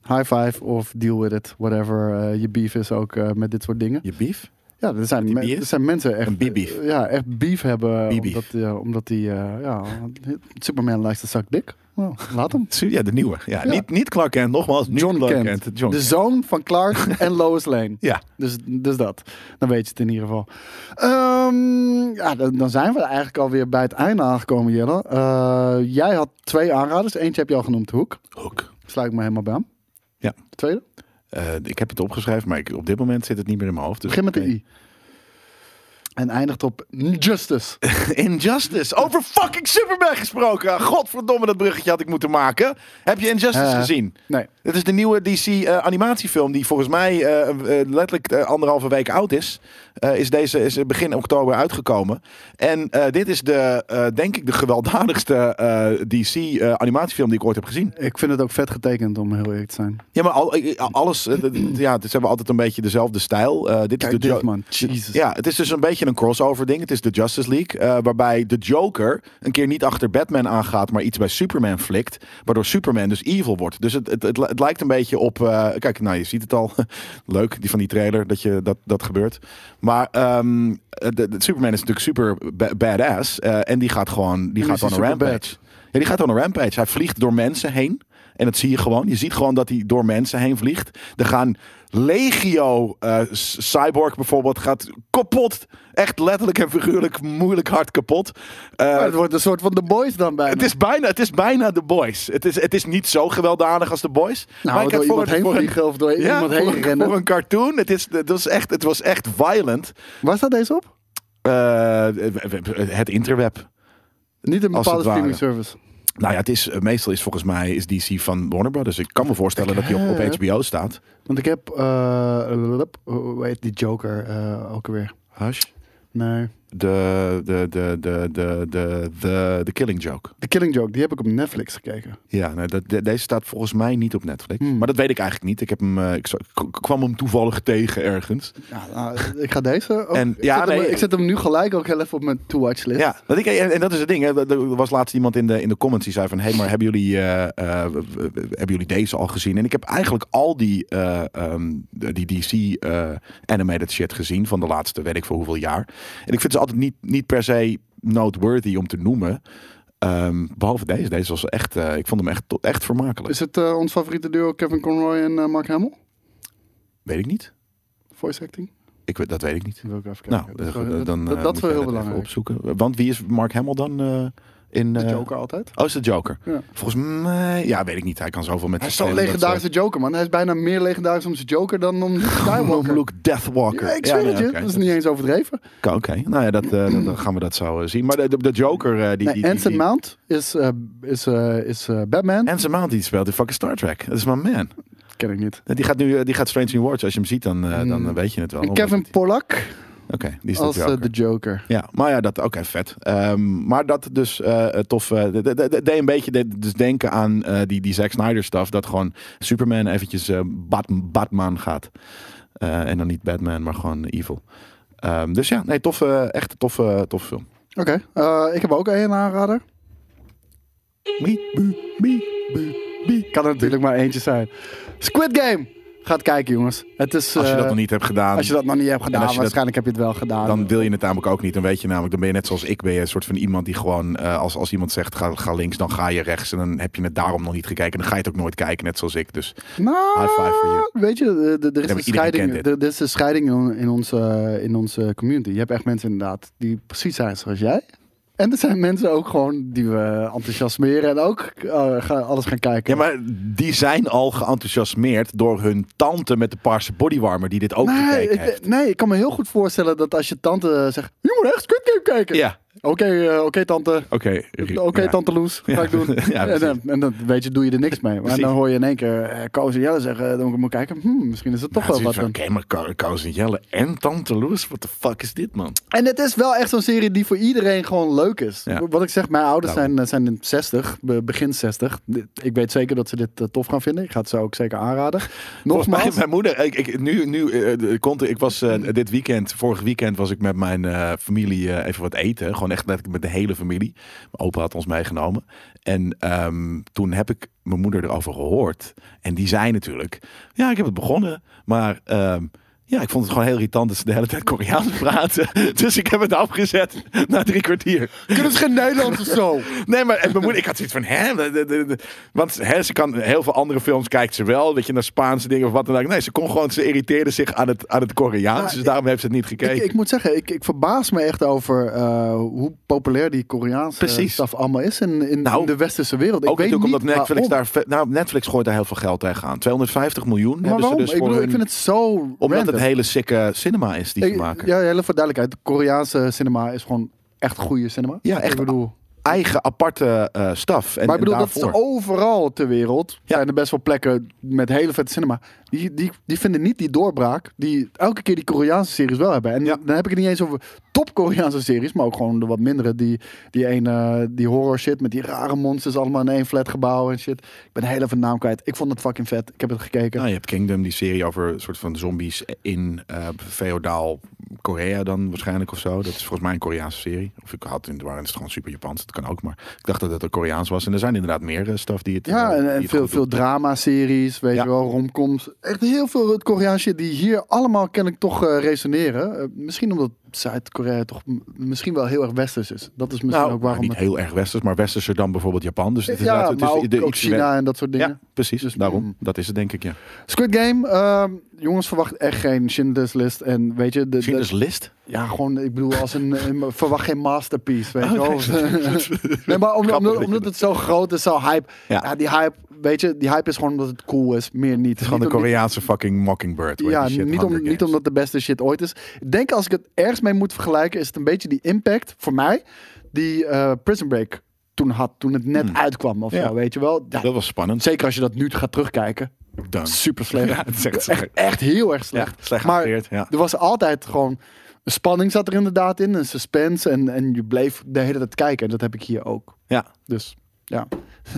Speaker 3: high five of deal with it. Whatever eh, je beef is ook eh, met dit soort dingen.
Speaker 2: Je beef?
Speaker 3: Ja, er zijn, me-
Speaker 2: beef?
Speaker 3: er zijn mensen echt, eh,
Speaker 2: Een beef-beef.
Speaker 3: Ja, echt beef hebben. eh,
Speaker 2: Beef-beef.
Speaker 3: Omdat, ja, omdat die, eh, ja, Superman lijkt een zak dik. Nou, laat hem.
Speaker 2: Su- Ja, de nieuwe. Ja, Niet, niet Clark Kent, nogmaals. niet
Speaker 3: John
Speaker 2: Clark
Speaker 3: Kent,
Speaker 2: Kent. John
Speaker 3: de
Speaker 2: Kent.
Speaker 3: zoon van Clark en Lois Lane.
Speaker 2: Ja.
Speaker 3: Dus, dus dat. Dan weet je het in ieder geval. Ehm, ja, dan, dan zijn we eigenlijk alweer bij het einde aangekomen, Jelle. Eh, jij had twee aanraders. Eentje heb je al genoemd, Hoek.
Speaker 2: Hook.
Speaker 3: Sluit ik me helemaal bij aan.
Speaker 2: Ja.
Speaker 3: De tweede?
Speaker 2: Eh, ik heb het opgeschreven, maar ik, op dit moment zit het niet meer in mijn hoofd. Dus
Speaker 3: Begin met de
Speaker 2: Nee.
Speaker 3: I. En eindigt op Justice.
Speaker 2: Injustice. Over fucking Superman gesproken. Ah, Godverdomme, dat bruggetje had ik moeten maken. Heb je Injustice
Speaker 3: Eh,
Speaker 2: gezien?
Speaker 3: nee.
Speaker 2: Het is de nieuwe DC eh, animatiefilm die volgens mij eh, eh, letterlijk eh, anderhalve week oud is. Eh, is deze is begin oktober uitgekomen. En eh, dit is de, eh, denk ik, de gewelddadigste eh, DC eh, animatiefilm die ik ooit heb gezien.
Speaker 3: Ik vind het ook vet getekend, om heel eerlijk te zijn.
Speaker 2: Ja, maar al, eh, alles, eh, d- d- ja, het- ze hebben altijd een beetje dezelfde stijl. Eh, dit
Speaker 3: Kijk
Speaker 2: is de
Speaker 3: dit,
Speaker 2: Jo-
Speaker 3: man. Jezus.
Speaker 2: Ja, het is dus een beetje een crossover ding. Het is de Justice League. eh, waarbij de Joker een keer niet achter Batman aangaat, maar iets bij Superman flikt. Waardoor Superman dus evil wordt. Dus het, het, het, li- het lijkt een beetje op. eh, kijk, nou je ziet het al. Leuk, die van die trailer, dat je, dat, dat gebeurt. Maar ehm, eh, de, de Superman is natuurlijk super ba- badass. eh, en die gaat gewoon, die
Speaker 3: is
Speaker 2: gaat
Speaker 3: hij
Speaker 2: gewoon een rampage.
Speaker 3: superbad.
Speaker 2: Ja, die gaat dan een rampage. Hij vliegt door mensen heen. En dat zie je gewoon. Je ziet gewoon dat hij door mensen heen vliegt. Er gaan legio eh, c- cyborg bijvoorbeeld gaat kapot. Echt letterlijk en figuurlijk moeilijk hard kapot. Eh,
Speaker 3: Maar het wordt een soort van The Boys dan Nou, bij.
Speaker 2: het is bijna, het is bijna The Boys. Het is, het is niet zo gewelddadig als The Boys.
Speaker 3: Nou, door iemand heen vliegen of door
Speaker 2: ja,
Speaker 3: iemand heen
Speaker 2: voor,
Speaker 3: rennen.
Speaker 2: voor een cartoon. Het, is, het, was echt, het was echt violent.
Speaker 3: Waar staat deze op?
Speaker 2: Eh, het interweb.
Speaker 3: Niet een
Speaker 2: Als het
Speaker 3: bepaalde streaming
Speaker 2: ware.
Speaker 3: service.
Speaker 2: Nou ja, het is, eh, meestal is volgens mij is DC van Warner Brothers. Ik kan me voorstellen dat die op, op HBO staat.
Speaker 3: Want ik heb, eh hoe heet die Joker eh, ook alweer?
Speaker 2: Hush.
Speaker 3: Nee,
Speaker 2: De, de, de, de, de, de, de, de Killing Joke.
Speaker 3: The Killing Joke, die heb ik op Netflix gekeken.
Speaker 2: Ja, nee, dat, de- deze staat volgens mij niet op Netflix. Maar dat weet ik eigenlijk niet. Ik, heb hem, eh, ik, zo- ik kwam hem toevallig tegen ergens.
Speaker 3: Ja, nou, ik ga deze. Ook,
Speaker 2: En-
Speaker 3: ik,
Speaker 2: ja,
Speaker 3: zet
Speaker 2: nee.
Speaker 3: hem, ik zet hem nu gelijk ook heel even op mijn to-watch list.
Speaker 2: Ja, want ik, en, en dat is het ding. Hè. Er- Er was laatst iemand in de, in de comments die zei van... hé, hey, maar hebben jullie, eh, eh, w- w- w- hebben jullie deze al gezien? En ik heb eigenlijk al die, eh, ehm, die DC eh, animated shit gezien... van de laatste weet ik voor hoeveel jaar. En ik vind ze altijd niet, niet per se noteworthy om te noemen... Ehm, behalve deze. Deze was echt... eh, ik vond hem echt, tot- echt vermakelijk.
Speaker 3: Is het eh, ons favoriete duo Kevin Conroy en eh, Mark Hamill?
Speaker 2: Weet ik niet.
Speaker 3: Voice acting?
Speaker 2: Ik, weet- dat weet ik niet.
Speaker 3: Die wil ik even kijken.
Speaker 2: Nou,
Speaker 3: dat is wel-
Speaker 2: eh,
Speaker 3: dat-
Speaker 2: dan eh,
Speaker 3: dat, dat
Speaker 2: moet
Speaker 3: is
Speaker 2: jij
Speaker 3: wel heel
Speaker 2: dat even
Speaker 3: belangrijk.
Speaker 2: opzoeken. Want wie is Mark Hamill dan eh, in...
Speaker 3: De
Speaker 2: eh,
Speaker 3: Joker altijd.
Speaker 2: Oh, is de Joker?
Speaker 3: Ja.
Speaker 2: Volgens mij... Ja, weet ik niet. Hij kan zoveel met
Speaker 3: Hij is
Speaker 2: zijn
Speaker 3: zo'n
Speaker 2: stem, dat eh,
Speaker 3: legendarische Joker, man. Hij is bijna meer legendarisch om zijn Joker dan om Luke Skywalker.
Speaker 2: Luke Deathwalker.
Speaker 3: Ja, ik zweer
Speaker 2: nee,
Speaker 3: het je.
Speaker 2: oké.
Speaker 3: Dat is niet eens overdreven.
Speaker 2: Oké, oké. nou ja, dat, eh, dat- dan gaan we dat zo eh, zien. Maar de, de, de Joker... eh, die,
Speaker 3: Nee,
Speaker 2: die, die-
Speaker 3: Anson
Speaker 2: die-
Speaker 3: Mount is, eh, is, eh, is eh, Batman.
Speaker 2: Anson Mount, die speelt in fucking Star Trek. Dat is mijn man.
Speaker 3: Ken ik niet.
Speaker 2: Die gaat nu eh, die gaat Strange New Worlds. Als je hem ziet, dan, eh, dan eh, weet je het wel.
Speaker 3: En Mm. Kevin Pollak
Speaker 2: Oké, die is de
Speaker 3: als eh,
Speaker 2: Joker.
Speaker 3: de Joker.
Speaker 2: Ja, maar ja, dat oké, vet. Ehm, maar dat dus eh, tof. eh, de- de- de- deed een beetje de- dus denken aan eh, die, die Zack Snyder stuff. Dat gewoon Superman eventjes eh, Bat- Batman gaat. Eh, en dan niet Batman, maar gewoon evil. Ehm, dus ja, nee, toffe, echt een toffe, toffe film.
Speaker 3: Oké, eh, ik heb ook een aanrader.
Speaker 2: Mie, bu, mie, bu, mie.
Speaker 3: Kan er natuurlijk maar eentje zijn. Squid Game! Gaat kijken, jongens. Het is,
Speaker 2: Als je dat
Speaker 3: eh,
Speaker 2: nog niet hebt gedaan,
Speaker 3: als je dat nog niet hebt
Speaker 2: als
Speaker 3: gedaan,
Speaker 2: je dat-
Speaker 3: waarschijnlijk heb je het wel gedaan.
Speaker 2: dan wil je het namelijk ook niet. Dan weet je namelijk, dan ben je net zoals ik, ben je een soort van iemand die gewoon, eh, als, als iemand zegt ga, ga links, dan ga je rechts. En dan heb je het daarom nog niet gekeken. En dan ga je het ook nooit kijken, net zoals ik. Dus
Speaker 3: Nou,
Speaker 2: High five voor je.
Speaker 3: Weet je, eh, d- d- er is,
Speaker 2: maar iedereen
Speaker 3: een scheiding,
Speaker 2: kent
Speaker 3: er er is een scheiding in, in, onze, eh, in onze community. Je hebt echt mensen inderdaad die precies zijn zoals jij. En er zijn mensen ook gewoon die we enthousiasmeren en ook eh, gaan, alles gaan kijken.
Speaker 2: Ja, maar die zijn al geenthousiasmeerd door hun tante met de paarse bodywarmer die dit ook
Speaker 3: nee,
Speaker 2: gekeken
Speaker 3: ik,
Speaker 2: heeft.
Speaker 3: nee, ik kan me heel goed voorstellen dat als je tante zegt... Je moet echt Squid Game kijken.
Speaker 2: Ja,
Speaker 3: Oké, eh, oké tante.
Speaker 2: oké.
Speaker 3: Oké, tante Loes, ga
Speaker 2: Ja.
Speaker 3: ik doen.
Speaker 2: Ja,
Speaker 3: en,
Speaker 2: precies.
Speaker 3: dan, en dan weet je, doe je er niks mee. Maar
Speaker 2: Precies.
Speaker 3: dan hoor je in één keer eh Koos en Jelle zeggen, dan moet ik kijken, hmm, misschien is het toch wel wat.
Speaker 2: Oké,
Speaker 3: dan.
Speaker 2: maar Ka- Kous en Jelle en Tante Loes, what the fuck is dit, man?
Speaker 3: En het is wel echt zo'n serie die voor iedereen gewoon leuk is.
Speaker 2: Ja.
Speaker 3: Wat ik zeg, mijn ouders
Speaker 2: Daarom.
Speaker 3: zijn, eh, zijn in 60, be- begin 60. Dit- Ik weet zeker dat ze dit eh, tof gaan vinden. Ik ga het ze ook zeker aanraden.
Speaker 2: Volgens mij,
Speaker 3: Nogmaals,
Speaker 2: mijn moeder, ik, ik, nu, nu eh, de- komt, er- ik was eh, dit weekend, vorig weekend was ik met mijn eh, familie eh, even wat eten. Gewoon echt letterlijk met de hele familie. Mijn opa had ons meegenomen. En ehm, toen heb ik mijn moeder erover gehoord. En die zei natuurlijk, ja, ik heb het begonnen, maar... ehm, ja, ik vond het gewoon heel irritant dat ze de hele tijd Koreaans praten. Dus ik heb het afgezet na drie kwartier.
Speaker 3: kunnen ze geen Nederlands of zo?
Speaker 2: Nee, maar en mijn moeder, ik had zoiets van, hè? De- de- de- de- Want hè, ze kan heel veel andere films kijkt ze wel, weet je, naar Spaanse dingen of wat dan ook. Nee, ze kon gewoon, ze irriteerde zich aan het, aan het Koreaans,
Speaker 3: Maar
Speaker 2: dus daarom heeft ze het niet
Speaker 3: Ik,
Speaker 2: gekeken.
Speaker 3: ik moet zeggen, ik, ik verbaas me echt over eh, hoe populair die Koreaanse eh,
Speaker 2: Precies.
Speaker 3: staf allemaal is in, in,
Speaker 2: Nou,
Speaker 3: in de westerse wereld. Ik
Speaker 2: ook
Speaker 3: weet
Speaker 2: natuurlijk
Speaker 3: niet
Speaker 2: omdat Netflix
Speaker 3: waarom.
Speaker 2: daar, ve- nou Netflix gooit daar heel veel geld tegenaan. 250 miljoen
Speaker 3: Maar
Speaker 2: hebben
Speaker 3: waarom?
Speaker 2: ze dus
Speaker 3: ik
Speaker 2: voor
Speaker 3: bedoel, ik
Speaker 2: hun-
Speaker 3: vind het zo
Speaker 2: omdat
Speaker 3: random.
Speaker 2: het hele sikke cinema is die ze
Speaker 3: Ik-
Speaker 2: maken.
Speaker 3: Ja, heel even voor duidelijkheid. De Koreaanse cinema is gewoon echt goede cinema.
Speaker 2: Ja, echt
Speaker 3: Ik bedoel...
Speaker 2: Eigen aparte eh staf. En,
Speaker 3: Maar ik bedoel,
Speaker 2: en
Speaker 3: dat
Speaker 2: daarvoor.
Speaker 3: is overal ter wereld.
Speaker 2: Ja.
Speaker 3: Zijn er best wel plekken met hele vette cinema. Die, die, die vinden niet die doorbraak die elke keer die Koreaanse series wel hebben. En
Speaker 2: Ja.
Speaker 3: dan heb ik het niet eens over top Koreaanse series, maar ook gewoon de wat mindere. Die, die, ene, die horror shit met die rare monsters allemaal in één flat gebouw en shit. Ik ben heel even de naam kwijt. Ik vond het fucking vet. Ik heb het gekeken.
Speaker 2: Nou, je hebt Kingdom, die serie over een soort van zombies in eh feodaal Korea dan waarschijnlijk of zo. Dat is volgens mij een Koreaanse serie. Of ik had in de waren is het gewoon super Japans. Dat kan ook, maar ik dacht dat het een Koreaans was. En er zijn inderdaad meer eh, stuff die het.
Speaker 3: Ja,
Speaker 2: eh,
Speaker 3: en,
Speaker 2: die
Speaker 3: en
Speaker 2: het
Speaker 3: veel,
Speaker 2: goed
Speaker 3: veel
Speaker 2: doen.
Speaker 3: drama-series, weet
Speaker 2: Ja.
Speaker 3: je wel, romcoms. Echt heel veel het Koreaanse shit die hier allemaal kennelijk toch eh, resoneren. Eh, misschien omdat Zuid-Korea toch m- misschien wel heel erg westers is. Dat is misschien
Speaker 2: Nou,
Speaker 3: ook
Speaker 2: maar
Speaker 3: waarom...
Speaker 2: niet
Speaker 3: het-
Speaker 2: heel erg westers, maar westerser dan bijvoorbeeld Japan. Dus het is
Speaker 3: ja,
Speaker 2: inderdaad- het
Speaker 3: maar
Speaker 2: is
Speaker 3: ook,
Speaker 2: de
Speaker 3: ook
Speaker 2: iets
Speaker 3: China en dat soort dingen.
Speaker 2: Ja, precies.
Speaker 3: Dus,
Speaker 2: daarom.
Speaker 3: mm.
Speaker 2: Dat is het denk ik, ja.
Speaker 3: Squid Game, ehm, jongens, verwacht echt geen Schindler's List. En weet je, de, de-
Speaker 2: Schindler's List?
Speaker 3: ja, gewoon, ik bedoel, als een, een- verwacht geen masterpiece, weet je
Speaker 2: Oh,
Speaker 3: wel. nee,
Speaker 2: Grappig
Speaker 3: maar om-
Speaker 2: dat
Speaker 3: omdat,
Speaker 2: je
Speaker 3: omdat
Speaker 2: dat-
Speaker 3: het zo groot is, zo hype.
Speaker 2: Ja.
Speaker 3: Ja. die hype, weet je, die hype is gewoon omdat het cool is, meer niet.
Speaker 2: Het is gewoon de Koreaanse fucking Mockingbird. hoe heet
Speaker 3: Ja,
Speaker 2: die shit?
Speaker 3: niet, om,
Speaker 2: Hunger
Speaker 3: niet
Speaker 2: Games.
Speaker 3: omdat de beste shit ooit is. Ik denk als ik het ergens mee moet vergelijken, is het een beetje die impact voor mij die eh, Prison Break toen had, toen het net uitkwam of
Speaker 2: Hmm. Ja.
Speaker 3: zo, weet je wel. Ja,
Speaker 2: Dat was spannend.
Speaker 3: Zeker als je dat nu gaat terugkijken.
Speaker 2: Dank.
Speaker 3: Super slecht.
Speaker 2: Ja, dat is echt
Speaker 3: echt,
Speaker 2: slecht.
Speaker 3: echt heel erg slecht.
Speaker 2: Ja, slecht
Speaker 3: maar
Speaker 2: geacteerd, ja.
Speaker 3: er was altijd gewoon... de Spanning zat er inderdaad in, een suspense. En, en je bleef de hele tijd kijken. En dat heb ik hier ook.
Speaker 2: Ja.
Speaker 3: Dus ja,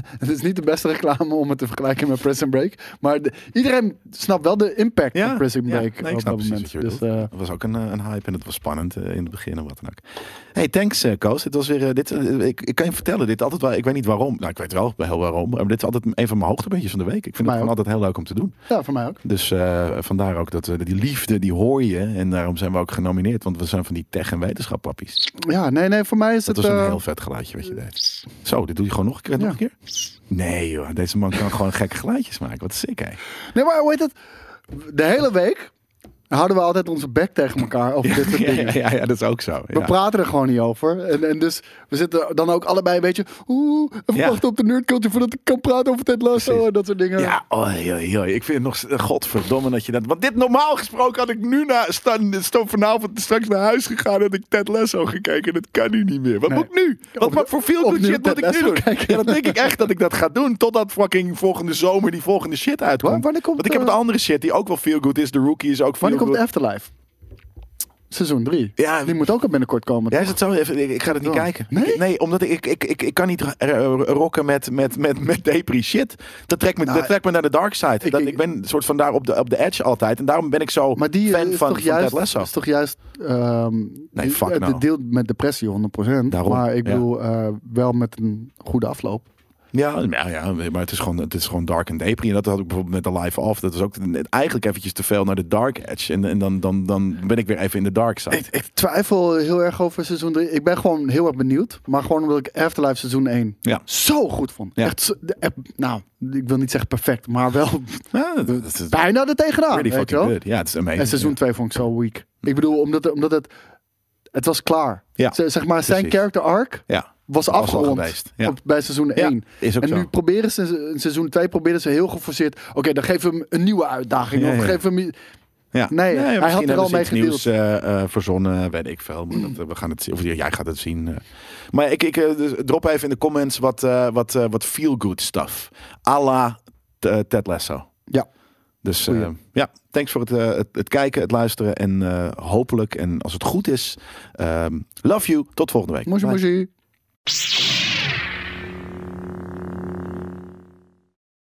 Speaker 3: het is niet de beste reclame om het te vergelijken met Prison Break. Maar de- iedereen snapt wel de impact
Speaker 2: Ja,
Speaker 3: van Prison
Speaker 2: ja.
Speaker 3: Break
Speaker 2: Nee, ik
Speaker 3: op
Speaker 2: snap
Speaker 3: dat
Speaker 2: precies
Speaker 3: moment.
Speaker 2: wat je bedoelt.
Speaker 3: Dus,
Speaker 2: Dat
Speaker 3: eh,
Speaker 2: was ook een, eh, een hype en het was spannend eh, in het begin en wat dan ook. Hey, thanks eh, Koos. Dit was weer, eh, dit, eh, ik, ik kan je vertellen, dit altijd wel, ik weet niet waarom. Nou, ik weet wel heel waarom. Maar dit is altijd een van mijn hoogtepuntjes van de week. Ik vind het
Speaker 3: Mij
Speaker 2: gewoon altijd heel leuk om te doen.
Speaker 3: ja, voor mij ook.
Speaker 2: Dus eh, vandaar ook dat eh, die liefde, die hoor je. En daarom zijn we ook genomineerd, want we zijn van die tech- en wetenschappappies.
Speaker 3: Ja, nee, nee, voor mij is
Speaker 2: Dat
Speaker 3: het...
Speaker 2: was een
Speaker 3: eh,
Speaker 2: heel vet geluidje wat je deed. Zo, dit doe je gewoon nog een keer.
Speaker 3: Ja.
Speaker 2: Nog een keer? Nee joh, deze man kan gewoon gekke geluidjes maken. Wat sick hè.
Speaker 3: Nee, maar hoe heet het? De hele week houden we altijd onze bek tegen elkaar over dit soort
Speaker 2: Ja,
Speaker 3: dingen.
Speaker 2: ja, ja, ja, dat is ook zo.
Speaker 3: We
Speaker 2: ja.
Speaker 3: praten er gewoon niet over. En, en dus we zitten dan ook allebei een beetje... Oeh, even
Speaker 2: Ja.
Speaker 3: wachten op de nerdculture voordat ik kan praten over Ted Lasso
Speaker 2: Precies.
Speaker 3: en dat soort dingen.
Speaker 2: Ja, oh, oi, oi, oi. ik vind het nog... s- Godverdomme dat je dat... Want dit normaal gesproken had ik nu na, staan, staan vanavond straks naar huis gegaan... en had ik Ted Lasso gekeken. Dat kan nu niet meer. Wat
Speaker 3: Nee.
Speaker 2: moet ik nu? Wat,
Speaker 3: Op-
Speaker 2: wat voor veel
Speaker 3: opnieuw
Speaker 2: shit moet
Speaker 3: Ted
Speaker 2: ik nu
Speaker 3: Lasso
Speaker 2: doen?
Speaker 3: kijken.
Speaker 2: Ja, dat denk ik echt dat ik dat ga doen. Totdat fucking volgende zomer die volgende shit uitkomt.
Speaker 3: Wa- wanneer komt,
Speaker 2: Want ik heb
Speaker 3: eh,
Speaker 2: het andere shit die ook wel veel good is. The Rookie is ook veel
Speaker 3: Wanneer komt
Speaker 2: good.
Speaker 3: Afterlife? Seizoen 3.
Speaker 2: Ja.
Speaker 3: Die moet ook al binnenkort komen.
Speaker 2: Jij zit zo even, ik, ik ga dat niet
Speaker 3: Ja.
Speaker 2: kijken.
Speaker 3: Nee?
Speaker 2: Ik- nee, omdat ik, ik, ik, ik kan niet r- r- rocken met, met, met, met depri shit. Dat trekt me,
Speaker 3: Nou,
Speaker 2: dat trekt me naar de dark side. Ik,
Speaker 3: ik-
Speaker 2: dat,
Speaker 3: ik-
Speaker 2: ik ben een soort van daar op de, op de edge altijd. En daarom ben ik zo
Speaker 3: Maar die eh,
Speaker 2: fan
Speaker 3: is,
Speaker 2: van,
Speaker 3: toch
Speaker 2: van Ted
Speaker 3: juist,
Speaker 2: Lasso.
Speaker 3: is toch juist... ehm,
Speaker 2: Nee,
Speaker 3: die-
Speaker 2: fuck
Speaker 3: het
Speaker 2: nou.
Speaker 3: deelt met depressie 100%.
Speaker 2: Daarom,
Speaker 3: maar ik
Speaker 2: ja.
Speaker 3: bedoel, eh, wel met een goede afloop.
Speaker 2: Ja, ja, ja, maar het is, gewoon, het is gewoon dark en depri. En dat had ik bijvoorbeeld met de live off. Dat was ook net eigenlijk eventjes te veel naar de dark edge. En, en dan, dan, dan ben ik weer even in de dark side.
Speaker 3: Ik, ik twijfel heel erg over seizoen 3. Ik ben gewoon heel erg benieuwd. Maar gewoon omdat ik Afterlife seizoen 1
Speaker 2: Ja.
Speaker 3: zo goed vond.
Speaker 2: Ja.
Speaker 3: Echt, zo- de- eh, nou, ik wil niet zeggen perfect, maar wel
Speaker 2: Ja, dat- dat is
Speaker 3: bijna er tegenaan.
Speaker 2: pretty
Speaker 3: Weet je
Speaker 2: fucking
Speaker 3: wel?
Speaker 2: good. Ja, het is amazing.
Speaker 3: En seizoen 2 vond ik zo weak. Ik bedoel, omdat, het- omdat het, het was klaar.
Speaker 2: Ja,
Speaker 3: Z- zeg maar, zijn
Speaker 2: precies.
Speaker 3: character arc
Speaker 2: Ja.
Speaker 3: was
Speaker 2: al
Speaker 3: afgerond
Speaker 2: geweest, ja.
Speaker 3: op- bij seizoen
Speaker 2: Ja,
Speaker 3: 1.
Speaker 2: is ook
Speaker 3: en
Speaker 2: zo.
Speaker 3: nu proberen ze in seizoen 2 proberen ze heel geforceerd. Oké, dan geven we hem een nieuwe uitdaging.
Speaker 2: Ja,
Speaker 3: of
Speaker 2: ja.
Speaker 3: geven we hem i-
Speaker 2: Ja.
Speaker 3: Nee, hij
Speaker 2: misschien
Speaker 3: had er
Speaker 2: hebben
Speaker 3: al
Speaker 2: ze
Speaker 3: mee
Speaker 2: iets
Speaker 3: gedeeld.
Speaker 2: nieuws eh, eh, verzonnen, weet ik veel. Maar dat, eh, we gaan het zien. Of ja, jij gaat het zien. eh. Maar ik, ik eh, dus drop even in de comments wat, eh, wat, eh, wat feel-good stuff. A la eh, Ted Lasso.
Speaker 3: Ja.
Speaker 2: Dus eh,
Speaker 3: Goeie.
Speaker 2: ja, thanks voor het, eh, het, het kijken, het luisteren. En eh, hopelijk, en als het goed is, ehm, love you. Tot volgende week.
Speaker 3: Moshi
Speaker 2: Bye.
Speaker 3: moshi.